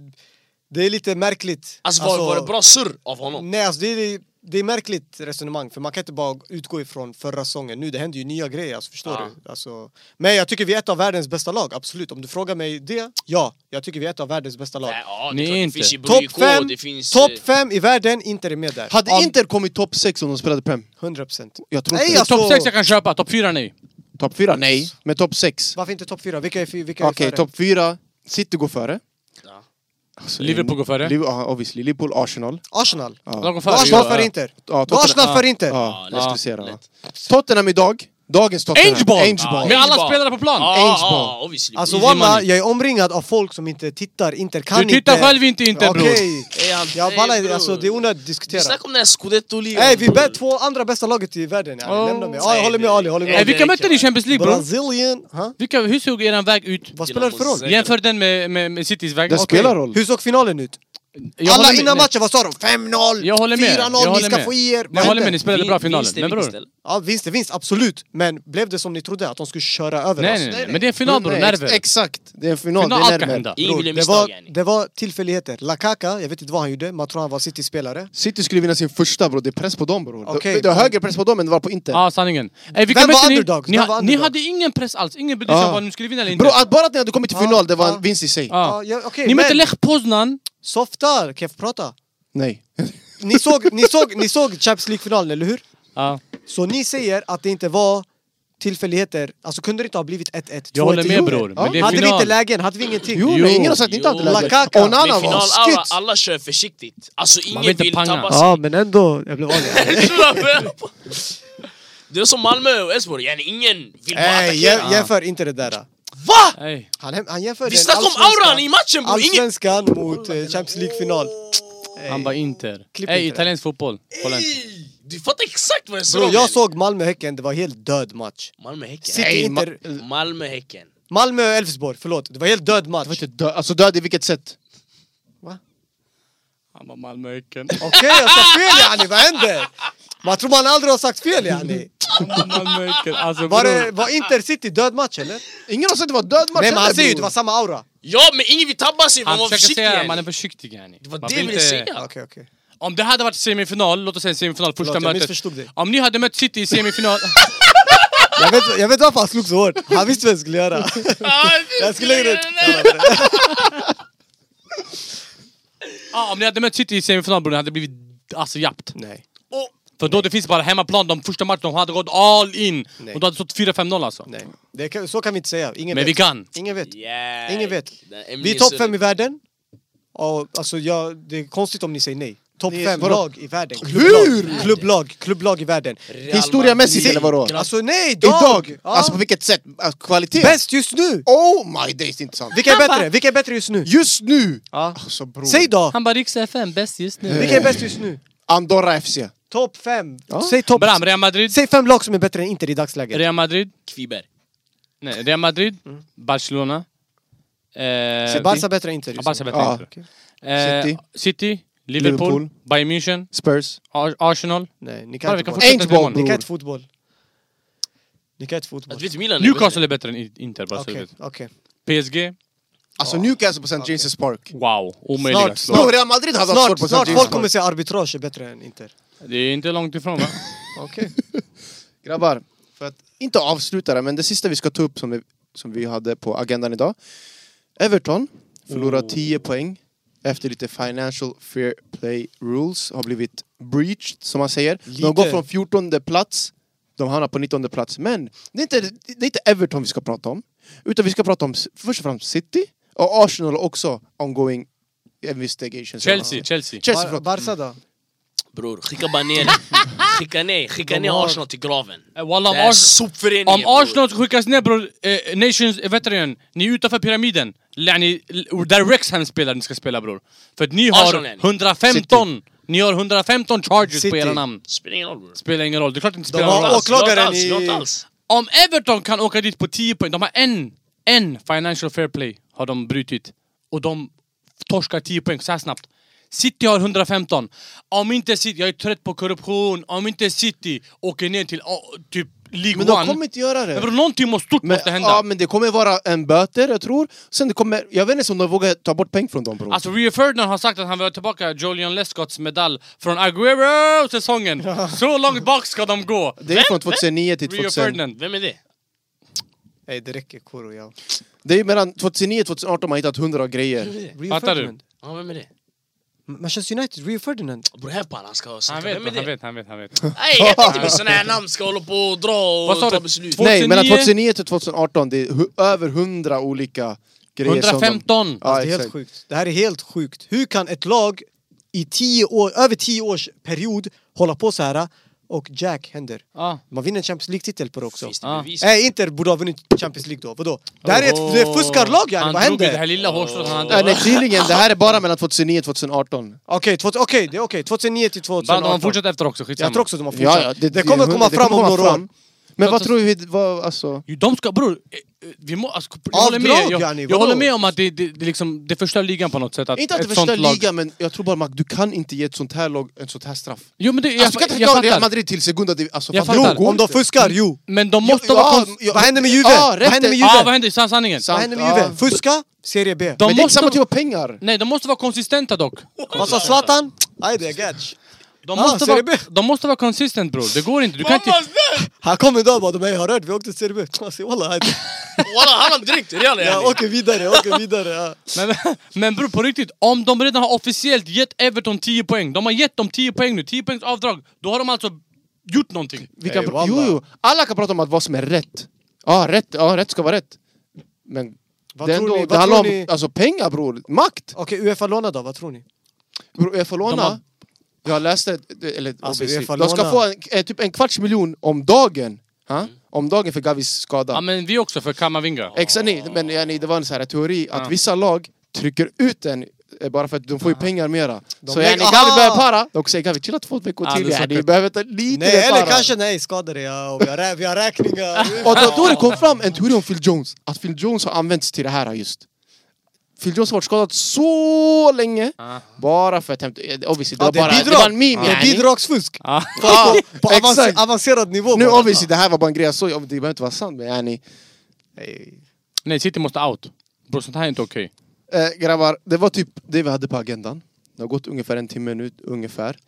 Speaker 3: det är lite märkligt. Alltså-
Speaker 2: var, var det bra surr av honom?
Speaker 3: Nej, alltså det är, det är märkligt resonemang för man kan inte bara utgå ifrån förra säsongen. Nu det händer ju nya grejer, alltså, förstår
Speaker 2: Ja.
Speaker 3: du? Alltså, men jag tycker vi är ett av världens bästa lag, absolut. Om du frågar mig det, ja. Jag tycker vi är ett av världens bästa lag.
Speaker 2: Nej, ja,
Speaker 4: Ni
Speaker 2: det, är klart,
Speaker 4: är
Speaker 2: det
Speaker 4: inte.
Speaker 2: finns ju
Speaker 3: Topp
Speaker 2: BK,
Speaker 3: fem,
Speaker 2: det finns... eh,
Speaker 3: topp fem i världen, Inter är med där.
Speaker 1: Hade
Speaker 3: Av
Speaker 1: Inter kommit topp 6 om de spelade Prem?
Speaker 3: 100%.
Speaker 1: Jag tror
Speaker 3: Nej,
Speaker 1: inte.
Speaker 3: alltså-
Speaker 4: Topp 6 jag kan köpa, topp 4 nej
Speaker 1: Topp 4? Nej, men topp 6.
Speaker 3: Varför inte topp fyra? Vilka är, fy- vilka är
Speaker 1: Okej,
Speaker 3: före?
Speaker 1: topp 4. City går före.
Speaker 2: Ja.
Speaker 1: Alltså,
Speaker 4: Liverpool går före.
Speaker 1: Liv- ja, obviously. Liverpool, Arsenal.
Speaker 3: Arsenal.
Speaker 1: Ja.
Speaker 4: De går
Speaker 3: Före,
Speaker 4: före
Speaker 3: Arsenal för
Speaker 4: ja.
Speaker 3: Inter.
Speaker 1: Ja,
Speaker 3: Då Arsenal
Speaker 4: Ja.
Speaker 3: för Inter.
Speaker 1: Ja,
Speaker 2: lätt.
Speaker 1: jag skulle säga det. va.
Speaker 2: Lätt.
Speaker 1: Tottenham idag. Dagens Tottenham.
Speaker 4: Angeball!
Speaker 1: Angeball.
Speaker 4: Med alla
Speaker 2: Ball.
Speaker 4: spelare på plan!
Speaker 2: Ja,
Speaker 1: Ainge
Speaker 2: ja,
Speaker 1: ball.
Speaker 2: ja, obviously
Speaker 3: Alltså
Speaker 4: Easy
Speaker 3: walla,
Speaker 4: money.
Speaker 3: jag är omringad av folk som inte tittar, inte kan
Speaker 4: Du
Speaker 3: inte.
Speaker 4: tittar själv inte inte bror!
Speaker 3: Okej,
Speaker 2: Ey, han-
Speaker 3: jag
Speaker 2: ey,
Speaker 3: ballar,
Speaker 2: bror.
Speaker 3: alltså det är onödigt att
Speaker 2: Vi
Speaker 3: diskutera.
Speaker 2: snackar om den här scudetto-ligan
Speaker 3: Nej, vi
Speaker 2: bror.
Speaker 3: är två andra bästa laget i världen yani.
Speaker 4: Oh.
Speaker 3: lämna mig. Ja, jag håller med Ali, jag håller med.
Speaker 4: Eh,
Speaker 3: Ali.
Speaker 2: vi-
Speaker 4: Vilka mötte ni i Champions League bror?
Speaker 3: Brazilian, ha?
Speaker 4: Vilka, hur såg eran väg ut?
Speaker 3: Vad spelar det för roll?
Speaker 2: Dynamo
Speaker 4: Jämför den med, med, med Citys väg
Speaker 1: Det
Speaker 4: Okej.
Speaker 1: spelar roll.
Speaker 3: Hur såg finalen ut?
Speaker 4: Jag
Speaker 3: Alla
Speaker 4: håller med-
Speaker 3: innan
Speaker 4: nej.
Speaker 3: matchen, vad sa de? 5-0!
Speaker 4: Jag håller med.
Speaker 3: 4-0,
Speaker 4: Jag
Speaker 3: ni
Speaker 4: håller
Speaker 3: ska
Speaker 4: med.
Speaker 3: få i er!
Speaker 4: Jag håller med, ni
Speaker 3: Vad hände?
Speaker 4: spelade bra i finalen.
Speaker 2: Vinst är
Speaker 4: Men bror,
Speaker 2: vinst,
Speaker 4: nej,
Speaker 2: eller?
Speaker 3: Ja, vinst är vinst, absolut. Men blev det som ni trodde? Att de skulle köra över oss?
Speaker 4: nej, nej, men det är en final bror,
Speaker 1: Nej, ex-
Speaker 4: nerver.
Speaker 1: Exakt, det är en final,
Speaker 4: Final,
Speaker 1: det är
Speaker 4: allt kan
Speaker 1: nerver.
Speaker 4: hända.
Speaker 2: Ingen
Speaker 3: Bror,
Speaker 2: ville
Speaker 3: det,
Speaker 2: misstag
Speaker 3: var,
Speaker 2: yani.
Speaker 3: det var tillfälligheter. Lakaka, jag vet inte vad han gjorde, men jag tror han var City-spelare.
Speaker 1: City skulle vinna sin första bror, det är press på dem bror.
Speaker 3: Okej,
Speaker 1: det, det är
Speaker 3: men-
Speaker 1: högre press på dem än det var på Inter.
Speaker 4: Ja, sanningen. Ey, vilka
Speaker 3: Vem var
Speaker 4: mötte ni?
Speaker 3: underdogs?
Speaker 4: Ni,
Speaker 3: Vem
Speaker 4: ha-
Speaker 3: var
Speaker 4: ni
Speaker 3: underdogs?
Speaker 4: hade ingen press alls, ingen brydde sig
Speaker 1: Ja.
Speaker 4: om vad ni skulle vinna eller inte.
Speaker 1: Bror, att bara att ni hade kommit till
Speaker 3: Ja,
Speaker 1: final, det var
Speaker 3: ja.
Speaker 1: en vinst i sig.
Speaker 4: Ja.
Speaker 3: alltså- Ja, okej,
Speaker 4: Ni mötte
Speaker 3: men-
Speaker 4: Lech Poznan.
Speaker 3: Softar, kan jag få prata?
Speaker 1: Nej.
Speaker 3: Ni såg, ni såg, ni såg Champions League-finalen, eller hur?
Speaker 4: Ja.
Speaker 3: Så ni säger att det inte var tillfälligheter. Alltså kunde det inte ha blivit 1-1, 2-1
Speaker 4: Jag håller med
Speaker 3: Jo.
Speaker 4: bror,
Speaker 1: Ja.
Speaker 4: men det är
Speaker 3: Hade vi inte
Speaker 4: final.
Speaker 3: lägen, hade vi ingenting.
Speaker 1: Jo,
Speaker 4: Jo,
Speaker 1: men ingen har sagt att ni inte
Speaker 2: jo.
Speaker 1: hade läge.
Speaker 3: Lakaka.
Speaker 2: Men
Speaker 1: Onana
Speaker 2: final,
Speaker 1: var
Speaker 2: alla,
Speaker 1: skit!
Speaker 2: alla kör försiktigt. Alltså
Speaker 4: vill
Speaker 2: ingen
Speaker 4: inte
Speaker 2: vill
Speaker 4: panga.
Speaker 2: tappa sig.
Speaker 3: Ja, men ändå. Jag blev arg.
Speaker 2: Det är som Malmö och Elfsborg, yani ingen vill bara
Speaker 3: Nej,
Speaker 2: attackera.
Speaker 3: jä- jämför inte det där.
Speaker 2: Va?
Speaker 4: Ey.
Speaker 3: Han, häm- han jämför
Speaker 2: Vi
Speaker 3: den
Speaker 2: snackar om
Speaker 3: allsvenskan-
Speaker 2: auran i matchen bror! Ingen...
Speaker 3: Allsvenskan mot eh, Champions League-final.
Speaker 4: Han bara Inter.
Speaker 3: Klipp
Speaker 4: Ey,
Speaker 3: inte det.
Speaker 4: italiensk fotboll. Kolla inte.
Speaker 2: Ey, Du fattar exakt vad jag sa!
Speaker 3: Bro,
Speaker 2: men-
Speaker 3: jag såg Malmö-Häcken, det var helt död match.
Speaker 2: Malmö-Häcken.
Speaker 3: City,
Speaker 1: Nej,
Speaker 3: Inter...
Speaker 2: Malmö-Häcken.
Speaker 3: Malmö-Elfsborg, förlåt. Det var helt död match.
Speaker 1: Jag vet inte, dö- Alltså död i vilket sätt?
Speaker 4: Han bara Malmöhäcken.
Speaker 3: Okej, jag sa fel yani, vad händer? Man tror man aldrig har sagt fel yani.
Speaker 4: Han bara Malmöhäcken. Alltså
Speaker 3: Var,
Speaker 4: bror.
Speaker 3: det, var Inter City död match eller?
Speaker 1: Ingen har sagt att det var död match
Speaker 3: Nej men han
Speaker 1: heller,
Speaker 3: säger ju det
Speaker 1: bror.
Speaker 3: var samma aura.
Speaker 2: Ja men ingen vill tappa sig, man
Speaker 4: Han
Speaker 2: var
Speaker 4: försöker
Speaker 2: försiktig
Speaker 4: säga att man är
Speaker 2: yani.
Speaker 4: försiktig yani.
Speaker 2: Det var
Speaker 4: Man
Speaker 2: det
Speaker 4: vill
Speaker 2: jag ville
Speaker 4: inte-
Speaker 2: säga.
Speaker 3: Okej okej.
Speaker 4: Om det hade varit semifinal, låt oss säga semifinal, första
Speaker 3: Förlåt, jag
Speaker 4: mötet.
Speaker 3: missförstod dig.
Speaker 4: Om ni hade mött City i semifinal...
Speaker 3: Jag vet, jag vet varför han slog så hårt. Han visste vad jag skulle göra. Jag skulle lägga ut.
Speaker 4: ah, om ni hade mött City i semifinal bror, det hade blivit alltså jappt.
Speaker 3: Nej.
Speaker 2: Och
Speaker 4: För då det finns bara hemmaplan, de första matcherna, de hade gått all in.
Speaker 3: Nej.
Speaker 4: Och då hade det stått 4-5-0 alltså.
Speaker 3: Nej. Det kan, så kan vi inte säga. Ingen
Speaker 4: Men
Speaker 3: vet.
Speaker 4: vi kan.
Speaker 3: Ingen vet.
Speaker 2: Yeah.
Speaker 3: Ingen vet.
Speaker 2: Den-
Speaker 3: Vi är topp fem i världen. Och, alltså, jag, det är konstigt om ni säger nej. Topp
Speaker 1: Det är-
Speaker 3: fem
Speaker 1: vadå?
Speaker 3: lag i världen.
Speaker 1: Hur?
Speaker 3: Klubblag, klubblag, klubblag i världen.
Speaker 2: Real
Speaker 1: Historia
Speaker 2: Madrid.
Speaker 1: Messi eller vadå?
Speaker 3: Alltså nej, idag!
Speaker 1: Idag!
Speaker 3: Ja.
Speaker 1: Alltså på vilket sätt? Alltså, Kvalitet?
Speaker 3: Bäst just nu!
Speaker 1: Oh my days, det är inte sant.
Speaker 3: Vilka är bättre? Vilka är bättre just nu?
Speaker 1: Just nu!
Speaker 3: Ja.
Speaker 1: Alltså bror.
Speaker 3: Säg då!
Speaker 4: Han bara Rix FM, bäst just nu.
Speaker 3: Vilka är bäst just nu?
Speaker 1: Andorra FC.
Speaker 3: Topp fem!
Speaker 1: Ja.
Speaker 3: Säg topp...
Speaker 4: Bram, Real Madrid.
Speaker 3: Säg fem lag som är bättre än Inter i dagsläget.
Speaker 4: Real Madrid.
Speaker 2: Kviber.
Speaker 4: Nej, Real Madrid.
Speaker 1: Mm.
Speaker 4: Barcelona. Eh,
Speaker 3: Säg Barca bättre än Inter
Speaker 4: Ja, Barca
Speaker 3: just nu.
Speaker 4: bättre.
Speaker 1: Ja.
Speaker 4: tror jag.
Speaker 1: City.
Speaker 4: Eh, City. Liverpool,
Speaker 1: Liverpool.
Speaker 4: Bayern München.
Speaker 1: Spurs.
Speaker 4: Ar- Arsenal.
Speaker 3: Nej, ni
Speaker 4: Bara,
Speaker 3: kan
Speaker 4: vi
Speaker 3: inte
Speaker 1: fortsätta.
Speaker 4: kan
Speaker 3: fotboll.
Speaker 4: fortsätta
Speaker 1: Ain't
Speaker 4: till
Speaker 1: ball,
Speaker 4: imorgon.
Speaker 3: Ni
Speaker 1: bror.
Speaker 3: kan inte fotboll. Ni kan inte fotboll.
Speaker 2: Att Alltså, vet Milan är
Speaker 4: Newcastle
Speaker 2: bättre.
Speaker 4: är bättre än In- Inter, bara Alltså, så du
Speaker 3: Okej,
Speaker 4: vet.
Speaker 3: okej.
Speaker 4: PSG.
Speaker 1: Alltså Newcastle på St. James' Park.
Speaker 4: Wow, omöjliga
Speaker 3: Snart,
Speaker 4: slag.
Speaker 1: Bror, Real Madrid hade haft svårt
Speaker 3: Snart,
Speaker 1: på St.
Speaker 3: snart
Speaker 1: James'
Speaker 3: folk
Speaker 1: Park.
Speaker 3: kommer säga arbitrage är bättre än Inter.
Speaker 4: Det är inte långt ifrån va?
Speaker 3: Okej.
Speaker 1: Grabbar, för att inte avsluta det, men det sista vi ska ta upp som vi, som vi hade på agendan idag. Everton förlorar 10 poäng efter lite financial fair play rules. Har blivit breached, som man säger.
Speaker 3: Lite.
Speaker 1: De går från 14 plats, de hamnar på 19 plats. Men det är, inte, det är inte Everton vi ska prata om. Utan vi ska prata om s- först och främst City och Arsenal också ongoing investigation.
Speaker 4: Chelsea, Chelsea.
Speaker 1: Chelsea,
Speaker 3: Bar
Speaker 1: förlåt. Mm.
Speaker 3: Barca då?
Speaker 2: Bror, skicka bara ner Skicka ner, skicka
Speaker 3: De
Speaker 2: ner
Speaker 3: har-
Speaker 2: Arsenal till graven.
Speaker 4: Eh, Walla, om
Speaker 2: Det här är
Speaker 4: Ars-
Speaker 2: sopföreningen
Speaker 4: om
Speaker 2: bror.
Speaker 4: Arsenal ska skickas ner bror, eh, Nations eh, veteran, ni är utanför pyramiden. Yani, l- där Rexham spelar, ni ska spela bror. För att ni
Speaker 2: Arsenal,
Speaker 4: har
Speaker 2: yani.
Speaker 4: 115, ni har 115 charges på
Speaker 3: City.
Speaker 4: era namn.
Speaker 2: Spelar ingen roll bror.
Speaker 4: Spelar ingen roll, det är klart det inte
Speaker 3: De
Speaker 4: spelar någon
Speaker 3: har
Speaker 4: roll.
Speaker 2: alls,
Speaker 3: åklagaren
Speaker 2: not alls, not
Speaker 3: i...
Speaker 2: alls.
Speaker 4: Om Everton kan åka dit på 10 poäng, de har en, en financial fair play har de brutit. Och de torskar 10 poäng så här snabbt. City har 115. Om inte City, jag är trött på korruption, om inte City åker ner till ah, typ League
Speaker 1: Men de
Speaker 4: One.
Speaker 1: kommer inte göra det.
Speaker 4: Men bror, någonting måste stort
Speaker 1: Men,
Speaker 4: måste hända.
Speaker 1: ja, men det kommer vara en böter, jag tror. Sen det kommer, jag vet inte om de vågar ta bort pengar från dem bror.
Speaker 4: Alltså Rio Ferdinand har sagt att han vill ha tillbaka Julian Lescotts medalj från Aguero-säsongen. Så långt bak ska de gå.
Speaker 1: det är från 2009 till
Speaker 4: Rio
Speaker 1: 2000.
Speaker 4: Ferdinand.
Speaker 2: Vem är det?
Speaker 3: Nej, det räcker Koro. Ja.
Speaker 1: Det är mellan 2009 och 2018 man har hittat hundra grejer.
Speaker 3: Rio
Speaker 4: Fattar du?
Speaker 3: Ferdinand.
Speaker 2: Ja, vem är det?
Speaker 3: Manchester United, Rio Ferdinand.
Speaker 2: Bror Heppan, han ska snacka.
Speaker 4: Han vet,
Speaker 2: Vem är
Speaker 4: han
Speaker 2: det?
Speaker 4: vet, han vet, han vet.
Speaker 2: Nej, jag vet inte med sådana här namn ska hålla på och dra
Speaker 4: Vad sa
Speaker 2: och ta
Speaker 4: du?
Speaker 2: beslut.
Speaker 4: Två- 2009?
Speaker 1: Nej, mellan 2009 till 2018, det är hu- över hundra olika grejer som
Speaker 4: 115!
Speaker 1: de... Ja,
Speaker 3: Alltså, det är helt
Speaker 1: exakt.
Speaker 3: sjukt. Det här är helt sjukt. Hur kan ett lag i tio år, över tio års period hålla på så här ah, och Jack händer?
Speaker 4: Ja.
Speaker 3: Man vinner en Champions League-titel på det också.
Speaker 2: Finns det
Speaker 4: Ah.
Speaker 2: bevis?
Speaker 3: Nej, Inter borde ha vunnit Champions League då. Vadå? Det här är ett det är ett fuskarlag yani, vad
Speaker 4: Han drog i det här
Speaker 3: händer?
Speaker 4: lilla hårstrået han
Speaker 1: Nej,
Speaker 4: hade.
Speaker 1: nej, tydligen, det här är bara mellan 2009 och 2018.
Speaker 3: Okej, två- okej, det är okej. 2009 till
Speaker 4: Bara de
Speaker 3: 2018.
Speaker 4: har fortsatt efter också, skitsamma.
Speaker 3: Jag tror också de har fortsatt. det, kommer
Speaker 1: är
Speaker 3: komma
Speaker 1: hundra-
Speaker 3: fram om några år.
Speaker 1: Men vad tror vi, vad, alltså...
Speaker 4: Jo, De ska, bror, eh, vi må, alltså, jag, håller med,
Speaker 3: Avdrag,
Speaker 4: jag,
Speaker 3: yani,
Speaker 4: jag
Speaker 3: vadå?
Speaker 4: håller med om att det, det, det, liksom, det förstör ligan på något sätt. Att
Speaker 1: Inte att det
Speaker 4: ett sånt
Speaker 1: förstör
Speaker 4: lag-
Speaker 1: ligan, men jag tror bara att du kan inte ge ett sånt här lag ett sånt här straff.
Speaker 4: Jo, men det, jag,
Speaker 1: Alltså, du kan inte
Speaker 4: jag
Speaker 1: förklara Real
Speaker 4: fattar.
Speaker 1: Madrid till Segunda div- alltså,
Speaker 4: Jag
Speaker 1: fattar
Speaker 4: fattar.
Speaker 1: du?
Speaker 3: Jo, om de fuskar, jo.
Speaker 4: Men de måste
Speaker 1: Ja,
Speaker 4: vara... konst-
Speaker 1: ja,
Speaker 3: Vad händer med Juve?
Speaker 1: Ja,
Speaker 3: Vad
Speaker 1: rätt.
Speaker 3: händer med Juve?
Speaker 4: Ja, vad händer? Sa sanningen?
Speaker 1: Sant,
Speaker 3: Vad händer med
Speaker 1: ja.
Speaker 3: Juve? Fuska, Serie B.
Speaker 4: De
Speaker 1: Men det är inte
Speaker 4: måste,
Speaker 1: samma typ av pengar!
Speaker 4: nej, de måste vara konsistenta dock.
Speaker 3: Vad sa Zlatan? Ajde, gatch.
Speaker 4: De
Speaker 3: Ah,
Speaker 4: måste,
Speaker 3: Serie
Speaker 4: vara,
Speaker 3: B.
Speaker 4: de måste vara consistent bror, det går inte. Du kan inte...
Speaker 2: Mammas där!
Speaker 3: Han kom idag och bara, de här, jag har hört, vi åkte till Serie B. Jag säger, "Wallah, ajde."
Speaker 2: Walla, han har direkt real
Speaker 3: Jag
Speaker 2: yani.
Speaker 3: åker vidare, jag åker vidare. ja.
Speaker 4: Men, men bror på riktigt, om de redan har officiellt gett Everton 10 poäng, de har gett dem 10 poäng nu, 10 poängs avdrag, då har de alltså gjort någonting.
Speaker 1: Vi kan
Speaker 3: Ey,
Speaker 1: pra- jo,
Speaker 3: wallah.
Speaker 1: jo. Alla kan prata om att vad som är rätt. Ja, rätt, ja, rätt ska vara rätt. Men
Speaker 3: Vad
Speaker 1: det, är
Speaker 3: tror
Speaker 1: ändå,
Speaker 3: ni-
Speaker 1: det
Speaker 3: vad
Speaker 1: handlar
Speaker 3: tror
Speaker 1: om
Speaker 3: ni-
Speaker 1: alltså, pengar bror, makt!
Speaker 3: Okej, Uefa-låna då, vad tror ni?
Speaker 1: Bror, Uefa
Speaker 4: De har-
Speaker 1: låna. Jag läste, eller
Speaker 3: Alltså,
Speaker 1: obviously,
Speaker 3: Uefa
Speaker 1: de ska
Speaker 3: låna.
Speaker 1: få en, eh, typ en kvarts miljon om dagen. Ha?
Speaker 4: Mm.
Speaker 1: Om dagen för Gavis skada.
Speaker 4: Ja men vi också för Kamavinga.
Speaker 1: Exakt, nej, men yani, det var en sån här teori att
Speaker 4: Ja.
Speaker 1: vissa lag trycker ut den eh, bara för att de får ju pengar mera. så
Speaker 3: lägger-
Speaker 1: yani, Gavi
Speaker 3: Aha!
Speaker 1: börjar para, de säger Gavi chilla två veckor
Speaker 4: Ja,
Speaker 1: till,
Speaker 4: det är
Speaker 1: yani,
Speaker 4: säkert.
Speaker 1: ni behöver ta lite
Speaker 3: Nej,
Speaker 1: para.
Speaker 3: eller kanske nej, skadade jag och vi har, rä- vi har räkningar.
Speaker 1: Och då, då det kom fram en teori om Phil Jones, att Phil Jones har använts till det här just. Phil Jones har varit skadad så länge,
Speaker 4: Ah.
Speaker 1: bara för att hämta... eh, Obviously, det
Speaker 3: Ja,
Speaker 1: var
Speaker 3: det
Speaker 1: bara...
Speaker 3: är
Speaker 1: Det var en
Speaker 3: bidrag.
Speaker 1: meme
Speaker 3: Det är
Speaker 1: yani.
Speaker 3: bidragsfusk.
Speaker 4: Ja.
Speaker 1: Ja,
Speaker 3: På avance-
Speaker 1: exakt.
Speaker 3: avancerad nivå.
Speaker 1: Nu
Speaker 3: bara.
Speaker 1: obviously, det här var bara en grej jag såg, det behöver inte vara sant men yani.
Speaker 3: Nej.
Speaker 4: Nej City måste out. Bror sånt här är inte okej.
Speaker 1: Eh, grabbar, det var typ det vi hade på agendan. Det har gått ungefär en timme nu, ungefär.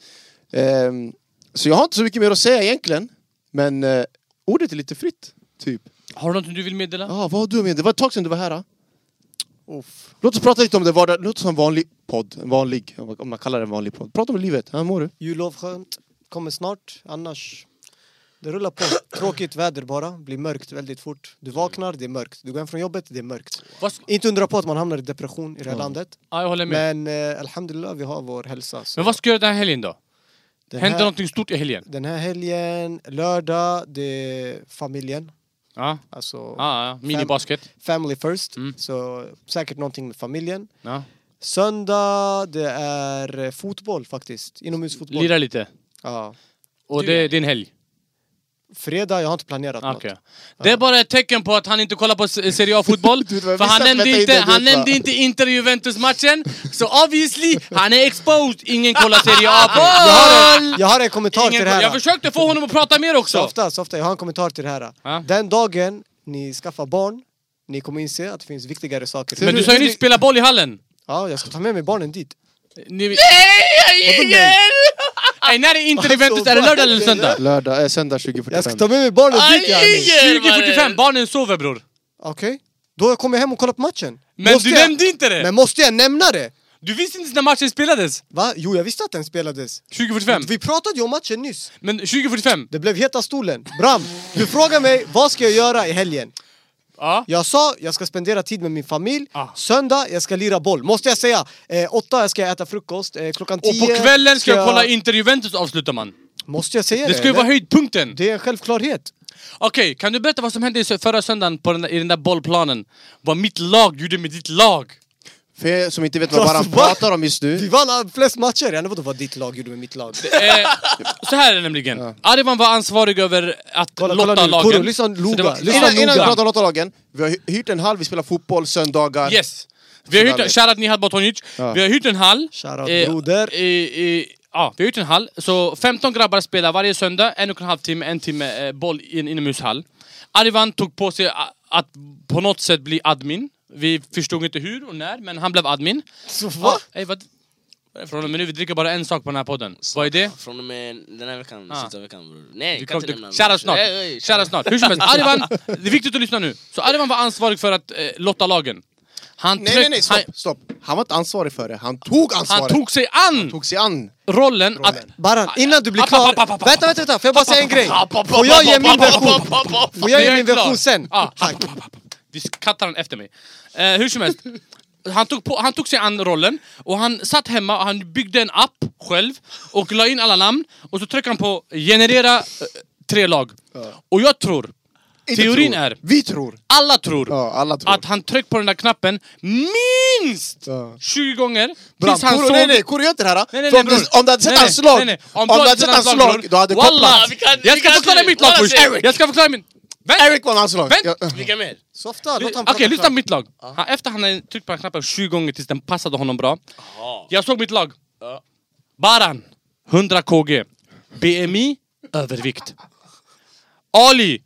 Speaker 1: Ehm, så jag har inte så mycket mer att säga egentligen. Men eh, ordet är lite fritt, typ.
Speaker 4: Har du något du vill meddela?
Speaker 1: Ah, vad har du med? Det var ett tag sedan du var här. ah. Då. Låt oss prata lite om det vardag... Låt oss ha en vanlig podd. En vanlig, om man kallar det en vanlig podd. Prata om livet. Hur mår du?
Speaker 3: Jullov skönt. Kommer snart, annars... Det rullar på. Tråkigt väder bara. Blir mörkt väldigt fort. Du vaknar, det är mörkt. Du går hem från jobbet, det är mörkt.
Speaker 4: Vad sk-
Speaker 3: Inte undra på att man hamnar i depression i det här landet.
Speaker 4: Ja, jag håller med. Men,
Speaker 3: Men eh, alhamdulillah, vi har vår hälsa. Så
Speaker 4: vad ska du göra den här helgen då?
Speaker 3: den,
Speaker 4: Händer
Speaker 3: här,
Speaker 4: någonting stort i helgen?
Speaker 3: den här helgen, lördag, det är familjen.
Speaker 4: Ja,
Speaker 3: Alltså
Speaker 4: ja, ja. minibasket.
Speaker 3: family first.
Speaker 4: Mm.
Speaker 3: Så säkert någonting med familjen.
Speaker 4: Ja.
Speaker 3: Söndag, det är eh, fotboll faktiskt. Inomhusfotboll.
Speaker 4: Lira lite.
Speaker 3: Ja.
Speaker 4: Och det är din helg.
Speaker 3: Fredag, jag har inte planerat något.
Speaker 4: Ah, Okej. Det är bara ett tecken på att han inte kollar på s- Serie A-fotboll.
Speaker 1: Du vet vad jag
Speaker 4: för han
Speaker 1: visste att vänta in
Speaker 4: nämnde, inte,
Speaker 1: det,
Speaker 4: han
Speaker 1: du vet,
Speaker 4: nämnde
Speaker 1: va?
Speaker 4: inte Inter-Juventus-matchen. Så obviously, han är exposed. Ingen kollar Serie A-boll!
Speaker 3: Jag har en kommentar till
Speaker 4: Ingen
Speaker 3: det
Speaker 4: koll-
Speaker 3: här.
Speaker 4: Jag försökte få honom att prata mer
Speaker 3: så
Speaker 4: också.
Speaker 3: ofta, så ofta, jag har en kommentar till det här.
Speaker 4: Ja.
Speaker 3: Den dagen ni skaffar barn, ni kommer inse att det finns viktigare saker.
Speaker 4: Men du sa ju nyss spela boll i hallen.
Speaker 3: Ja, jag ska ta med mig barnen dit.
Speaker 4: Ni... Nej, när är
Speaker 3: Alltså,
Speaker 4: Inter-Juventus? Är det lördag eller söndag?
Speaker 1: Lördag, eh, söndag 20.45.
Speaker 3: Jag ska ta med mig barnen dit, yani.
Speaker 4: 20.45, barnen sover bror.
Speaker 3: Okej. Då kommer jag hem och kollar på matchen.
Speaker 4: Men
Speaker 3: Måste
Speaker 4: du
Speaker 3: jag...
Speaker 4: nämnde inte det!
Speaker 3: Men måste jag nämna det?
Speaker 4: Du visste inte när matchen spelades!
Speaker 3: Va? Jo, jag visste att den spelades.
Speaker 4: 20.45.
Speaker 3: Vi pratade ju om matchen nyss.
Speaker 4: Men 20.45?
Speaker 3: Det blev Heta stolen. Bram, du frågar mig vad ska jag göra i helgen?
Speaker 4: Ja.
Speaker 3: Jag sa jag ska spendera tid med min familj.
Speaker 4: Ah.
Speaker 3: Söndag, jag ska lira boll. Måste jag säga. Eh, åtta, jag ska äta frukost. Eh, klockan tio...
Speaker 4: Och på kvällen ska jag kolla Inter-Juventus avslutar man.
Speaker 3: Måste jag säga det?
Speaker 4: Det ska ju vara
Speaker 3: eller?
Speaker 4: höjdpunkten!
Speaker 3: Det är en självklarhet.
Speaker 4: Okej, kan du berätta vad som hände i sö- förra söndagen på den där, i den där bollplanen? Vad mitt lag gjorde med ditt lag?
Speaker 1: För er som inte vet vad
Speaker 3: Alltså,
Speaker 1: Baran
Speaker 3: va?
Speaker 1: pratar om just
Speaker 3: Vi
Speaker 1: nu.
Speaker 3: vann alla- flest matcher. Jag vet inte vad ditt lag gjorde med mitt lag.
Speaker 4: Eh, så här är det nämligen. Arivan var ansvarig över att
Speaker 3: Kolla,
Speaker 4: lotta
Speaker 3: kolla nu.
Speaker 4: lagen.
Speaker 3: Koro, lyssna
Speaker 4: Så
Speaker 3: noga.
Speaker 4: det var-
Speaker 3: Lyssna
Speaker 1: Innan, innan vi
Speaker 4: noga.
Speaker 1: pratar om Lottalagen, vi har hy- hyrt en hall, vi spelar fotboll söndagar.
Speaker 4: Yes. Vi har
Speaker 1: Så
Speaker 4: hyrt,
Speaker 1: där vet.
Speaker 4: shoutout Nihat Batonic.
Speaker 1: Ja.
Speaker 4: Vi har hyrt en hall.
Speaker 3: Shoutout
Speaker 4: Eh,
Speaker 3: broder.
Speaker 4: eh, eh, ja, vi har hyrt en hall. Så 15 grabbar spelar varje söndag, en och en halv timme, en timme eh, boll i en inomhushall. Arivan tog på sig a- att på något sätt bli admin. Vi förstod inte hur och när, men han blev admin.
Speaker 3: Så
Speaker 4: Ja,
Speaker 3: va?
Speaker 4: ey, vad? vad är det Från och med nu, vi dricker bara en sak på den här podden. Vad är det?
Speaker 2: Från och med den här veckan,
Speaker 4: Ah.
Speaker 2: slutet av veckan bror. Nej,
Speaker 4: Vi
Speaker 2: kan inte
Speaker 4: kommer
Speaker 2: nämna
Speaker 4: till- Shoutout snart!
Speaker 2: Nej, nej,
Speaker 4: Shoutout snart! Hur som helst, Arivan, det är viktigt att lyssna nu. Så Arivan var ansvarig för att eh, lotta lagen. Han
Speaker 1: Nej,
Speaker 4: tryck-
Speaker 1: nej, nej, stopp, stopp. Han var inte ansvarig för det, han tog
Speaker 4: Han,
Speaker 1: ansvaret.
Speaker 4: han tog sig an
Speaker 1: tog sig an.
Speaker 4: rollen att...
Speaker 3: Baran, innan du blir
Speaker 4: App,
Speaker 3: klar...
Speaker 4: app, app, app, app.
Speaker 3: Vänta, vänta, vänta. Får jag bara säga en grej?
Speaker 2: App, app, app,
Speaker 3: Får jag
Speaker 2: app,
Speaker 3: ge min
Speaker 2: app, app,
Speaker 3: version?
Speaker 2: app, app, app, app.
Speaker 3: Får jag
Speaker 4: Men
Speaker 3: ge
Speaker 4: är
Speaker 3: min
Speaker 4: klar. Ah.
Speaker 3: version sen?
Speaker 4: Ja,
Speaker 3: Tack.
Speaker 4: Vi kattar den efter mig. Eh, hur som helst, han tog, på, han tog sig an rollen och han satt hemma och han byggde en app själv och la in alla namn och så tryckte han på generera eh, tre lag. Och jag tror,
Speaker 1: Inte
Speaker 4: teorin
Speaker 1: tror.
Speaker 4: är,
Speaker 1: Vi tror.
Speaker 4: alla tror,
Speaker 1: Ja, alla tror.
Speaker 4: att han tryckte på den där knappen minst
Speaker 1: Ja.
Speaker 4: 20 gånger
Speaker 1: Bram,
Speaker 4: tills han
Speaker 1: Kuro,
Speaker 4: såg...
Speaker 1: nej nej, Kuro gör inte det här!
Speaker 4: Nej, nej,
Speaker 1: För
Speaker 4: nej,
Speaker 1: om, du,
Speaker 4: bror.
Speaker 1: om du hade sett
Speaker 4: Nej,
Speaker 1: hans
Speaker 4: nej,
Speaker 1: slag,
Speaker 4: nej, nej.
Speaker 1: om, du hade sett hans lag,
Speaker 4: bror,
Speaker 1: då hade du
Speaker 4: wallah,
Speaker 1: kopplat!
Speaker 4: vi kan- Jag ska förklara mitt lag först! Jag ska förklara min...
Speaker 1: Eric vann hans lag!
Speaker 4: Vänt!
Speaker 1: Ja, äh.
Speaker 2: Vilka mer?
Speaker 3: Softa, låt han
Speaker 4: Okej,
Speaker 3: prata
Speaker 4: lyssna på
Speaker 3: klart.
Speaker 4: mitt lag. Han, efter han hade tryckt på den knappen 20 gånger tills den passade honom bra.
Speaker 2: Ja.
Speaker 4: Jag såg mitt lag.
Speaker 2: Ja.
Speaker 4: Baran, 100 kg. BMI, övervikt. Ali,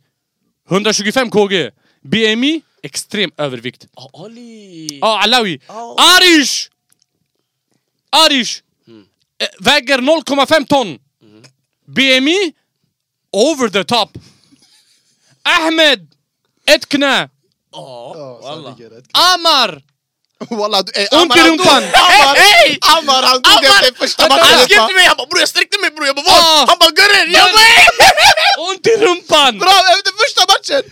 Speaker 4: 125 kg. BMI, extrem övervikt.
Speaker 2: Ah, Ali!
Speaker 4: Ja, Oh, Alawi.
Speaker 3: Oh.
Speaker 2: Ja.
Speaker 4: Arish! Arish!
Speaker 3: Hmm.
Speaker 4: Eh, Väger 0,5 ton.
Speaker 3: Mm.
Speaker 4: BMI, over the top. Ahmed, ett
Speaker 2: Ja,
Speaker 4: knä.
Speaker 3: alltså,
Speaker 2: walla.
Speaker 4: Amar,
Speaker 1: Walla, du- eh,
Speaker 4: ont i
Speaker 1: Amar, han
Speaker 4: rumpan.
Speaker 1: dog.
Speaker 4: Hej!
Speaker 1: Amar, han tog
Speaker 2: Amar!
Speaker 1: det efter första
Speaker 2: Han
Speaker 1: matchen!
Speaker 2: skrev till
Speaker 1: va?
Speaker 2: mig, han bara bror jag sträckte mig bror, jag bara
Speaker 4: Ah.
Speaker 2: vad? Han bara gurren! Jag bara "Ey!"
Speaker 4: Ont i rumpan!
Speaker 1: Bra, efter första matchen!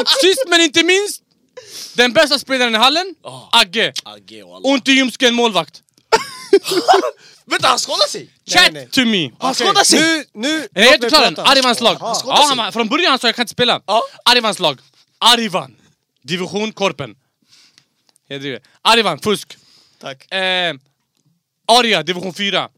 Speaker 4: Och sist men inte minst, den bästa spelaren i hallen,
Speaker 2: Ah.
Speaker 4: Agge.
Speaker 2: Agge walla.
Speaker 4: Ont i ljumsken målvakt.
Speaker 2: Vänta han skadade sig!
Speaker 4: Chat
Speaker 3: nej. Ah,
Speaker 4: to me!
Speaker 2: Han
Speaker 3: Okej,
Speaker 2: skadade sig!
Speaker 3: Nu, nu,
Speaker 4: Nej, jag är inte klar än,
Speaker 3: Arman
Speaker 4: Arivans lag.
Speaker 2: skadade
Speaker 4: Ja,
Speaker 2: sig.
Speaker 4: han, var- från början han sa jag kan inte spela.
Speaker 2: Ja.
Speaker 4: Arivans lag. Arivan. Division Korpen. Jag driver. Arivan, fusk.
Speaker 3: Tack.
Speaker 4: Eh, Aria, division 4.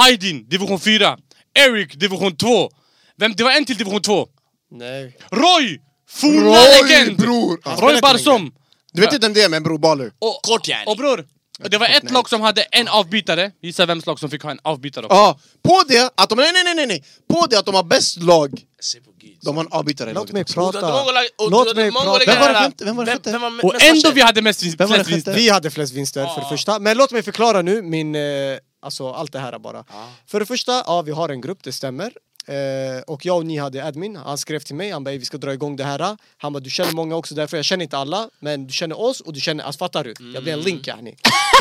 Speaker 4: Aydin, division 4. Eric, division 2. Vem, det var en till division 2.
Speaker 3: Nej.
Speaker 4: Roy! Forna
Speaker 1: Roy
Speaker 4: legend!
Speaker 1: bror! Ja.
Speaker 4: Roy Barsom!
Speaker 1: Du vet inte vem det är men bror, baller.
Speaker 4: Och,
Speaker 2: Kort yani.
Speaker 4: och bror, det var ett lag som hade en avbytare. Gissa vems lag som fick ha en avbytare också.
Speaker 1: Ja, på det att de... Nej, nej, nej, nej, nej! På det att de har bäst lag,
Speaker 2: Se på gud.
Speaker 1: de har en avbytare i
Speaker 3: Låt
Speaker 1: laget
Speaker 3: mig
Speaker 1: också.
Speaker 2: Och du hade många
Speaker 3: prata.
Speaker 2: lag- och du
Speaker 3: Låt
Speaker 2: hade
Speaker 3: mig
Speaker 2: många
Speaker 3: prata.
Speaker 2: lag-
Speaker 1: Vem var det femte? Vem var det
Speaker 2: Vem-
Speaker 1: femte?
Speaker 2: vem var
Speaker 4: Och
Speaker 2: mest
Speaker 4: ändå
Speaker 2: matcher?
Speaker 4: vi hade mest vinst-
Speaker 1: Vem var det
Speaker 4: flest vinster.
Speaker 1: sjätte?
Speaker 3: Vi hade flest vinster för det första. Men låt mig förklara nu min, eh, alltså allt det här bara. För det första, ja vi har en grupp, det stämmer. Eh, och jag och ni hade admin, han skrev till mig, han bara "Ey, vi ska dra igång det här. Han bara du känner många också därför, jag känner inte alla. Men du känner oss och du känner, alltså fattar du? Jag blir en link yani.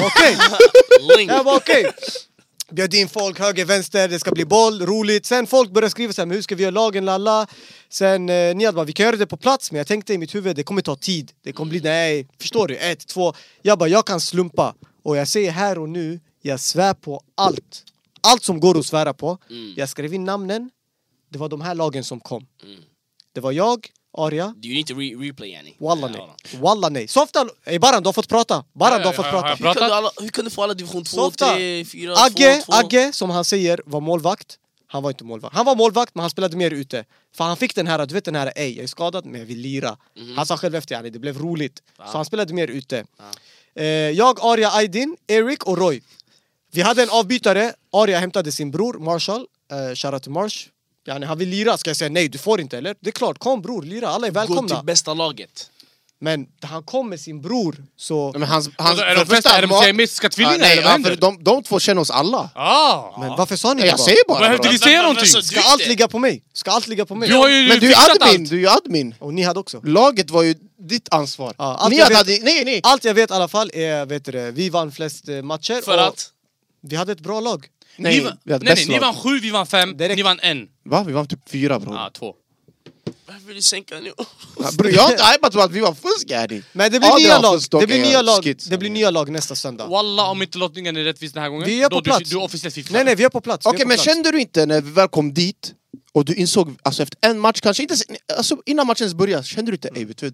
Speaker 3: Okej!
Speaker 2: Link.
Speaker 3: Jag bara okej. Bjöd in folk höger, vänster, det ska bli boll, roligt. Sen folk började skriva så här, men hur ska vi göra lagen, lalla? Sen eh, Niad bara, vi kan göra det på plats, men jag tänkte i mitt huvud, det kommer ta tid. Det kommer bli, nej, förstår du? Ett, två. Jag bara, jag kan slumpa. Och jag säger här och nu, jag svär på allt. Allt som går att svära på.
Speaker 4: Mm.
Speaker 3: Jag skrev in namnen, det var de här lagen som kom.
Speaker 4: Mm.
Speaker 3: Det var jag, Arya,
Speaker 2: Do you need to re replay yani?
Speaker 3: Walla
Speaker 2: Ja,
Speaker 3: nej.
Speaker 2: ja.
Speaker 3: Walla nej. Softa, ey Baran du har fått prata.
Speaker 4: Ja,
Speaker 3: Baran
Speaker 4: ja,
Speaker 3: du har fått
Speaker 4: ja,
Speaker 3: prata.
Speaker 4: ja,
Speaker 2: Hur kan,
Speaker 4: Pratat.
Speaker 2: du alla, hur kan du få alla division 2,
Speaker 3: Softa.
Speaker 2: 3, 4, 2,
Speaker 3: Agge,
Speaker 2: 2?
Speaker 3: Agge, som han säger, var målvakt. Han var inte målvakt. Han var målvakt, men han spelade mer ute. För han fick den här, du vet den här, ej, jag är skadad, men jag vill lira. Han sa själv efter, yani, det blev roligt. Så han spelade mer ute. Eh, jag, Arya Aydin, Eric och Roy. Vi hade en avbytare. Arya hämtade sin bror, Marshall. Eh, Shoutout till Marsh. Yani, han vill lira, ska jag säga nej, du får inte eller? Det är klart, kom bror, lira, alla är
Speaker 2: Gå till
Speaker 3: välkomna.
Speaker 2: bästa laget.
Speaker 3: Men han kom med sin bror, så...
Speaker 1: Nej, Men hans, hans,
Speaker 4: Alltså, Är de
Speaker 1: för
Speaker 4: flesta-
Speaker 1: första-
Speaker 4: är de
Speaker 1: Ma-
Speaker 4: siamesiska tvillingar,
Speaker 1: Ja, nej,
Speaker 4: eller vad
Speaker 1: ja,
Speaker 4: händer?
Speaker 1: för de, de två känner oss alla.
Speaker 4: Ah.
Speaker 3: Men varför sa ni
Speaker 1: Nej,
Speaker 3: det
Speaker 1: jag
Speaker 3: bara?
Speaker 1: säger bara.
Speaker 4: Vad
Speaker 1: bra.
Speaker 4: händer? Vi ser någonting!
Speaker 3: Ska allt ligga på mig? Ska allt ligga på mig?
Speaker 4: Du har ju
Speaker 1: Men du är
Speaker 4: fixat
Speaker 1: admin,
Speaker 4: allt!
Speaker 1: du är ju admin.
Speaker 3: Och ni hade också?
Speaker 1: Laget var ju ditt ansvar.
Speaker 3: Ja, allt
Speaker 1: ni
Speaker 3: jag
Speaker 1: hade,
Speaker 3: vet-
Speaker 1: hade- nej,
Speaker 4: Ah,
Speaker 1: nej.
Speaker 3: Allt jag vet i alla fall är, vet du, det, vi vann flest eh, matcher
Speaker 2: För
Speaker 3: och
Speaker 2: att...
Speaker 3: vi hade ett bra lag.
Speaker 1: nej,
Speaker 4: ni, va-
Speaker 1: vi hade
Speaker 4: nej, nej,
Speaker 1: bäst
Speaker 4: ni
Speaker 1: lag.
Speaker 4: vann sju, vi vann fem,
Speaker 3: Direkt.
Speaker 4: ni vann en.
Speaker 1: Va? Vi vann typ fyra bror.
Speaker 4: Ah, två.
Speaker 2: Varför vill du sänka nu?
Speaker 1: Ja, bror, jag har inte hypat på att vi var fusk Adi.
Speaker 3: Men det blir
Speaker 1: Ja,
Speaker 3: nya
Speaker 1: var
Speaker 3: lag.
Speaker 1: fusk, dock,
Speaker 3: Det blir
Speaker 1: eh,
Speaker 3: nya lag.
Speaker 1: skits.
Speaker 3: Det blir nya lag nästa söndag.
Speaker 4: Walla, om inte lottningen är rättvis den här gången,
Speaker 3: Vi är på
Speaker 4: då
Speaker 3: plats.
Speaker 4: Du, du är officiellt fifflare.
Speaker 3: Nej nej, vi är på plats. vi
Speaker 1: Okej
Speaker 3: är på
Speaker 1: men
Speaker 3: plats.
Speaker 1: kände du inte när vi väl kom dit och du insåg, alltså efter en match kanske, inte, ens- alltså innan matchen ens började, kände du inte ey vet du,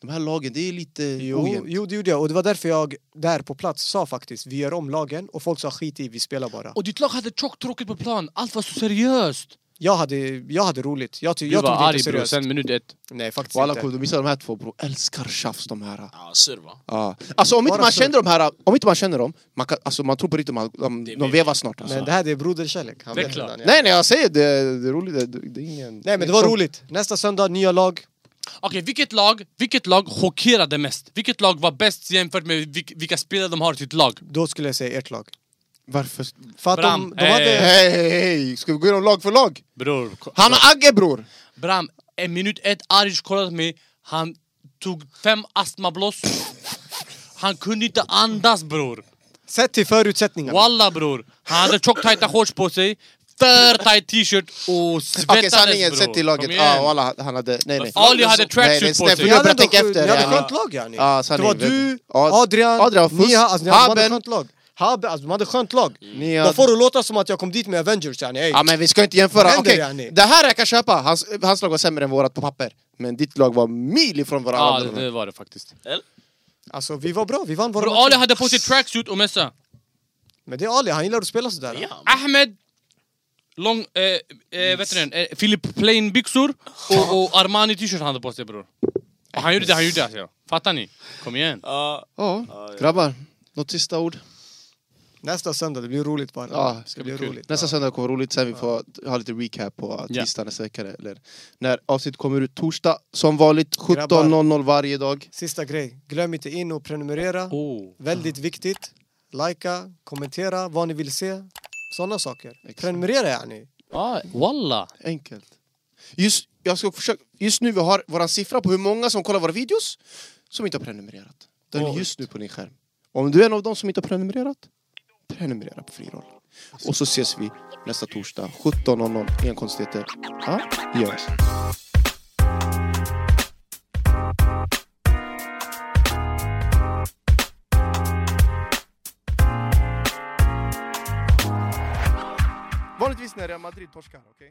Speaker 1: de här lagen det är lite
Speaker 3: Jo,
Speaker 1: ojämnt?
Speaker 3: jo, det gjorde jag. Och det var därför jag där på plats sa faktiskt, vi gör om lagen. Och folk sa skit i, vi spelar bara.
Speaker 4: Och ditt lag hade tjockt tråkigt på plan, allt var så seriöst!
Speaker 3: Jag hade, jag hade roligt. Jag, ty-
Speaker 4: Du
Speaker 3: jag
Speaker 4: var
Speaker 3: tog det
Speaker 4: arg
Speaker 3: inte
Speaker 4: bror,
Speaker 3: seriöst.
Speaker 4: sen minut ett.
Speaker 3: Nej, faktiskt
Speaker 1: Och alla
Speaker 3: inte.
Speaker 1: kommer du missar de här två bror, älskar tjafs de här.
Speaker 2: Ja, serva.
Speaker 1: Ja. Alltså om inte
Speaker 3: Bara
Speaker 1: man
Speaker 3: för-
Speaker 1: känner de här, om inte man känner dem, man, kan, alltså, man tror på riktigt de, de,
Speaker 2: Det
Speaker 1: de
Speaker 2: blir-
Speaker 1: vevar snart alltså.
Speaker 3: Men det här det är broderkärlek. Han
Speaker 4: Det är
Speaker 3: vet
Speaker 4: klart.
Speaker 3: redan, ja.
Speaker 1: Nej nej jag säger det, det är roligt, det, det är ingen...
Speaker 3: Nej men det var roligt. Nästa söndag, nya lag.
Speaker 4: Okej, vilket, lag, vilket lag chockerade mest? Vilket lag var bäst jämfört med vilk- vilka spelare de har i sitt lag?
Speaker 3: Då skulle jag säga ert lag.
Speaker 1: Varför?
Speaker 3: För att de,
Speaker 4: Bram,
Speaker 3: de hade...
Speaker 4: eh,
Speaker 1: Hej hej hej, ska vi gå igenom lag för lag?
Speaker 4: Bror,
Speaker 1: Han har Agge bror!
Speaker 4: Bram, en minut ett, Arish kollade på mig, han tog fem astmablås. Han kunde inte andas bror.
Speaker 3: Sett till förutsättningarna.
Speaker 4: Walla bror, han hade tjockt tajta shorts på sig, för tajt t-shirt och
Speaker 1: Okej
Speaker 4: svettades
Speaker 1: sanningen,
Speaker 4: bror.
Speaker 1: sett till
Speaker 4: Kom
Speaker 1: laget,
Speaker 4: igen.
Speaker 1: ah, alla, han hade... Nej nej.
Speaker 4: Ali hade
Speaker 1: Nej, nej,
Speaker 4: tracksuit på
Speaker 1: snälla,
Speaker 4: sig.
Speaker 1: förlåt. Jag börjar
Speaker 3: ändå
Speaker 1: tänka
Speaker 3: skönt-
Speaker 1: efter,
Speaker 3: Ni hade
Speaker 1: yani.
Speaker 3: skönt lag yani.
Speaker 1: Ja, sanning,
Speaker 3: det var
Speaker 1: vet
Speaker 3: du,
Speaker 1: du. Ja,
Speaker 3: Adrian,
Speaker 1: Adrian var fusk.
Speaker 3: Ni, alltså, ni hade
Speaker 1: Haben.
Speaker 3: skönt lag. Habe, alltså, de hade skönt lag.
Speaker 1: Ni
Speaker 3: De
Speaker 1: hade-
Speaker 3: får det låta som att jag kom dit med Avengers yani. Ey.
Speaker 1: Ja men vi ska inte jämföra,
Speaker 3: Vad händer,
Speaker 1: okej.
Speaker 3: yani?
Speaker 1: Det här jag kan köpa, hans, hans lag var sämre än vårat på papper. Men ditt lag var mil ifrån våra
Speaker 4: Ja,
Speaker 1: andra
Speaker 4: det, det
Speaker 1: lag.
Speaker 4: var det faktiskt.
Speaker 3: Alltså vi var bra, vi vann våra
Speaker 4: Bror, Ali
Speaker 3: matcher.
Speaker 4: hade på sig tracksuit och mössa.
Speaker 3: Men det är Ali, han gillar att spela sådär.
Speaker 2: Ja.
Speaker 4: Ahmed lång, eh, eh, vet du den, eh, Philip Plain-byxor och, och Armani-t-shirt han hade på sig bror. Och han gjorde det han gjorde alltså. Fattar ni? Kom igen.
Speaker 2: Ja,
Speaker 1: Ja,
Speaker 2: ja.
Speaker 1: grabbar. Något sista ord?
Speaker 3: Nästa söndag, det blir roligt bara.
Speaker 1: Ja,
Speaker 3: det blir
Speaker 4: bli kul.
Speaker 3: roligt.
Speaker 1: Nästa söndag kommer vara roligt, sen vi får ha lite recap på
Speaker 4: Ja.
Speaker 1: tisdag nästa vecka. Eller när avsnittet kommer ut torsdag, som vanligt 17.00 varje dag.
Speaker 3: Sista grej, glöm inte in och prenumerera.
Speaker 4: Oh.
Speaker 3: Väldigt viktigt. Lajka, kommentera vad ni vill se. Sådana saker.
Speaker 1: Exakt.
Speaker 3: Prenumerera yani.
Speaker 4: Ah, walla!
Speaker 1: Enkelt. Just, jag ska försöka, just nu vi har vår siffra på hur många som kollar våra videos som inte har prenumererat. Den är
Speaker 4: Oj.
Speaker 1: just nu på din skärm. Om du är en av dem som inte har prenumererat, prenumerera på Friroll. Och så ses vi nästa torsdag 17.00, enkonstigheter. Ja, gör det. Vanligtvis när Real Madrid torskar, okej?